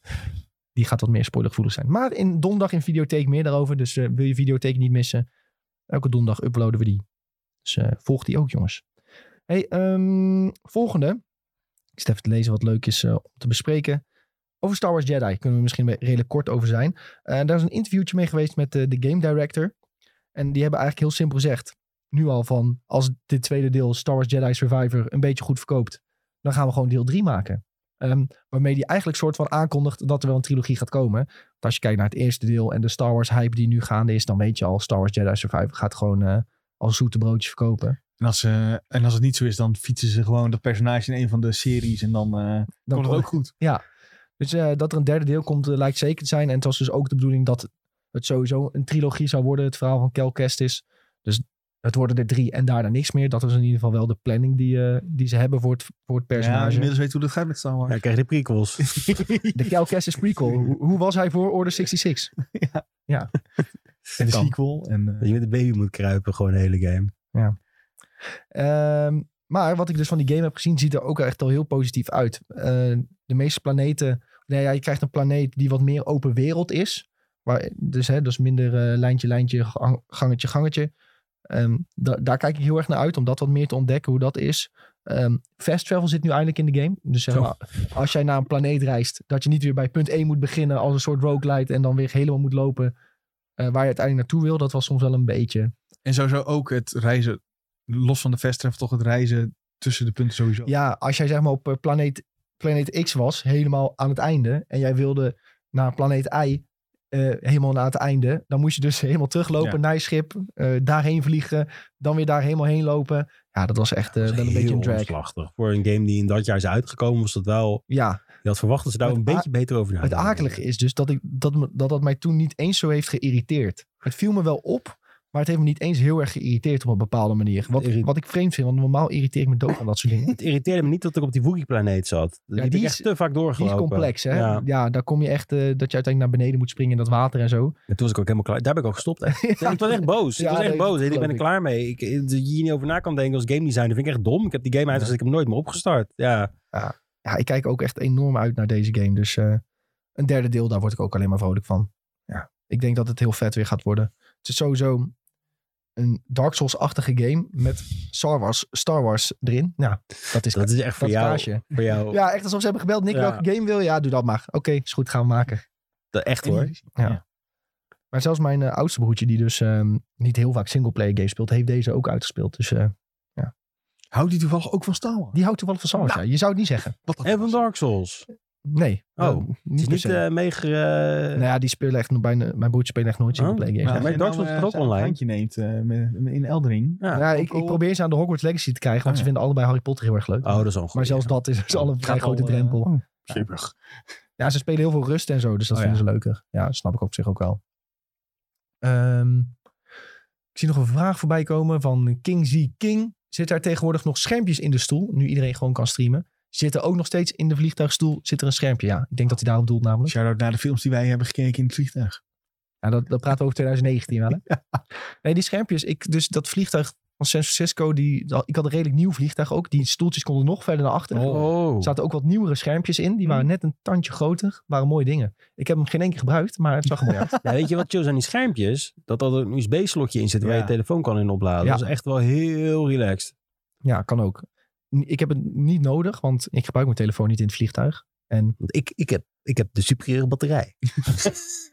S1: die gaat wat meer spoilergevoelig zijn. Maar in, donderdag in Videotheek meer daarover. Dus eh, wil je Videotheek niet missen, elke donderdag uploaden we die. Dus eh, volg die ook, jongens. Hey, ehm, volgende. Ik zit even te lezen wat leuk is eh, om te bespreken. Over Star Wars Jedi kunnen we misschien weer redelijk kort over zijn. Eh, daar is een interviewtje mee geweest met eh, de game director. En die hebben eigenlijk heel simpel gezegd. Nu al van, als dit tweede deel Star Wars Jedi Survivor een beetje goed verkoopt. Dan gaan we gewoon deel 3 maken. Ehm, waarmee die eigenlijk soort van aankondigt dat er wel een trilogie gaat komen. Want als je kijkt naar het eerste deel en de Star Wars hype die nu gaande is. Dan weet je al, Star Wars Jedi Survivor gaat gewoon eh, als zoete broodjes verkopen.
S2: En als, eh, en als het niet zo is, dan fietsen ze gewoon dat personage in een van de series. En dan eh
S1: Dan
S2: komt het ook goed.
S1: Dus eh, dat er een derde deel komt, eh, lijkt zeker te zijn. En het was dus ook de bedoeling dat het sowieso een trilogie zou worden. Het verhaal van Cal Kestis. Dus het worden er drie en daarna niks meer. Dat was in ieder geval wel de planning die, eh, die ze hebben voor het, voor het
S2: Ja,
S1: personage.
S2: inmiddels weet hoe dat gaat met Star Wars.
S3: Ja, ik krijg de prequels.
S1: de Cal Kestis prequel. Hoe, hoe was hij voor Order 66?
S2: en de
S1: kan.
S2: sequel. En, eh,
S3: dat je met de baby moet kruipen, gewoon de hele game.
S1: Ehm, maar wat ik dus van die game heb gezien, ziet er ook echt al heel positief uit. Eh, de meeste planeten. Nou ja, je krijgt een planeet die wat meer open wereld is. Waar, dus hè, dus minder eh, lijntje, lijntje, gang- gangetje, gangetje. Ehm, da- daar kijk ik heel erg naar uit om dat wat meer te ontdekken, hoe dat is. Ehm, fast travel zit nu eindelijk in de game. Dus zeg
S3: Zo.
S1: maar, als jij naar een planeet reist, dat je niet weer bij punt 1 moet beginnen als een soort roguelite en dan weer helemaal moet lopen eh, waar je uiteindelijk naartoe wil. Dat was soms wel een beetje.
S2: en sowieso ook het reizen, los van de festtref, toch het reizen tussen de punten sowieso.
S1: Ja, als jij zeg maar op eh, planeet, planeet X was, helemaal aan het einde. En jij wilde naar planeet Y, eh, helemaal naar het einde. Dan moest je dus helemaal teruglopen
S2: Ja.
S1: naar je schip. eh, daarheen vliegen. Dan weer daar helemaal heen lopen. Ja, dat was echt eh,
S3: Dat is
S1: wel een
S3: heel
S1: beetje een drag.
S3: omslachtig. Voor een game die in dat jaar is uitgekomen, was dat wel...
S1: Ja,
S3: Je had verwacht dat ze daar
S1: Het
S3: een
S1: a-
S3: beetje beter over na
S1: het
S3: zouden
S1: akelige
S3: denken.
S1: is dus dat, ik, dat, me- dat dat mij toen niet eens zo heeft geïrriteerd. Het viel me wel op. Maar het heeft me niet eens heel erg geïrriteerd op een bepaalde manier. Wat,
S3: Irri-
S1: wat ik vreemd vind, want normaal irriteer ik me dood aan dat soort dingen.
S3: Het irriteerde me niet dat ik op die Wookie-planeet zat. die heb
S1: die
S3: ik
S1: is-
S3: echt te vaak
S1: Die
S3: doorgelopen.
S1: is complex, hè? Ja,
S3: Ja.
S1: daar kom je echt, eh, dat je uiteindelijk naar beneden moet springen in dat water en zo.
S3: En toen was ik ook helemaal klaar. Daar ben ik ook gestopt. echt.
S1: Ja.
S3: Ik was echt boos.
S1: Ja,
S3: ik was echt
S1: nee, dat
S3: boos. Ik
S1: geloof
S3: ben er
S1: ik.
S3: klaar mee. Ik, eh, dat je hier niet over na kan denken als game designer vind ik echt dom. Ik heb die game uitgezet. Ik heb hem nooit meer opgestart. Ja.
S1: Ja, ik kijk ook echt enorm uit naar deze game. Dus eh, een derde deel, daar word ik ook alleen maar vrolijk van. Ja, ik denk dat het heel vet weer gaat worden. Het is sowieso een Dark Souls-achtige game met Star Wars, Star Wars erin. Nou, dat is,
S3: Dat is echt voor
S1: dat is
S3: jou.
S1: kaasje.
S3: Voor jou.
S1: Ja, echt alsof ze hebben gebeld. Nick,
S3: Ja.
S1: welke game wil je? Ja, doe dat maar. Oké, is goed, gaan we maken.
S3: Dat- Echt hoor.
S1: Ja.
S2: Ja.
S1: Maar zelfs mijn eh, oudste broertje, die dus ehm, niet heel vaak singleplayer games speelt, heeft deze ook uitgespeeld. Dus eh,
S2: Houdt die toevallig ook van Star Wars?
S1: die houdt toevallig van Star
S3: Nou.
S1: Wars. ja. Je zou het niet zeggen.
S2: Wat dat
S3: En van
S2: was.
S3: Dark Souls.
S1: Nee.
S3: Oh,
S1: Eh,
S3: het Het
S1: niet
S3: is
S1: per
S3: niet
S1: se.
S3: eh meeger... eh,
S1: nou ja, die spelen echt nog bijna, mijn broertje speelt echt nooit
S3: Oh,
S1: singleplayer games. hè.
S2: als
S3: maar- maar
S2: je
S3: Dark Souls
S2: eh,
S3: is toch ook
S2: zo'n
S3: online?
S2: handje neemt eh, met- met- in Eldering.
S3: ja.
S1: Ja, ik, ik probeer ze aan de Hogwarts Legacy te krijgen, want ze
S2: Oh, ja.
S1: vinden allebei Harry Potter heel erg leuk.
S3: Oh, dat is wel een
S1: maar
S3: goeie.
S1: zelfs dat is, is al een
S2: Gaat
S1: vrij
S2: al,
S1: grote
S2: eh,
S1: drempel.
S2: oh, Super.
S1: Ja, ze spelen heel veel rust en zo, dus dat
S2: Oh,
S1: vinden ze leuker. Ja, dat snap ik op zich ook wel. Ehm, ik zie nog een vraag voorbij komen van King Z King. Zit daar tegenwoordig nog schermpjes in de stoel, nu iedereen gewoon kan streamen? Zit er ook nog steeds in de vliegtuigstoel zit er een schermpje? Ja, ik denk dat hij daarop doelt namelijk.
S2: Shout-out naar de films die wij hebben gekeken in het vliegtuig.
S1: Ja, dat, dat praten we over 2019 wel, hè? Nee, die schermpjes. Ik, dus dat vliegtuig van San Francisco, die, dat- ik had een redelijk nieuw vliegtuig ook. Die stoeltjes konden nog verder naar achteren.
S3: Oh.
S1: Er zaten ook wat nieuwere schermpjes in. Die waren net een tandje groter. Waren mooie dingen. Ik heb hem geen één keer gebruikt, maar het zag er mooi uit.
S3: Ja, weet je wat chill is aan die schermpjes? Dat er een USB-slotje in zit waar
S2: Ja.
S3: je telefoon kan in opladen.
S1: Ja.
S3: Dat is echt wel heel relaxed.
S1: Ja, kan ook. N- Ik heb het niet nodig, want ik gebruik mijn telefoon niet in het vliegtuig. En
S3: Want ik, ik, heb, ik heb de superieure batterij.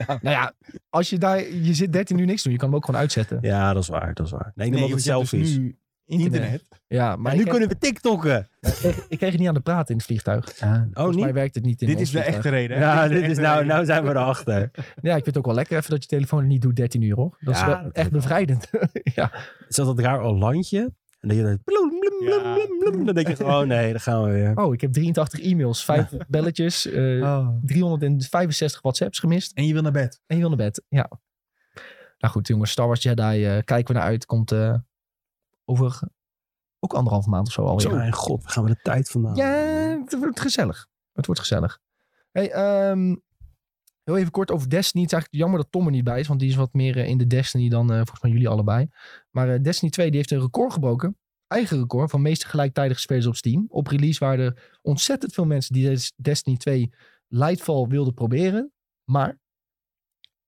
S1: nou ja, als je daar, je zit 13 uur niks te doen, je kan hem ook gewoon uitzetten. Ja,
S3: Ja, dat is waar. Dat is waar. Nee, ik neem altijd
S2: want je hebt
S3: selfies.
S2: dus
S3: nu,
S2: nu internet.
S1: maar
S3: nu
S1: ik, kreeg,
S3: kunnen we TikTokken.
S1: ik kreeg het niet aan de praten in het vliegtuig.
S3: Oh,
S1: Volgens mij
S3: niet?
S1: werkt het niet in
S2: Dit
S1: ons
S2: is de
S1: vliegtuig.
S2: echte reden. hè?
S3: Ja,
S2: de
S3: dit is
S2: echte
S3: nou,
S2: reden.
S3: nou zijn we erachter.
S1: Ja, ik vind het ook wel lekker even dat je telefoon niet doet 13 uur hoor. Dat
S3: Ja,
S1: is wel
S3: dat
S1: echt
S3: wel.
S1: bevrijdend. ja.
S3: Het is altijd raar landje. En dat je dan... bloem, bloem, bloem,
S2: Ja.
S3: bloem, bloem. Dan denk je gewoon, oh nee, daar gaan we weer.
S1: Oh, ik heb 83 e-mails, 5 belletjes, eh,
S2: Oh.
S1: 365 WhatsApps gemist
S2: En je wil naar bed.
S1: en je wil naar bed. Ja. Nou goed jongens, Star Wars Jedi eh, kijken we naar uit. Komt eh, over ook anderhalf maand of zo alweer.
S3: Zo, mijn god, waar gaan we de tijd vandaan?
S1: Ja, het wordt gezellig. Het wordt gezellig. Hey, ehm, heel even kort over Destiny. Het is eigenlijk jammer dat Tom er niet bij is, want die is wat meer eh, in de Destiny dan eh, volgens mij jullie allebei. Maar eh, Destiny 2 die heeft een record gebroken. Eigen record van meeste gelijktijdige spelers op Steam. Op release waren er ontzettend veel mensen die Des- Destiny 2 Lightfall wilden proberen. Maar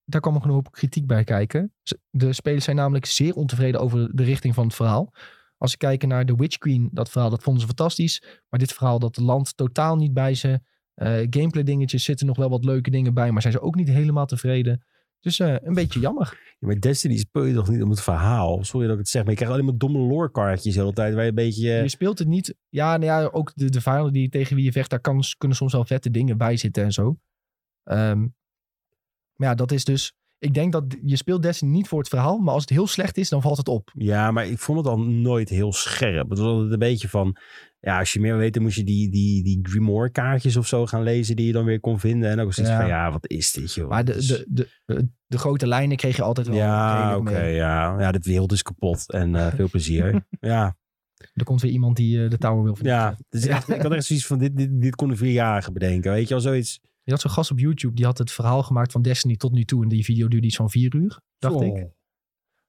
S1: daar kwam nog een hoop kritiek bij kijken. Z- De spelers zijn namelijk zeer ontevreden over de richting van het verhaal. Als ze kijken naar The Witch Queen, dat verhaal, dat vonden ze fantastisch. Maar dit verhaal, dat landt totaal niet bij ze. Eh, gameplay dingetjes zitten nog wel wat leuke dingen bij, maar zijn ze ook niet helemaal tevreden. Dus eh, een beetje jammer.
S3: Ja, maar Destiny speel je toch niet om het verhaal? Sorry dat ik het zeg, maar je krijgt alleen maar domme lore-kaartjes de hele tijd. Waar je een beetje... eh,
S1: Je speelt het niet. Ja, nou ja, ook de, de vijanden die tegen wie je vecht, daar kan, kunnen soms wel vette dingen bij zitten en zo. Ehm, maar ja, dat is dus. Ik denk dat je speelt Destiny niet voor het verhaal, maar als het heel slecht is, dan valt het op.
S3: Ja, maar ik vond het al nooit heel scherp. Het was altijd een beetje van... Ja, als je meer wil weten, moest je die, die, die Grimoire-kaartjes of zo gaan lezen... die je dan weer kon vinden. En ook zoiets
S1: Ja.
S3: van, ja, wat is dit, joh?
S1: Maar de,
S3: Het is-
S1: de, de, de, de grote lijnen kreeg je altijd wel.
S3: ja,
S1: redelijk
S3: oké,
S1: mee.
S3: ja. Ja, de wereld is kapot. En eh, veel plezier. ja,
S1: Er komt weer iemand die eh, de tower wil vernietigen.
S3: ja. Het is echt, ik had echt zoiets van, dit, dit, dit kon een vierjarige bedenken. Weet je, al zoiets...
S1: Je had zo'n gast op YouTube, die had het verhaal gemaakt van Destiny tot nu toe. En die video duurde iets van vier uur, dacht
S2: Zo.
S1: ik.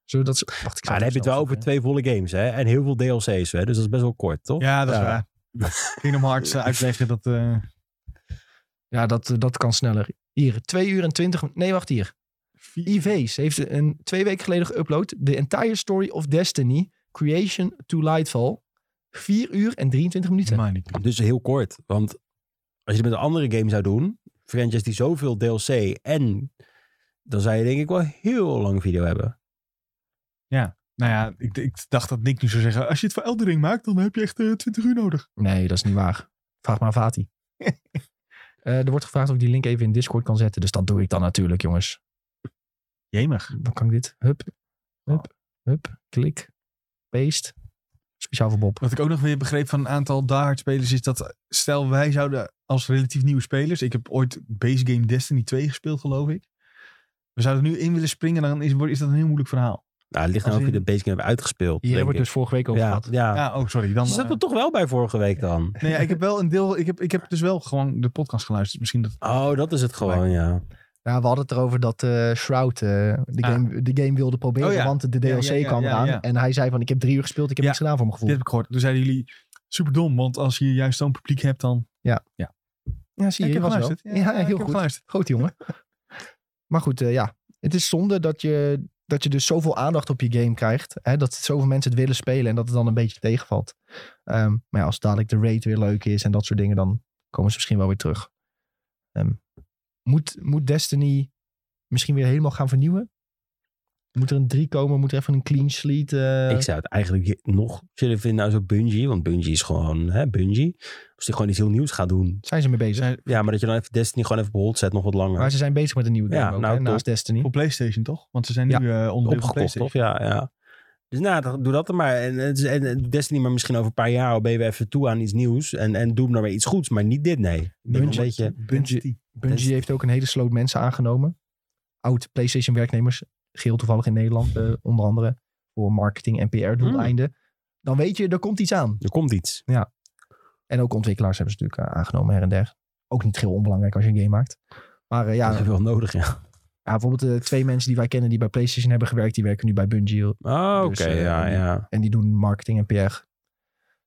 S1: Zodat ze... Wacht, ik
S3: Maar dan Ah, heb je het wel over twee volle games, hè? En heel veel DLC's, hè? Dus dat is best wel kort, toch?
S2: Ja, dat is
S3: Ja.
S2: waar. Kingdom Hearts eh, uitleggen dat... eh,
S1: Ja, dat, eh, dat kan sneller. Hier, twee uur en twintig... Nee, wacht hier. IV's heeft een, twee weken geleden geüpload. The Entire Story of Destiny, Creation to Lightfall. Vier uur en 23 minuten.
S2: maar niet.
S3: Dus heel kort. Want als je het met een andere game zou doen, franchise die zoveel DLC en dan zou je denk ik wel heel lang video hebben.
S2: Nou ja, ik, ik dacht dat Nick nu zou zeggen... Als je het voor Eldering maakt, dan heb je echt eh, 20 uur nodig.
S1: Nee, dat is niet waar. Vraag maar aan Vati. Eh, er wordt gevraagd of ik die link even in Discord kan zetten. Dus dat doe ik dan natuurlijk, jongens.
S2: Jemig.
S1: Dan kan ik dit. Hup, hup, hup. Klik. Paste. Speciaal voor Bob.
S2: Wat ik ook nog weer begreep van een aantal diehard spelers is dat... Stel, wij zouden als relatief nieuwe spelers... Ik heb ooit base game Destiny 2 gespeeld, geloof ik. We zouden nu in willen springen, dan is, wordt- is dat een heel moeilijk verhaal.
S3: Nou, het ligt aan
S1: Als
S3: of je
S1: in-
S3: de Basecamp hebt uitgespeeld.
S1: Hier
S3: denk
S1: hebben we het dus
S3: ik.
S1: vorige week over
S3: ja,
S1: gehad.
S3: ja.
S2: Ja, oh, sorry. Dan,
S3: Ze zaten
S2: eh,
S3: er toch wel bij vorige week dan.
S2: nee, ja, ik heb wel een deel. Ik heb, ik heb dus wel gewoon de podcast geluisterd. Misschien dat.
S3: Oh, dat is het gewoon, ja.
S1: Nou, we hadden het erover dat eh, Shroud eh, de,
S2: Ah.
S1: game, de game wilde proberen,
S2: Oh ja.
S1: want de DLC
S2: Ja, ja, ja,
S1: kwam
S2: ja,
S1: eraan.
S2: ja.
S1: En hij zei van, ik heb drie uur gespeeld, ik heb
S2: Ja.
S1: niks gedaan voor mijn
S2: Dit
S1: gevoel.
S2: heb ik gehoord. Toen zeiden jullie. Super dom, want als je juist zo'n publiek hebt, dan.
S1: Ja, zie je,
S2: ik
S1: je
S2: heb
S1: was wel.
S2: geluisterd.
S1: Ja, heel
S2: ik heb
S1: goed.
S2: geluisterd.
S1: Goed, jongen. maar goed, eh, ja. Het is zonde dat je, dat je dus zoveel aandacht op je game krijgt. Hè, dat zoveel mensen het willen spelen en dat het dan een beetje tegenvalt. Ehm, maar ja, als dadelijk de rate weer leuk is en dat soort dingen, dan komen ze misschien wel weer terug. Ehm, moet, moet Destiny misschien weer helemaal gaan vernieuwen? Moet er een 3 komen? Moet er even een clean slate? eh,
S3: ik zou het eigenlijk je- nog chiller vinden als op Bungie. Want Bungie is gewoon, hè, Bungie. Als die gewoon iets heel nieuws gaat doen.
S1: Zijn ze mee bezig?
S2: Zijn-
S3: Ja, maar dat je dan even Destiny gewoon even op hold zet nog wat langer.
S1: Maar ze zijn bezig met een nieuwe
S3: Ja,
S1: game ook,
S3: nou,
S1: hè,
S3: top.
S1: naast Destiny.
S2: Voor PlayStation toch? Want ze zijn nu
S1: Ja.
S2: eh onderdeel van
S3: opgekocht,
S2: PlayStation.
S3: of? Ja, ja. Dus nou, dan doe dat dan maar. En, het is- en, en Destiny, maar misschien over een paar jaar ben je weer even toe aan iets nieuws. En, en doe hem dan weer iets goeds, maar niet dit, nee. Dat is
S1: Bungie-
S3: een beetje...
S2: Bungie.
S3: Dus-
S1: Bungie heeft ook een hele sloot mensen aangenomen. Oud PlayStation werknemers, geheel toevallig in Nederland,
S3: Hmm.
S1: eh, onder andere voor marketing en PR doeleinden. Dan weet je, er komt iets aan.
S3: Er komt iets.
S1: En ook ontwikkelaars hebben ze natuurlijk eh, aangenomen her en der. Ook niet heel onbelangrijk als je een game maakt. Maar eh,
S3: Ja.
S1: ja,
S3: Dat
S1: ja,
S3: heb je wel nodig, ja.
S1: bijvoorbeeld de twee mensen die wij kennen die bij PlayStation hebben gewerkt, die werken nu bij Bungie.
S3: Oh, oké,
S1: Dus, eh,
S3: ja,
S1: die-
S3: ja.
S1: En die doen marketing en PR.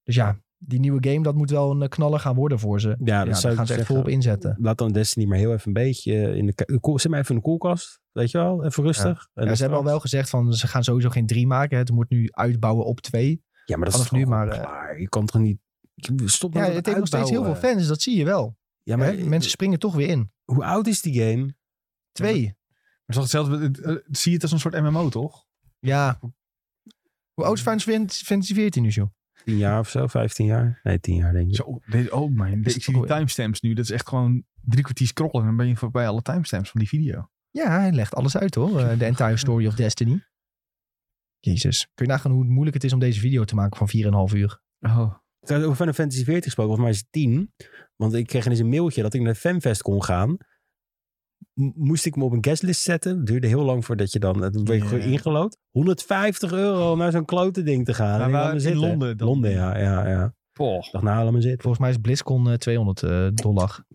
S1: Dus ja, die nieuwe game, dat moet wel een eh, knaller gaan worden voor ze.
S3: Ja,
S1: Ja,
S3: dat
S1: daar
S3: zou ik dus
S1: gaan ze echt
S3: zeggen.
S1: volop inzetten.
S3: Laat dan Destiny maar heel even een beetje in de... ka- ko- Zet maar even in de koelkast, weet je wel? Even rustig. En
S1: Ja,
S3: dan
S1: ze hebben al wel
S3: straks-
S1: gezegd van ze gaan sowieso geen drie maken. Het moet nu uitbouwen op twee.
S3: Ja, maar dat is
S1: vanaf nu
S3: nu maar
S1: maar, eh,
S3: klaar. Je kan toch niet... Stop
S1: Ja,
S3: nou
S1: het
S3: met
S1: heeft nog steeds heel veel
S3: uitbouwen.
S1: fans, dat zie je wel.
S3: Ja, maar
S1: Hè? Mensen springen toch weer in.
S3: hoe oud is die game?
S1: Twee.
S2: Maar het is toch hetzelfde, het- het- zie je het als een soort MMO, toch?
S1: Ja. Hoe oud is Final Fantasy Fantasy 14 nu, joh?
S3: 10 jaar of zo? 15 jaar? Nee, 10 jaar denk ik.
S2: Zo, deze- oh mijn,
S1: Is
S2: ik
S1: het
S2: zie
S1: toch
S2: die
S1: weer-
S2: timestamps nu. Dat is echt gewoon drie kwartier scrollen en dan ben je voorbij alle timestamps van die video.
S1: Ja, hij legt alles uit, hoor. Eh, De entire story of Destiny. Jezus. Kun je nagaan hoe moeilijk het is om deze video te maken van 4,5 uur?
S2: Oh.
S3: Trouwens, over Final Fantasy 14 gesproken, volgens mij is het 10. Want ik kreeg ineens een mailtje dat ik naar Fanfest kon gaan. M- moest ik me op een guestlist zetten. Duurde heel lang voordat je dan... Dan werd je
S2: Ja.
S3: gewoon ingelood. 150 euro om naar zo'n klote ding te gaan.
S2: Maar
S3: En ik
S2: waar-
S3: laat me
S2: in
S3: zitten.
S2: Londen dan?
S3: Londen, ja. ja, ja. Ik dacht, nou, laat me zitten.
S1: Volgens mij is BlizzCon eh, 200 eh, dollar.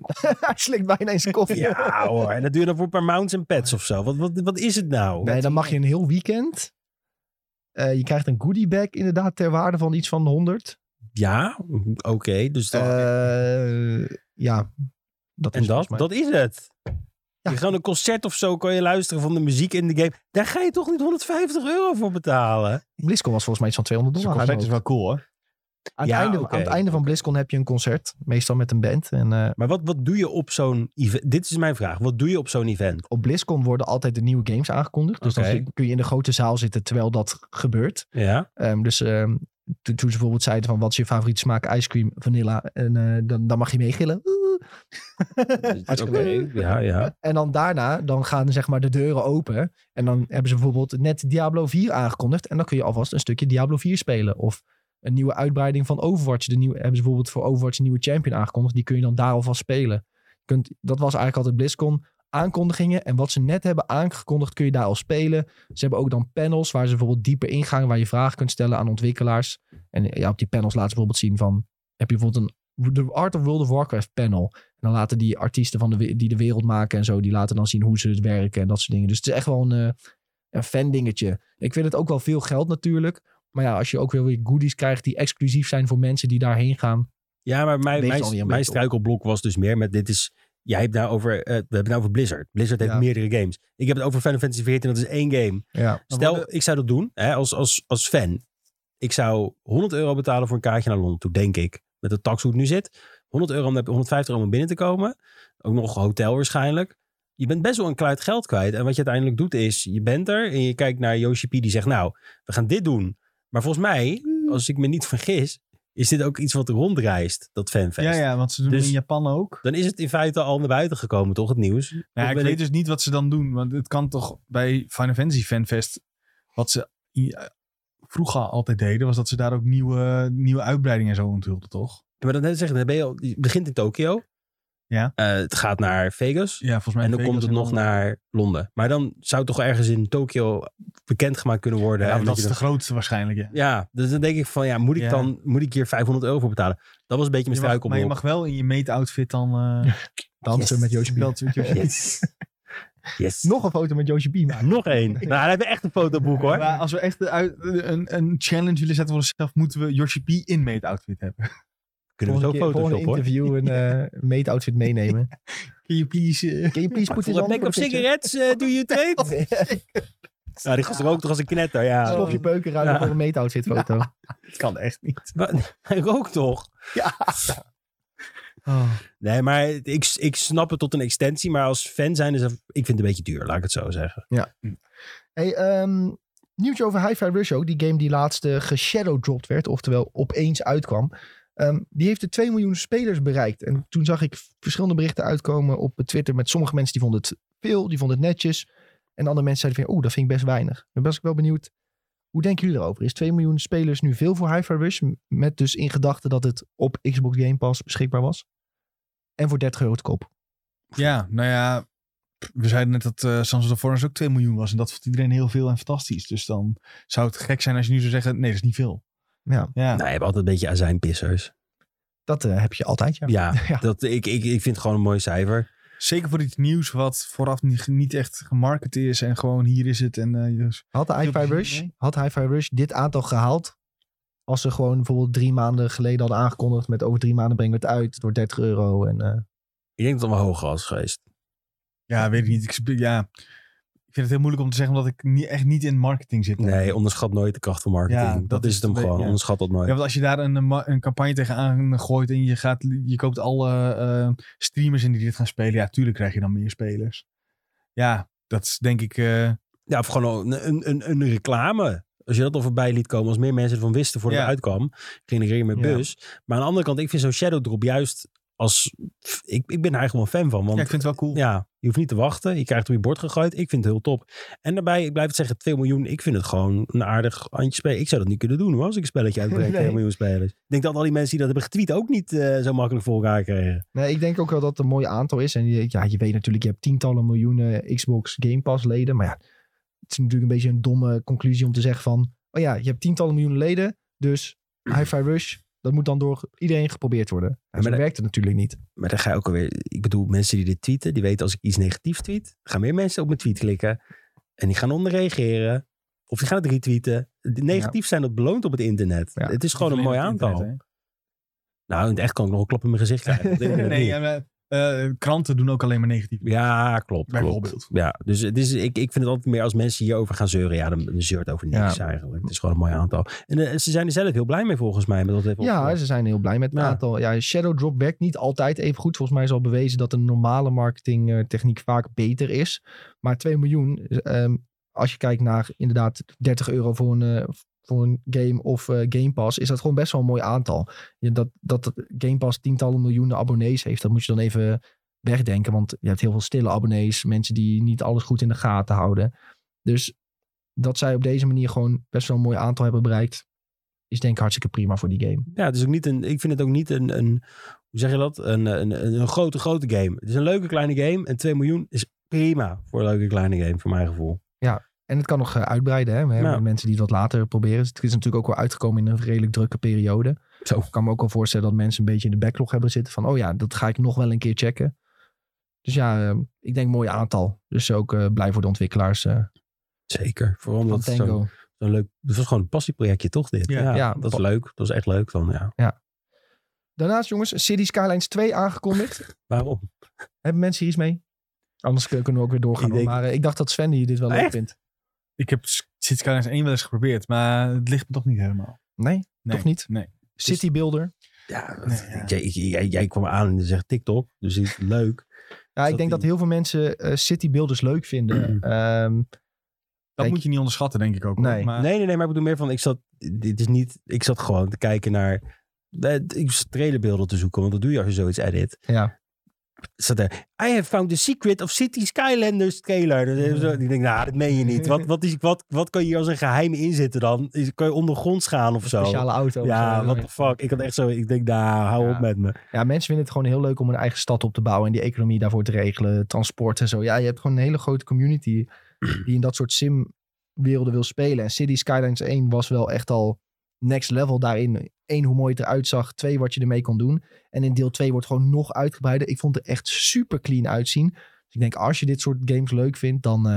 S1: hij slikt bijna eens koffie.
S3: Ja hoor, en dat duurde dan voor een paar mounts en pets of zo. Wat, wat, wat is het nou?
S1: Nee, dan mag je een heel weekend. Eh, je krijgt een goodie bag inderdaad ter waarde van iets van 100.
S3: Ja, oké. dus dan-
S1: Eh, ja. Dat
S3: en
S1: is
S3: dat,
S1: volgens mij-
S3: dat is het.
S1: Ja.
S3: Je gaat een concert of zo, kan je luisteren van de muziek in de game. Daar ga je toch niet 150 euro voor betalen?
S1: BlizzCon was volgens mij iets van 200
S2: Zo'n
S1: dollar.
S2: concert is wel cool, hoor.
S1: aan,
S3: Ja,
S1: het einde,
S3: oké.
S1: aan het einde van BlizzCon heb je een concert. Meestal met een band. En eh,
S3: Maar wat, wat doe je op zo'n event? Dit is mijn vraag. Wat doe je op zo'n event?
S1: op BlizzCon worden altijd de nieuwe games aangekondigd. Dus
S3: Oké.
S1: dan zit- kun je in de grote zaal zitten terwijl dat gebeurt.
S3: Ja.
S1: Ehm, dus ehm, to- toen ze bijvoorbeeld zeiden van wat is je favoriete smaak? Ijscream, vanilla. En eh, dan, dan mag je meegillen. Oeh.
S3: Dus, Oké.
S1: Hartstikke leuk.
S3: Ja, ja.
S1: En dan daarna dan gaan zeg maar de deuren open. En dan hebben ze bijvoorbeeld net Diablo 4 aangekondigd. En dan kun je alvast een stukje Diablo 4 spelen. Of een nieuwe uitbreiding van Overwatch. De nieuwe, hebben ze bijvoorbeeld voor Overwatch een nieuwe champion aangekondigd. Die kun je dan daar alvast spelen. Je kunt, dat was eigenlijk altijd BlizzCon. Aankondigingen en wat ze net hebben aangekondigd kun je daar al spelen. Ze hebben ook dan panels waar ze bijvoorbeeld dieper ingaan. Waar je vragen kunt stellen aan ontwikkelaars. En ja, op die panels laten ze bijvoorbeeld zien van... Heb je bijvoorbeeld een de Art of World of Warcraft panel. En dan laten die artiesten van de, we- die de wereld maken en zo, die laten dan zien hoe ze het werken en dat soort dingen. Dus het is echt wel een, eh, een fan dingetje. Ik vind het ook wel veel geld natuurlijk. Maar ja, als je ook weer weer goodies krijgt die exclusief zijn voor mensen die daarheen gaan.
S3: ja, maar mijn,
S1: Weegt alweer
S3: mijn,
S1: een
S3: mijn
S1: beetje op.
S3: struikelblok was dus meer met dit is... Jij hebt nou over, eh, we hebben het nou over Blizzard. Blizzard heeft
S1: Ja.
S3: meerdere games. Ik heb het over Final Fantasy 14, dat is één game.
S1: Ja.
S3: Stel, ik zou dat doen hè, als, als, als fan. Ik zou 100 euro betalen voor een kaartje naar Londen toe, denk ik. Met de tax hoe het nu zit. 100 euro om, 150 euro om binnen te komen. Ook nog hotel waarschijnlijk. Je bent best wel een kluit geld kwijt. En wat je uiteindelijk doet is, je bent er en je kijkt naar Yoshi P die zegt, nou, we gaan dit doen. Maar volgens mij,
S2: Hmm.
S3: als ik me niet vergis, is dit ook iets wat rondreist, dat fanfest.
S2: Ja, ja, want ze doen het
S3: Dus-
S2: in Japan ook.
S3: Dan is het in feite al naar buiten gekomen, toch, het nieuws?
S2: Ja,
S3: Of
S2: ik
S3: ben
S2: weet dus niet wat ze dan doen. Want het kan toch bij Final Fantasy Fanfest... Wat ze eh, vroeger altijd deden... was dat ze daar ook nieuwe, nieuwe uitbreidingen en zo onthulden, toch?
S3: Maar dan, zeg, dan ben je al, je begint in Tokio.
S2: Ja.
S3: Eh, het gaat naar Vegas.
S2: Ja, volgens mij.
S3: en dan
S2: Vegas
S3: komt het
S2: en
S3: nog
S2: Londen.
S3: naar Londen. Maar dan zou het toch ergens in Tokio bekendgemaakt kunnen worden.
S2: Ja,
S3: en
S2: want dat
S3: je
S2: is
S3: dan-
S2: de grootste waarschijnlijk. Ja.
S3: Ja, dus dan denk ik van ja, moet ik
S2: Ja.
S3: dan moet ik hier 500 euro voor betalen? Dat was een beetje mijn
S2: Je mag- maar je
S3: struikelblok.
S2: mag wel in je meetoutfit dan. eh,
S1: Dansen
S3: Yes.
S1: met Joosje Beam.
S2: dat soort- Ja,
S3: Yes. yes.
S1: Nog een foto met Joosje Beam. maken.
S3: nog één. Nou, dan hebben we echt een fotoboek hoor.
S2: Maar als we echt de uit- een, een challenge willen zetten voor onszelf, moeten we Yoshi P in meetoutfit hebben.
S3: Kunnen we
S1: Volgende
S3: zo
S1: keer-
S3: foto's
S1: volgende
S3: op hoor.
S1: interview een eh meetoutfit meenemen.
S2: Kun je please... eh,
S1: Can you please put this
S3: Voor een
S1: on
S3: pack
S1: for
S3: of
S1: the picture?
S3: cigarettes eh, doe je trade? Nou, die gast rookt toch als een knetter, ja.
S1: Slofje peuken ruilen
S3: Ja.
S1: voor een meetoutfit foto.
S2: het kan echt niet.
S3: Wat? Hij rookt toch?
S2: Oh.
S3: Nee, maar ik, ik snap het tot een extensie. Maar als fan zijn is dat- ik vind het een beetje duur, laat ik het zo zeggen.
S1: Hey, ehm, nieuwtje over Hi-Fi Rush ook. Die game die laatst eh, geshadowdropped werd, oftewel opeens uitkwam. Ehm, die heeft de 2 miljoen spelers bereikt. En toen zag ik verschillende berichten uitkomen op Twitter met sommige mensen die vonden het veel, die vonden het netjes. En andere mensen zeiden van, oeh, dat vind ik best weinig. Dan was ik wel benieuwd, hoe denken jullie erover? Is 2 miljoen spelers nu veel voor Hi-Fi Rush? M- Met dus in gedachte dat het op Xbox Game Pass beschikbaar was. En voor 30 euro te koop.
S2: Ja, nou ja. We zeiden net dat eh Sons of the Forest ook 2 miljoen was. En dat vond iedereen heel veel en fantastisch. Dus dan zou het gek zijn als je nu zou zeggen, nee, dat is niet veel.
S1: Ja,
S2: Ja,
S3: Nou, je hebt altijd een beetje azijnpissers.
S1: dat eh, heb je altijd, ja.
S3: Ja,
S1: Ja.
S3: Dat, ik, ik, ik vind het gewoon een mooi cijfer.
S2: zeker voor iets nieuws wat vooraf niet, niet echt gemarket is. En gewoon hier is het. En, eh, dus-
S1: Had de Hi-Fi
S2: plezier
S1: Rush,
S2: mee.
S1: had Hi-Fi Rush dit aantal gehaald? Als ze gewoon bijvoorbeeld drie maanden geleden hadden aangekondigd met over drie maanden brengen we het uit door 30 euro. En, eh,
S3: Ik denk dat het wel hoger was geweest.
S2: ja, weet ik niet. Ik, sp- ja, ik vind het heel moeilijk om te zeggen, omdat ik niet, echt niet in marketing zit.
S3: Nee, onderschat nooit de kracht van marketing.
S2: Ja,
S3: dat,
S2: dat
S3: is
S2: is
S3: het hem
S2: het
S3: gewoon.
S2: beetje, ja.
S3: Onderschat dat nooit.
S2: Ja, want als je daar een, eh, ma- een campagne tegenaan gooit en je, gaat, je koopt alle eh, streamers in die dit gaan spelen, ja, tuurlijk krijg je dan meer spelers. Ja, dat is denk ik. eh,
S3: Ja, of gewoon een, een, een, een reclame. Als je dat al voorbij liet komen, als meer mensen ervan wisten voordat
S2: Ja.
S3: het uitkwam, genereer met
S2: Ja.
S3: bus. Maar aan de andere kant, ik vind zo'n Shadow Drop juist als. pff, Ik, ik ben er eigenlijk wel een fan van. Want
S2: ja, ik vind het wel cool.
S3: ja, je hoeft niet te wachten. Je krijgt op je bord gegooid. Ik vind het heel top. En daarbij, ik blijf het zeggen, 2 miljoen. Ik vind het gewoon een aardig handje spelen. Ik zou dat niet kunnen doen hoor, als ik een spelletje uitbreng.
S1: Nee.
S3: 2 miljoen spelers. Ik denk dat al die mensen die dat hebben getweet ook niet eh, zo makkelijk voor elkaar kregen.
S1: nee, ik denk ook wel dat het een mooi aantal is. En je- ja, je weet natuurlijk, je hebt tientallen miljoenen Xbox Game Pass leden. Maar ja, het is natuurlijk een beetje een domme conclusie om te zeggen van, oh ja, je hebt tientallen miljoenen leden. Dus Hi-Fi Rush, dat moet dan door iedereen geprobeerd worden. En zo
S3: maar dat-
S1: werkt het natuurlijk niet.
S3: Maar dan ga je ook alweer... Ik bedoel, mensen die dit tweeten, die weten als ik iets negatiefs tweet, gaan meer mensen op mijn tweet klikken. En die gaan onderreageren. Of die gaan het retweeten. De negatief zijn dat beloont op het internet.
S1: Ja,
S3: het is gewoon een mooi aantal. nou, in het echt kan ik nog een klap in mijn gezicht krijgen. op dit moment
S2: nee,
S3: niet.
S2: ja, maar, eh, kranten doen ook alleen maar negatief.
S3: Ja, klopt. klopt.
S2: bijvoorbeeld.
S3: Ja, dus het is, ik, ik vind het altijd meer als mensen hierover gaan zeuren. Ja, dan, dan zeurt over niks eigenlijk. Het is gewoon een mooi aantal. En eh, ze zijn er zelf heel blij mee volgens mij. Met dat even
S1: Ja,
S3: opgelost.
S1: ze zijn heel blij met het
S3: Ja.
S1: aantal. Ja, Shadow Drop werkt niet altijd even goed. Volgens mij is al bewezen dat een normale marketingtechniek vaak beter is. Maar 2 miljoen, eh, ehm, als je kijkt naar inderdaad 30 euro voor een, eh, voor een game of eh, Game Pass, is dat gewoon best wel een mooi aantal. Ja, dat, dat Game Pass tientallen miljoenen abonnees heeft, dat moet je dan even wegdenken. Want je hebt heel veel stille abonnees, mensen die niet alles goed in de gaten houden. Dus dat zij op deze manier gewoon best wel een mooi aantal hebben bereikt, is denk ik hartstikke prima voor die game.
S3: ja, het is ook niet een, ik vind het ook niet een, een hoe zeg je dat? Een, een, een, een grote, grote game. Het is een leuke kleine game. En 2 miljoen is prima voor een leuke kleine game, voor mijn gevoel.
S1: En het kan nog eh, uitbreiden. Hè? We hebben
S3: Ja.
S1: mensen die dat later proberen. Dus Het is natuurlijk ook wel uitgekomen in een redelijk drukke periode.
S3: Zo.
S1: Ik kan me ook wel voorstellen dat mensen een beetje in de backlog hebben zitten. Van, oh ja, dat ga ik nog wel een keer checken. Dus ja, eh, ik denk mooi aantal. Dus ook eh, blij voor de ontwikkelaars eh
S3: Zeker. Vooral
S1: van
S3: omdat het zo'n
S1: Tango.
S3: zo'n leuk, het was gewoon een passieprojectje toch dit?
S2: Ja.
S1: Ja.
S3: dat is leuk. Dat is echt leuk dan, ja.
S1: Daarnaast jongens, City Skylines 2 aangekondigd.
S3: Waarom?
S1: hebben mensen hier iets mee? Anders kunnen we ook weer doorgaan.
S3: Ik
S1: hoor.
S3: denk-
S1: Maar eh, ik dacht dat Sven hier dit wel leuk
S3: Echt?
S1: vindt.
S2: Ik heb City Skylines 1 wel eens geprobeerd, maar het ligt me toch niet helemaal.
S1: Nee?
S2: Nee,
S1: Toch niet?
S2: Nee.
S1: City Builder.
S3: Ja, dat-
S2: Nee, ja.
S3: Jij, ik- jij, jij kwam aan en je zegt TikTok. Dus het is leuk.
S1: Ja, ik
S3: dat
S1: denk dat
S3: die-
S1: heel veel mensen eh, City Builders leuk vinden. Ehm,
S2: Dat
S1: Kijk.
S2: moet je niet onderschatten, denk ik ook.
S1: Nee.
S2: hoor. Maar,
S3: Nee, nee, nee, maar ik bedoel meer van, ik zat, dit is niet, ik zat gewoon te kijken naar, eh, ik zat trailerbeelden te zoeken, want dat doe je als je zoiets edit.
S1: Ja.
S3: zat er, I have found the secret of City Skylanders trailer. Dus zo- Ik denk, nou, dat meen je niet. Wat, wat, is, wat, wat kan je hier als een geheim inzitten dan? Is, kan je ondergronds gaan of
S1: Een
S3: zo?
S1: speciale auto. of
S3: Ja,
S1: zo.
S3: what the fuck. Ik had echt zo, ik denk, nou, hou
S1: Ja.
S3: op met me.
S1: Ja, mensen vinden het gewoon heel leuk om een eigen stad op te bouwen en die economie daarvoor te regelen, transport en zo. Ja, je hebt gewoon een hele grote community die in dat soort sim-werelden wil spelen. En City Skylines 1 was wel echt al next level daarin. Eén, hoe mooi het eruit zag. Twee, wat je ermee kon doen. En in deel 2 wordt gewoon nog uitgebreider. Ik vond het er echt super clean uitzien. Dus ik denk, als je dit soort games leuk vindt, dan eh,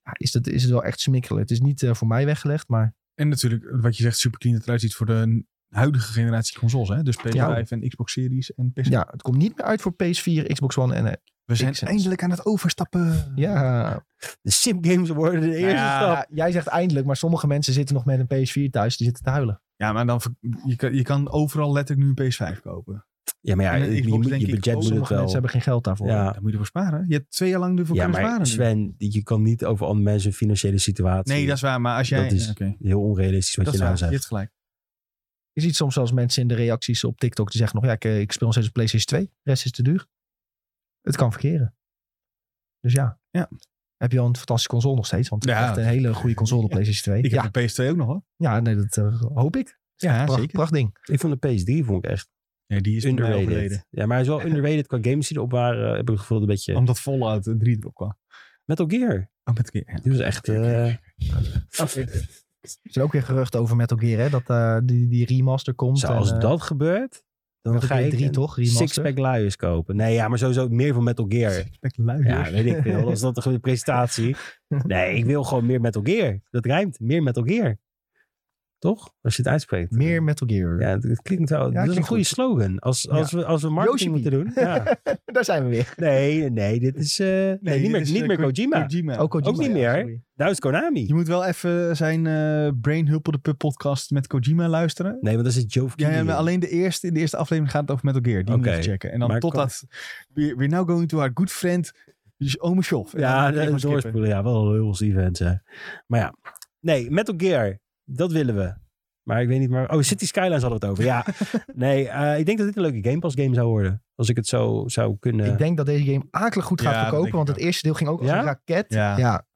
S1: ja, is, dat, is het wel echt smikkelen. Het is niet eh, voor mij weggelegd, maar
S2: En natuurlijk, wat je zegt, super clean dat eruit ziet voor de huidige generatie consoles. Hè? Dus PS5
S1: Ja.
S2: en Xbox Series en PC.
S1: ja, het komt niet meer uit voor PS4, Xbox One en... eh,
S2: We zijn
S1: Xbox.
S2: eindelijk aan het overstappen.
S1: ja,
S3: De simgames worden de eerste
S2: Nou ja,
S3: stap.
S1: Ja, jij zegt eindelijk, maar sommige mensen zitten nog met een PS4 thuis. Die zitten te huilen.
S2: Ja, maar dan, ver- je, kan, je kan overal letterlijk nu een PS5 kopen.
S3: Ja, maar ja,
S2: En een
S3: je, je,
S2: Xbox
S3: moet-
S2: denk
S3: je
S2: ik
S3: budget
S2: ook.
S3: moet het
S1: Sommige
S3: wel.
S1: mensen hebben geen geld daarvoor.
S3: Ja.
S2: Daar moet je voor sparen. Je hebt twee jaar lang ervoor
S3: Ja,
S2: kunnen
S3: maar
S2: sparen. nu.
S3: Sven, je kan niet over andere mensen financiële situatie.
S2: nee, dat is waar. Maar als jij...
S3: Dat is
S2: ja, oké.
S3: heel onrealistisch wat
S2: Dat
S3: je
S2: is
S3: nou
S2: waar. Je
S3: zegt.
S2: hebt gelijk.
S1: Je ziet soms zelfs mensen in de reacties op TikTok die zeggen nog... Ja, ik, eh, ik speel nog steeds op PlayStation 2. De rest is te duur. Het kan verkeren. Dus ja.
S2: Ja.
S1: Heb je al een fantastische console nog steeds? Want het is
S2: Ja.
S1: echt een hele goede console op
S2: Ja.
S1: PlayStation 2.
S2: Ik
S1: ja,
S2: heb een PS2 ook nog hoor.
S1: ja nee, dat eh, hoop ik.
S2: Ja,
S1: Pracht,
S2: zeker.
S1: prachtding.
S3: Ik vond de PS3 vond ik echt
S2: Nee, die is bij mij overleden.
S3: underrated. Ja, maar hij is wel underrated qua games die erop waren. eh, Heb ik het gevoel dat een beetje...
S2: Omdat Fallout 3 eh, erop kwam.
S3: Metal Gear.
S2: Oh, met een keer.
S3: Die was echt... eh,
S1: Er zijn ook weer geruchten over Metal Gear, hè? Dat eh, die, die remaster komt.
S3: Zo, als
S1: en, eh,
S3: dat gebeurt, dan
S1: Metal
S3: ga
S1: Gear
S3: ik
S1: 3
S3: een
S1: toch? Remaster.
S3: six-pack luiers kopen. Nee, ja, maar sowieso meer van Metal Gear. Ja, weet ik veel. Als dat een presentatie. Nee, ik wil gewoon meer Metal Gear. Dat rijmt. Meer Metal Gear. Toch? Als je het uitspreekt.
S1: Meer Metal Gear.
S3: Ja, het, het klinkt wel. dat is een
S1: klinkt
S3: goede
S1: goed.
S3: slogan. Als, als, we, als we marketing
S1: Yoshi
S3: moeten doen. Ja.
S1: Daar zijn we weer.
S3: Nee, nee, dit is. eh, nee, niet meer, niet meer Kojima.
S1: Ook, Kojima,
S3: niet
S1: ja,
S3: meer.
S1: sorry.
S3: Nou is Konami.
S2: Nou, Je moet wel even zijn eh Brain Hulp de Pup podcast met Kojima luisteren.
S3: Nee, want dat is het Joe
S2: Ja,
S3: Kidd
S2: ja,
S3: in.
S2: maar alleen de eerste, in de eerste aflevering gaat het over Metal Gear. Die moet je
S3: Oké.
S2: even checken. En dan
S3: Maar
S2: totdat... We're, we're now going to our good friend Ome Shof. En
S3: Ja,
S2: dan even
S3: de-
S2: skippen.
S3: doorspoelen. Ja, wel een heel event. Hè. Maar ja. Nee, Metal Gear. Dat willen we. Maar ik weet niet maar. Oh, City Skylines hadden we het over. Ja. nee, eh, ik denk dat dit een leuke Game Pass game zou worden. Als ik het zo zou kunnen.
S1: Ik denk dat deze game akelig goed gaat
S2: Ja, dat
S1: verkopen.
S2: denk ik
S1: Want het eerste deel ging ook als
S3: Ja?
S1: een raket.
S2: Ja.
S1: ja.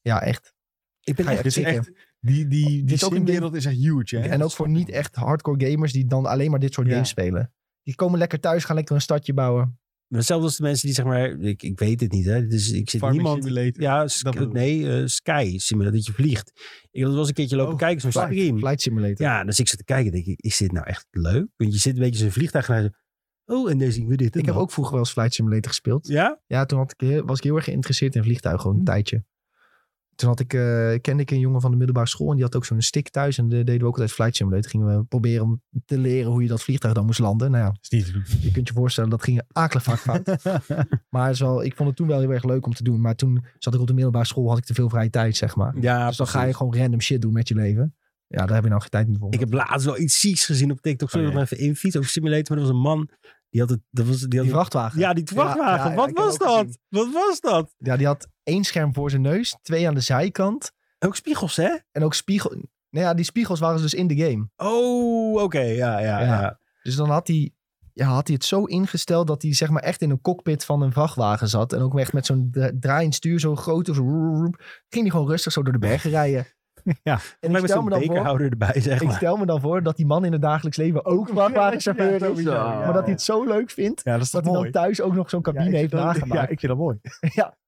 S1: Ja, echt.
S3: Ik ben
S1: Ga je
S3: echt
S2: Dit is
S1: zeker.
S2: echt... Die, die,
S1: Dit
S2: die
S1: is ook een game-
S2: simwereld Oh, is echt huge, hè?
S1: En ook voor niet echt hardcore gamers die dan alleen maar dit soort
S2: Ja.
S1: games spelen. Die komen lekker thuis, gaan lekker een stadje bouwen.
S3: Maar Hetzelfde als de mensen die zeg maar, ik, ik weet het niet hè. Dus ik zit
S2: Farming
S3: niemand.
S2: Simulator.
S3: Ja, sk-
S2: Dat bedoel ik.
S3: nee, eh, Sky Simulator, dat je vliegt. Ik had wel eens een keertje lopen
S2: Oh,
S3: kijken, zo'n
S2: Flight.
S3: stream.
S1: Flight Simulator.
S3: Ja, dus ik zat te kijken, denk ik, is dit nou echt leuk? Want je zit een beetje in zo'n vliegtuig en hij zo, oh, en dan zien we dit. en
S1: ik heb
S3: dat.
S1: ook vroeger wel eens Flight Simulator gespeeld.
S3: Ja? Hm.
S1: Ja, toen had ik, heel- was ik heel erg geïnteresseerd in vliegtuigen, gewoon een tijdje. Toen had ik, eh, kende ik een jongen van de middelbare school en die had ook zo'n stick thuis. En daar deden we ook altijd Flight Simulator. Gingen we proberen om te leren hoe je dat vliegtuig dan moest landen. Nou ja,
S2: Is niet te doen.
S1: je kunt je voorstellen, dat ging akelig vaak fout. Maar het is wel, ik vond het toen wel heel erg leuk om te doen. Maar toen zat ik op de middelbare school, had ik te veel vrije tijd, zeg maar.
S3: Ja,
S1: dus dan ga
S3: precies.
S1: je gewoon random shit doen met je leven. Ja, daar heb je nou geen tijd meer voor.
S3: Ik heb laatst wel iets zieks gezien op TikTok. Sorry
S2: Oh,
S3: dat ik maar even infiets over simulator. Maar er was een man. Die had het. Dat was, die had
S1: die
S3: het-
S1: vrachtwagen. Ja.
S3: ja, die vrachtwagen.
S1: Ja, ja,
S3: Wat
S1: ik heb
S3: was
S1: ook
S3: dat?
S1: gezien.
S3: Wat was dat?
S1: die had één scherm voor zijn neus, twee aan de zijkant.
S3: Ook spiegels, hè?
S1: En ook spiegel. Nou ja, die spiegels waren dus in de game.
S3: Oh, oké. Ja, ja,
S1: Ja.
S3: ja.
S1: Dus dan had hij, ja, had hij het zo ingesteld dat hij zeg maar echt in een cockpit van een vrachtwagen zat. En ook echt met zo'n dra- draaiend stuur, zo groot. Zo, ging hij gewoon rustig zo door de bergen rijden.
S2: Ja,
S1: en
S3: Maar
S1: ik
S3: met
S1: stel
S3: zo'n
S1: me dan voor...
S3: bekerhouder erbij, zeg
S1: Ik
S3: maar.
S1: stel me dan voor dat die man in het dagelijks leven ook vrachtwagenchauffeur
S2: Ja,
S1: is.
S2: sowieso, ja.
S1: Maar dat hij het zo leuk vindt.
S2: Ja, dat is
S1: Oh, Dat
S2: toch
S1: hij
S2: mooi?
S1: dan thuis ook nog zo'n cabine heeft
S2: Ja,
S1: nagemaakt.
S2: ik vind dat mooi.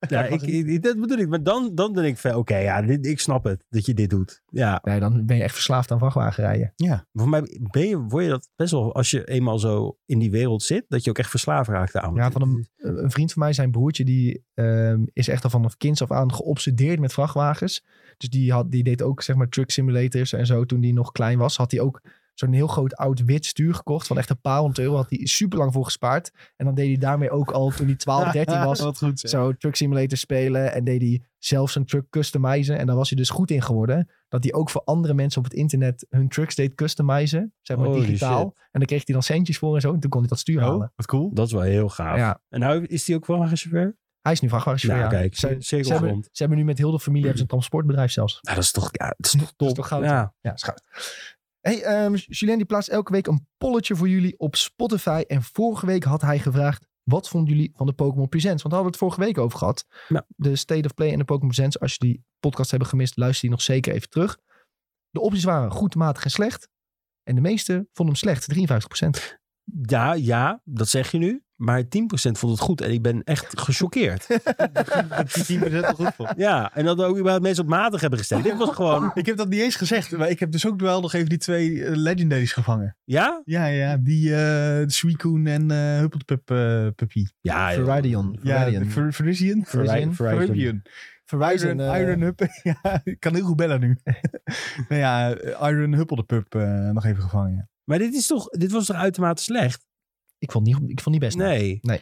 S3: Ja, ik, ik- dat bedoel ik. Maar dan, dan denk ik van, oké, ja, dit, ik snap het. Dat je dit doet. Ja.
S1: Nee, dan ben je echt verslaafd aan vrachtwagenrijden.
S3: Voor mij ben je, word je dat best wel, als je eenmaal zo in die wereld zit, dat je ook echt verslaafd raakt aan.
S1: Ja, van een, eh, een vriend van mij, zijn broertje, die ehm, is echt al vanaf kinds af aan geobsedeerd met vrachtwagens. Dus die, had, die deed ook, zeg maar, truck simulators en zo. Toen die nog klein was, had hij ook zo'n heel groot oud wit stuur gekocht. Van echt een paar honderd euro. Had hij super lang voor gespaard. En dan deed hij daarmee ook al, toen hij 12, 13 was,
S2: Wat goed zeg.
S1: zo truck simulator spelen en deed hij zelf zijn truck customizen. En daar was hij dus goed in geworden. Dat hij ook voor andere mensen op het internet hun trucks deed customizen. Zeg maar
S3: Holy
S1: digitaal.
S3: shit.
S1: En daar kreeg hij dan centjes voor en zo. En toen kon hij dat stuur
S2: Oh,
S1: halen.
S2: wat cool.
S3: Dat is wel heel gaaf.
S1: Ja,
S3: En nou is die ook wel een chauffeur?
S1: hij is nu vrachtwagenchauffeur.
S3: Nou,
S1: ja.
S3: kijk,
S1: ze,
S3: cir-
S1: ze hebben,
S3: cirkelgrond.
S1: ze hebben nu met heel de familie hebben ze een transportbedrijf zelfs.
S3: Nou, dat is toch, ja, dat is toch top.
S1: is toch goud,
S3: Ja.
S1: Ja, schout. Hey, ehm Julien die plaatst elke week een polletje voor jullie op Spotify. En vorige week had hij gevraagd: Wat vonden jullie van de Pokémon Presents? Want daar hadden we het vorige week over gehad.
S3: Ja.
S1: De State of Play en de Pokémon Presents. Als je die podcast hebben gemist, luister die nog zeker even terug. De opties waren goed, matig en slecht. En de meesten vonden hem slecht, 53%.
S3: Ja, ja, dat zeg je nu. Maar 10% vond het goed. En ik ben echt gechoqueerd.
S2: Die 10% er goed voor.
S3: ja, en dat er ook überhaupt mensen op matig hebben gestemd. Dit was gewoon...
S2: Ik heb dat niet eens gezegd, maar ik heb dus ook wel nog even die twee eh, legendaries gevangen.
S3: Ja?
S2: Ja, ja, die eh Suicune en eh Huppelpup eh puppy.
S3: Ja, joh.
S1: Viridion.
S2: Ja,
S1: Viridion.
S2: de Ver- Viridian.
S1: Verizon.
S2: Viridian.
S1: Verizon,
S2: Iron,
S1: eh,
S2: Iron Hup. ja, ik kan heel goed bellen nu. nou ja, Iron Huppelpup eh nog even gevangen. ja.
S3: Maar dit, is toch, dit was toch uitermate slecht?
S1: Ik vond niet, ik vond niet best.
S3: Nee.
S2: Nou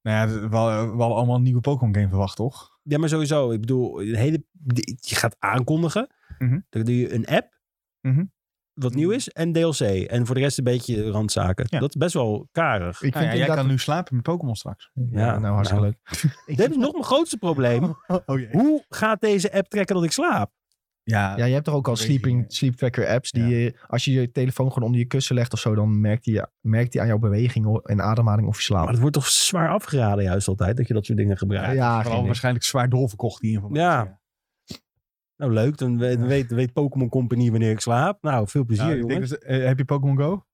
S2: ja, we, we hadden allemaal een nieuwe Pokémon game verwacht, toch?
S3: Ja, maar sowieso. Ik bedoel, een hele, die- je gaat aankondigen.
S2: Mhm.
S3: Dan doe je een app.
S2: Mhm.
S3: Wat nieuw is. En DLC. En voor de rest een beetje randzaken.
S2: Ja.
S3: Dat is best wel karig.
S2: Ik
S1: vind
S2: Nou Ah ja, jij
S1: inderdaad-
S2: kan nu slapen met Pokémon straks.
S1: Ja,
S3: Ja,
S1: nou hartstikke leuk.
S3: Dit is nog mijn grootste probleem.
S2: Oh jee.
S3: Hoe gaat deze app trekken dat ik slaap?
S2: Ja,
S1: Ja, je hebt toch ook al
S2: Weet je
S1: sleeping,
S2: niet.
S1: sleep tracker apps die je- als je je telefoon gewoon onder je kussen legt of zo, dan merkt hij merkt die aan jouw bewegingen en ademhaling of je
S3: Maar
S2: Oh.
S1: slaapt.
S3: het wordt toch zwaar afgeraden juist altijd. Dat je dat soort dingen gebruikt.
S1: Ja, geen
S2: vooral
S1: idee.
S2: waarschijnlijk zwaar doorverkocht die informatie.
S3: Ja. Nou leuk, dan weet,
S2: Ja.
S3: weet, weet Pokémon Company wanneer ik slaap. Nou, veel plezier
S2: Nou, ik denk
S3: jongens.
S2: dat- eh, heb je Pokémon Go?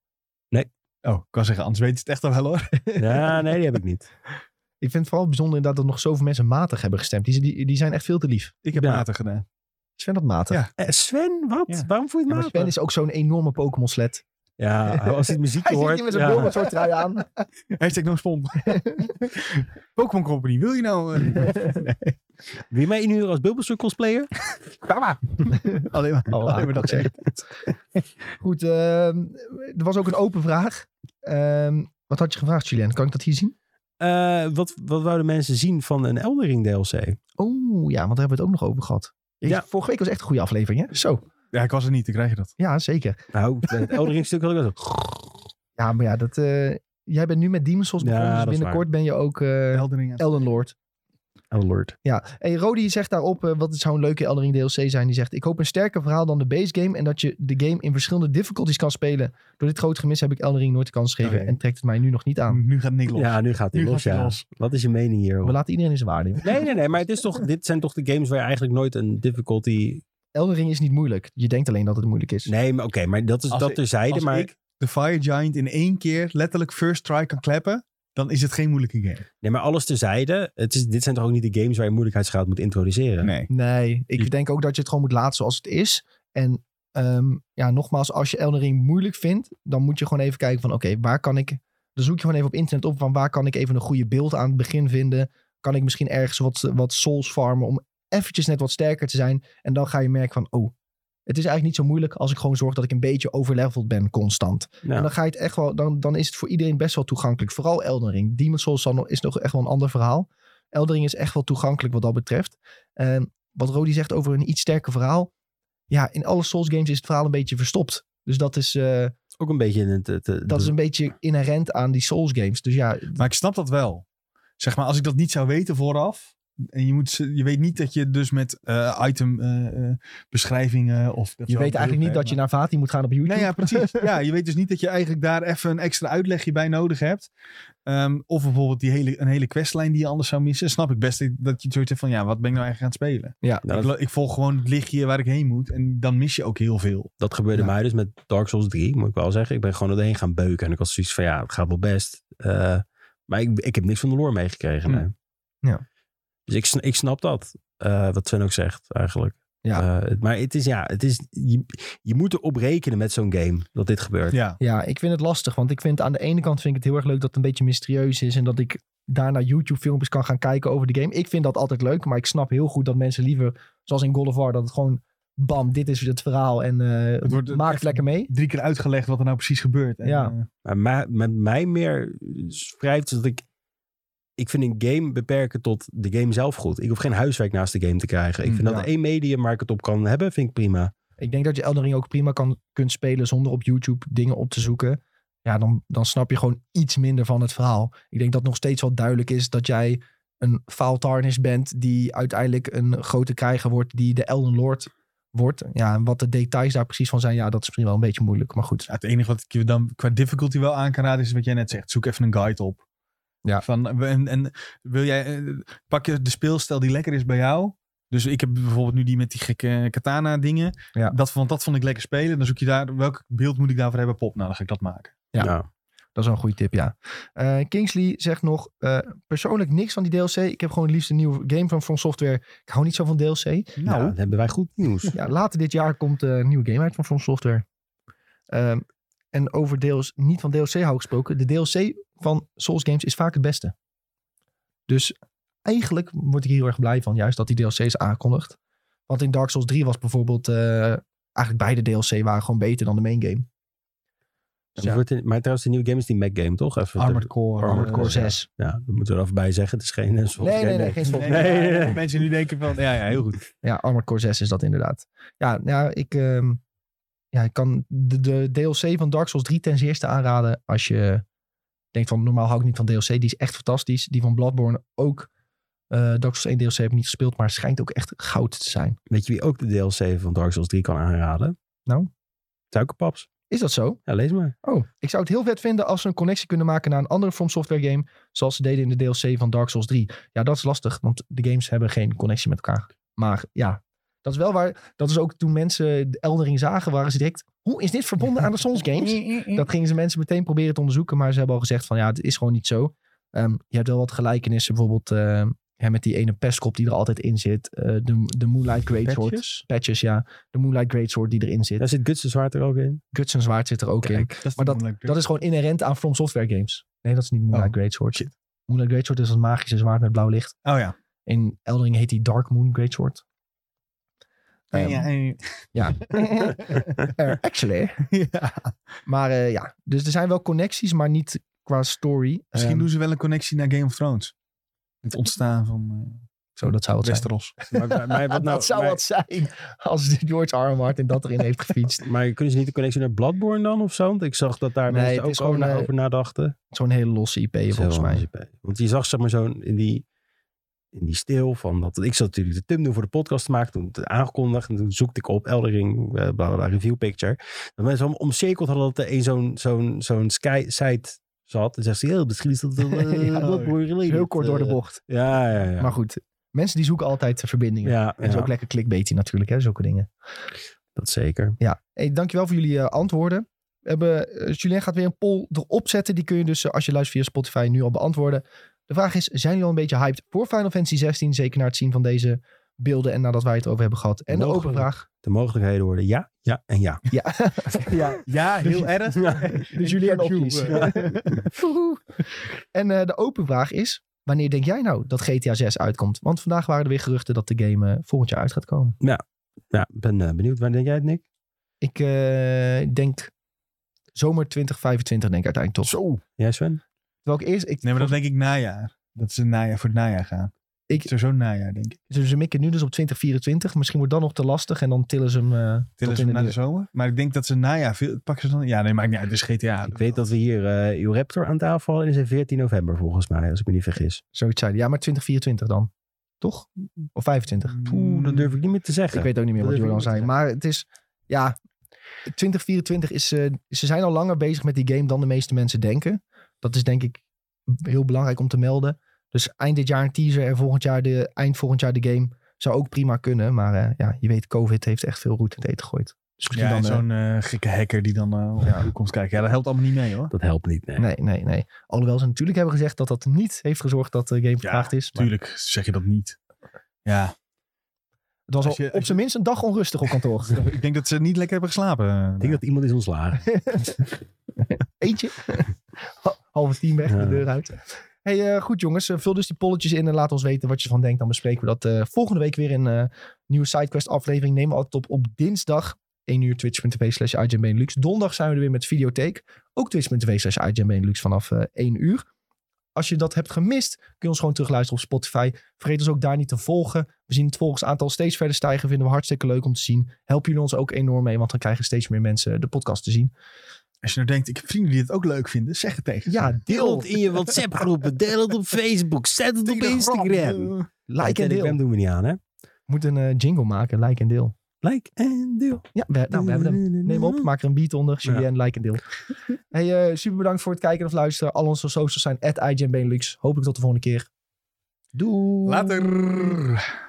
S3: Nee.
S2: Oh, ik kan zeggen, anders weet je het echt al wel hoor.
S3: Ja, nee, die heb ik niet.
S1: Ik vind het vooral bijzonder inderdaad dat nog zoveel mensen matig hebben gestemd. Die, die, die zijn echt veel te lief.
S2: Ik heb
S3: Ja.
S2: later gedaan.
S1: Sven dat matig.
S2: Ja,
S3: Eh, Sven, wat?
S2: Ja.
S3: Waarom voel je
S1: Ja,
S3: het
S1: maar
S3: matig?
S1: Sven is ook zo'n enorme Pokémon sled.
S3: Ja, als hij het
S1: Hij
S3: muziekje
S1: zit
S3: hoort.
S1: hier met zijn
S3: ja.
S1: Bulbasaur trui aan.
S2: Hashtag no spon. Pokémon Company, wil je nou? eh,
S3: Wie mij inhuren als Bulbasaur cosplayer?
S1: Baba.
S2: alleen maar,
S1: Oh,
S2: alleen maar dat zeggen.
S1: Goed, ehm, er was ook een open vraag. Ehm, wat had je gevraagd, Julien? Kan ik dat hier zien?
S3: Eh, wat, wat wouden mensen zien van een Eldering DLC?
S1: Oh ja, want daar hebben we het ook nog over gehad. Ik-
S3: Ja.
S1: Vorige week was echt een goede aflevering, hè? Zo.
S2: Ja, ik was er niet, dan krijg je dat.
S1: Ja, zeker.
S3: Nou, bij het Eldering stuk had ik wel zo...
S1: Ja, maar ja, dat, eh, jij bent nu met Demon's Souls
S3: Ja,
S1: begonnen. dus
S3: dat is
S1: binnenkort ben je ook eh
S2: Heldering aan-
S1: Elden Lord.
S3: Oh lord.
S1: Ja, en Rodi zegt daarop, eh, wat zou een leuke Eldering DLC zijn? Die zegt, ik hoop een sterker verhaal dan de base game en dat je de game in verschillende difficulties kan spelen. Door dit grote gemis heb ik Eldering nooit de kans gegeven
S2: Oké.
S1: en trekt het mij nu nog niet aan.
S2: Nu gaat Nick los.
S3: Ja, nu gaat hij
S2: Nu
S3: los,
S2: gaat hij
S3: ja.
S2: los.
S3: Wat is je mening
S1: We
S3: hierover?
S1: laten iedereen in zijn waarde. joh.
S3: Nee, nee, nee, maar het is toch, dit zijn toch de games waar je eigenlijk nooit een difficulty...
S1: Eldering is niet moeilijk. Je denkt alleen dat het moeilijk is.
S3: Nee, maar oké, maar dat is
S2: Als
S3: dat
S2: ik-
S3: terzijde,
S2: Als
S3: maar...
S2: ik de Fire Giant in één keer letterlijk first try kan klappen, dan is het geen moeilijke game.
S3: Nee, maar alles terzijde. Het is, dit zijn toch ook niet de games waar je moeilijkheidsgraad moet introduceren?
S2: Nee.
S1: Nee, ik
S2: Je-
S1: denk ook dat je het gewoon moet laten zoals het is. En ehm, ja, nogmaals, als je Elden Ring moeilijk vindt, dan moet je gewoon even kijken van oké, waar kan ik... Dan zoek je gewoon even op internet op van waar kan ik even een goede beeld aan het begin vinden. Kan ik misschien ergens wat, wat souls farmen om eventjes net wat sterker te zijn. En dan ga je merken van oh, het is eigenlijk niet zo moeilijk als ik gewoon zorg dat ik een beetje overleveld ben constant.
S3: Nou,
S1: En dan ga je het echt wel, dan, dan is het voor iedereen best wel toegankelijk. Vooral Elden Ring. Demon's Souls zal nog- is nog echt wel een ander verhaal. Elden Ring is echt wel toegankelijk wat dat betreft. En wat Rodi zegt over een iets sterker verhaal. Ja, in alle Souls games is het verhaal een beetje verstopt. Dus dat is, eh,
S3: ook een beetje... Het, het, het-
S1: dat is een beetje inherent aan die Souls games. Dus ja,
S2: Maar ik snap dat wel. Zeg maar, als ik dat niet zou weten vooraf. En je, moet, ze- je weet niet dat je dus met eh, item eh, eh, beschrijvingen of... dat
S1: je
S2: zou
S1: weet
S2: ik
S1: eigenlijk niet
S2: heel
S1: dat je
S2: erg,
S1: naar Vati moet gaan op YouTube.
S2: maar- Nee, Nou ja, precies. ja, je weet dus niet dat je eigenlijk daar even een extra uitlegje bij nodig hebt. Ehm, of bijvoorbeeld die hele, een hele questlijn die je anders zou missen. Snap ik best dat je zoiets hebt van, ja, wat ben ik nou eigenlijk aan het spelen?
S3: nou,
S2: ik,
S3: dat,
S2: lo- ik volg gewoon het lichtje waar ik heen moet. En dan mis je ook heel veel.
S3: dat gebeurde
S2: Ja.
S3: mij dus met Dark Souls 3, moet ik wel zeggen. Ik ben gewoon erheen gaan beuken. En ik was zoiets van, ja, het gaat wel best. Eh, maar ik, ik heb niks van de lore meegekregen.
S2: Hmm.
S3: nee.
S1: Hm. Ja.
S3: Dus ik, sn- ik snap dat. eh, wat Sven ook zegt, eigenlijk.
S1: Ja.
S3: Eh, het- maar het is, ja, het is, je, je moet erop rekenen met zo'n game dat dit gebeurt.
S2: Ja.
S1: Ja, ik vind het lastig. Want ik vind aan de ene kant vind ik het heel erg leuk dat het een beetje mysterieus is. En dat ik daarna YouTube filmpjes kan gaan kijken over de game. Ik vind dat altijd leuk. Maar ik snap heel goed dat mensen liever, zoals in God of War, dat het gewoon bam, dit is het verhaal. En eh,
S2: Het wordt
S1: maak
S2: echt-
S1: het lekker mee.
S2: Drie keer uitgelegd wat er nou precies gebeurt. En,
S1: Ja.
S2: eh,
S3: Maar mij- met mij meer wrijft dat ik... Ik vind een game beperken tot de game zelf goed. Ik hoef geen huiswerk naast de game te krijgen. Ik
S2: Mm,
S3: vind dat
S1: Hm, ja.
S3: één medium waar ik het op kan hebben, vind ik prima.
S1: Ik denk dat je Elden Ring ook prima kan, kunt spelen zonder op YouTube dingen op te zoeken. Ja, dan, dan snap je gewoon iets minder van het verhaal. Ik denk dat nog steeds wel duidelijk is dat jij een faal tarnish bent die uiteindelijk een grote krijger wordt die de Elden Lord wordt. Ja, en wat de details daar precies van zijn, ja, dat is misschien wel een beetje moeilijk. Maar goed,
S2: Ja, het enige wat ik je dan qua difficulty wel aan kan raden is wat jij net zegt. Zoek even een guide op.
S1: Ja.
S2: Van, en, en wil jij, eh, pak je de speelstijl die lekker is bij jou. Dus ik heb bijvoorbeeld nu die met die gekke katana dingen.
S1: Ja.
S2: Dat, want dat vond ik lekker spelen. Dan zoek je daar, welk beeld moet ik daarvoor hebben? Pop, nou dan ga ik dat maken.
S1: Ja.
S3: Nou,
S1: Dat is wel een goede tip, ja. Eh, Kingsley zegt nog, eh, persoonlijk niks van die DLC. Ik heb gewoon het liefst een nieuwe game van From Software. Ik hou niet zo van DLC.
S3: nou,
S2: Nou,
S3: dan hebben wij goed nieuws.
S1: Ja, later dit jaar komt eh, een nieuwe game uit van From Software. Ehm, en over deels, niet van DLC hou gesproken. De DLC van Souls games is vaak het beste. Dus eigenlijk word ik hier heel erg blij van, juist dat die DLC's aankondigt. Want in Dark Souls 3 was bijvoorbeeld, eh, eigenlijk beide DLC waren gewoon beter dan de main game. Dus
S3: Dan
S1: ja,
S3: wordt het- maar trouwens, de nieuwe game is die Mac game, toch? Even
S2: Armored Core.
S3: Armored
S1: eh,
S3: Core, ja.
S1: 6.
S3: ja, dat moeten we er even bij zeggen. Het is geen... eh, software
S1: Nee, nee,
S3: game.
S1: nee, geen
S2: Nee,
S1: Souls.
S2: nee,
S3: Nee,
S2: nee,
S3: nee.
S2: Mensen nu denken van, ja, ja heel goed.
S1: Ja, Armored Core 6 is dat inderdaad. Ja, nou, ik, ehm, ja, ik kan de, de DLC van Dark Souls 3 ten zeerste aanraden. Als je denkt van, normaal hou ik niet van DLC. Die is echt fantastisch. Die van Bloodborne ook. Eh, Dark Souls 1 DLC heb ik niet gespeeld, maar schijnt ook echt goud te zijn.
S3: Weet je wie ook de DLC van Dark Souls 3 kan aanraden?
S1: Nou?
S3: Suikerpaps.
S1: Is dat zo?
S3: Ja, lees maar.
S1: Oh, ik zou het heel vet vinden als ze een connectie kunnen maken naar een andere From Software game. Zoals ze deden in de DLC van Dark Souls 3. Ja, dat is lastig, want de games hebben geen connectie met elkaar. Maar ja, dat is wel waar. Dat is ook toen mensen de Eldering zagen, waren ze direct. Hoe is dit verbonden aan de Souls
S2: Mm,
S1: games? Dat gingen ze mensen meteen proberen te onderzoeken. Maar ze hebben al gezegd van ja, het is gewoon niet zo. Ehm, je hebt wel wat gelijkenissen. Bijvoorbeeld ehm, hè, met die ene pestkop die er altijd in zit. Eh, de, de Moonlight Greatsword. Patches?
S2: Patches?
S1: Patches, ja. De Moonlight Greatsword die erin zit.
S3: Daar zit Guts de Zwaard er ook in.
S1: Guts en Zwaard zit er ook in.
S2: Kijk, dat is
S1: Maar
S2: de Moonlight
S1: Dat is gewoon inherent aan From Software games. Nee, dat is niet Moonlight
S2: Oh,
S1: Greatsword.
S2: shit.
S1: Moonlight Greatsword is dat magische zwaard met blauw licht.
S2: Oh ja.
S1: In Eldering heet die Dark Moon Greatsword. Ehm,
S2: Ja, en-
S1: ja. Eh, actually.
S2: ja.
S1: Maar eh, ja, dus er zijn wel connecties, maar niet qua story.
S2: Misschien
S1: Ehm,
S2: doen ze wel een connectie naar Game of Thrones. Het ontstaan van
S1: Zo, dat zou
S2: eh
S1: wat zijn.
S2: Westeros.
S3: Maar, maar- maar wat nou,
S1: dat zou
S3: maar,
S1: wat zijn als George R. R. Martin dat erin heeft gefietst.
S3: maar kunnen ze niet de connectie naar Bloodborne dan of zo? Want ik zag dat
S1: Nee,
S3: daar mensen
S1: het
S3: ook
S1: is gewoon,
S3: over,
S1: eh,
S3: over nadachten.
S1: Zo'n hele losse IP volgens mij.
S3: Want je zag zeg maar zo'n in die, in die stil van dat. Ik zat natuurlijk de tum doen voor de podcast te maken. Toen het aangekondigd. En toen zoekte ik op Eldering, eh bla bla bla, review picture. Dat mensen allemaal omcirkeld hadden dat er een zo'n zo'n zo'n sky site zat. En zegt ze, heel misschien is dat wel, eh,
S1: Ja.
S3: Bloodborne related,
S1: Heel kort door de
S3: eh.
S1: bocht.
S3: Ja, ja, ja.
S1: Maar goed, mensen die zoeken altijd eh, verbindingen.
S3: ja,
S1: En dat is
S3: ja,
S1: ook lekker clickbaity natuurlijk, hè, zulke dingen.
S3: dat zeker.
S1: Ja, hey, dankjewel voor jullie eh, antwoorden. We hebben, eh, Julien gaat weer een poll erop zetten. Die kun je dus, eh, als je luistert via Spotify, nu al beantwoorden. De vraag is, zijn jullie al een beetje hyped voor Final Fantasy 16? Zeker na het zien van deze beelden en nadat wij het over hebben gehad. En de
S3: Mogelijk.
S1: open vraag.
S3: De mogelijkheden worden ja, ja en ja.
S1: Ja, ja.
S2: Ja,
S1: Dus-
S2: heel erg.
S1: dus jullie hebben opties. Woehoe. en eh, de open vraag is, wanneer denk jij nou dat GTA 6 uitkomt? Want vandaag waren er weer geruchten dat de game eh, volgend jaar uit gaat komen.
S3: Ja, ik ben eh, benieuwd. Waar denk jij het, Nick?
S1: Ik eh, denk zomer 2025 denk ik uiteindelijk toch.
S2: Zo.
S3: Jij, Sven?
S1: Terwijl ik eerst... Ik,
S2: Nee, maar dat denk ik najaar. Dat ze najaar voor het najaar gaan.
S1: Ik-
S2: Sowieso najaar, denk ik.
S1: Ze, ze mikken nu dus op 2024. Misschien wordt dat nog te lastig en dan tillen ze hem. eh, tot
S2: Tillen ze
S1: in
S2: naar de
S1: nieuwe-
S2: zomer. Maar ik denk dat ze najaar... Veel, pakken ze dan... Ja, nee, maakt niet uit. Het is GTA.
S3: Ik weet dat we hier eh Euraptor aan tafel hadden. En is 14 november volgens mij, als ik me niet vergis.
S1: Zoiets zeiden. Ja, maar 2024 dan. Toch? Of 25.
S3: Oeh,
S2: Mm.
S3: dat durf Hmm. ik niet meer te zeggen.
S1: Ik weet ook niet meer
S3: Dat
S1: wat
S3: durf ik
S1: Jordan
S3: niet
S1: zei.
S3: te
S1: Maar het is. Ja, 2024 is. eh, ze zijn al langer bezig met die game dan de meeste mensen denken. Dat is denk ik heel belangrijk om te melden. Dus eind dit jaar een teaser en volgend jaar de, eind volgend jaar de game. Zou ook prima kunnen. Maar eh, ja, je weet, COVID heeft echt veel roet in het eten gegooid. Dus misschien
S2: Ja,
S1: dan,
S2: en
S1: eh,
S2: zo'n eh, gekke hacker die dan eh op
S1: Ja.
S2: de toekomst kijkt. Ja, dat helpt allemaal niet mee, hoor.
S3: Dat helpt niet, nee.
S1: Nee, nee, nee. Alhoewel ze natuurlijk hebben gezegd dat dat niet heeft gezorgd dat de game vertraagd is. Maar
S2: Tuurlijk zeg je dat niet. Ja.
S1: het was al
S2: Als je- als
S1: op
S2: je-
S1: zijn minst een dag onrustig op kantoor.
S2: ik denk dat ze niet lekker hebben geslapen.
S3: Ik denk dat iemand is ontslagen.
S1: Eentje. Halve team weg, de
S3: Ja.
S1: deur uit. Hey, eh, goed jongens, Eh, vul dus die polletjes in en laat ons weten wat je ervan denkt. Dan bespreken we dat eh, volgende week weer in eh nieuwe SideQuest aflevering. Nemen we altijd op op dinsdag. 1 uur twitch.tv slash IGN Benelux. Donderdag zijn we er weer met videotheek. Ook twitch.tv slash IGN Benelux vanaf eh 1 uur. Als je dat hebt gemist, kun je ons gewoon terugluisteren op Spotify. Vergeet ons ook daar niet te volgen. We zien het volgsaantal steeds verder stijgen. Vinden we hartstikke leuk om te zien. Helpen jullie ons ook enorm mee, want dan krijgen steeds meer mensen de podcast te zien.
S2: Als je nou denkt, ik heb vrienden die het ook leuk vinden, zeg het tegen. ze.
S1: Ja,
S3: Deel
S1: deel,
S3: het in je WhatsApp-groepen. Deel het op Facebook. Zet het op Instagram.
S2: Eh,
S1: like en
S3: Telegram
S1: deel.
S3: doen we niet aan, hè?
S1: Moet een eh, jingle maken, like en deel. nou,
S3: Like en deel.
S1: Ja, we, nou, we hebben hem. Neem op, maak er een beat onder. Julien, like en deel. Hey, eh, super bedankt voor het kijken of luisteren. Al onze socials zijn at Hopelijk tot de volgende keer. Doei!
S2: Later.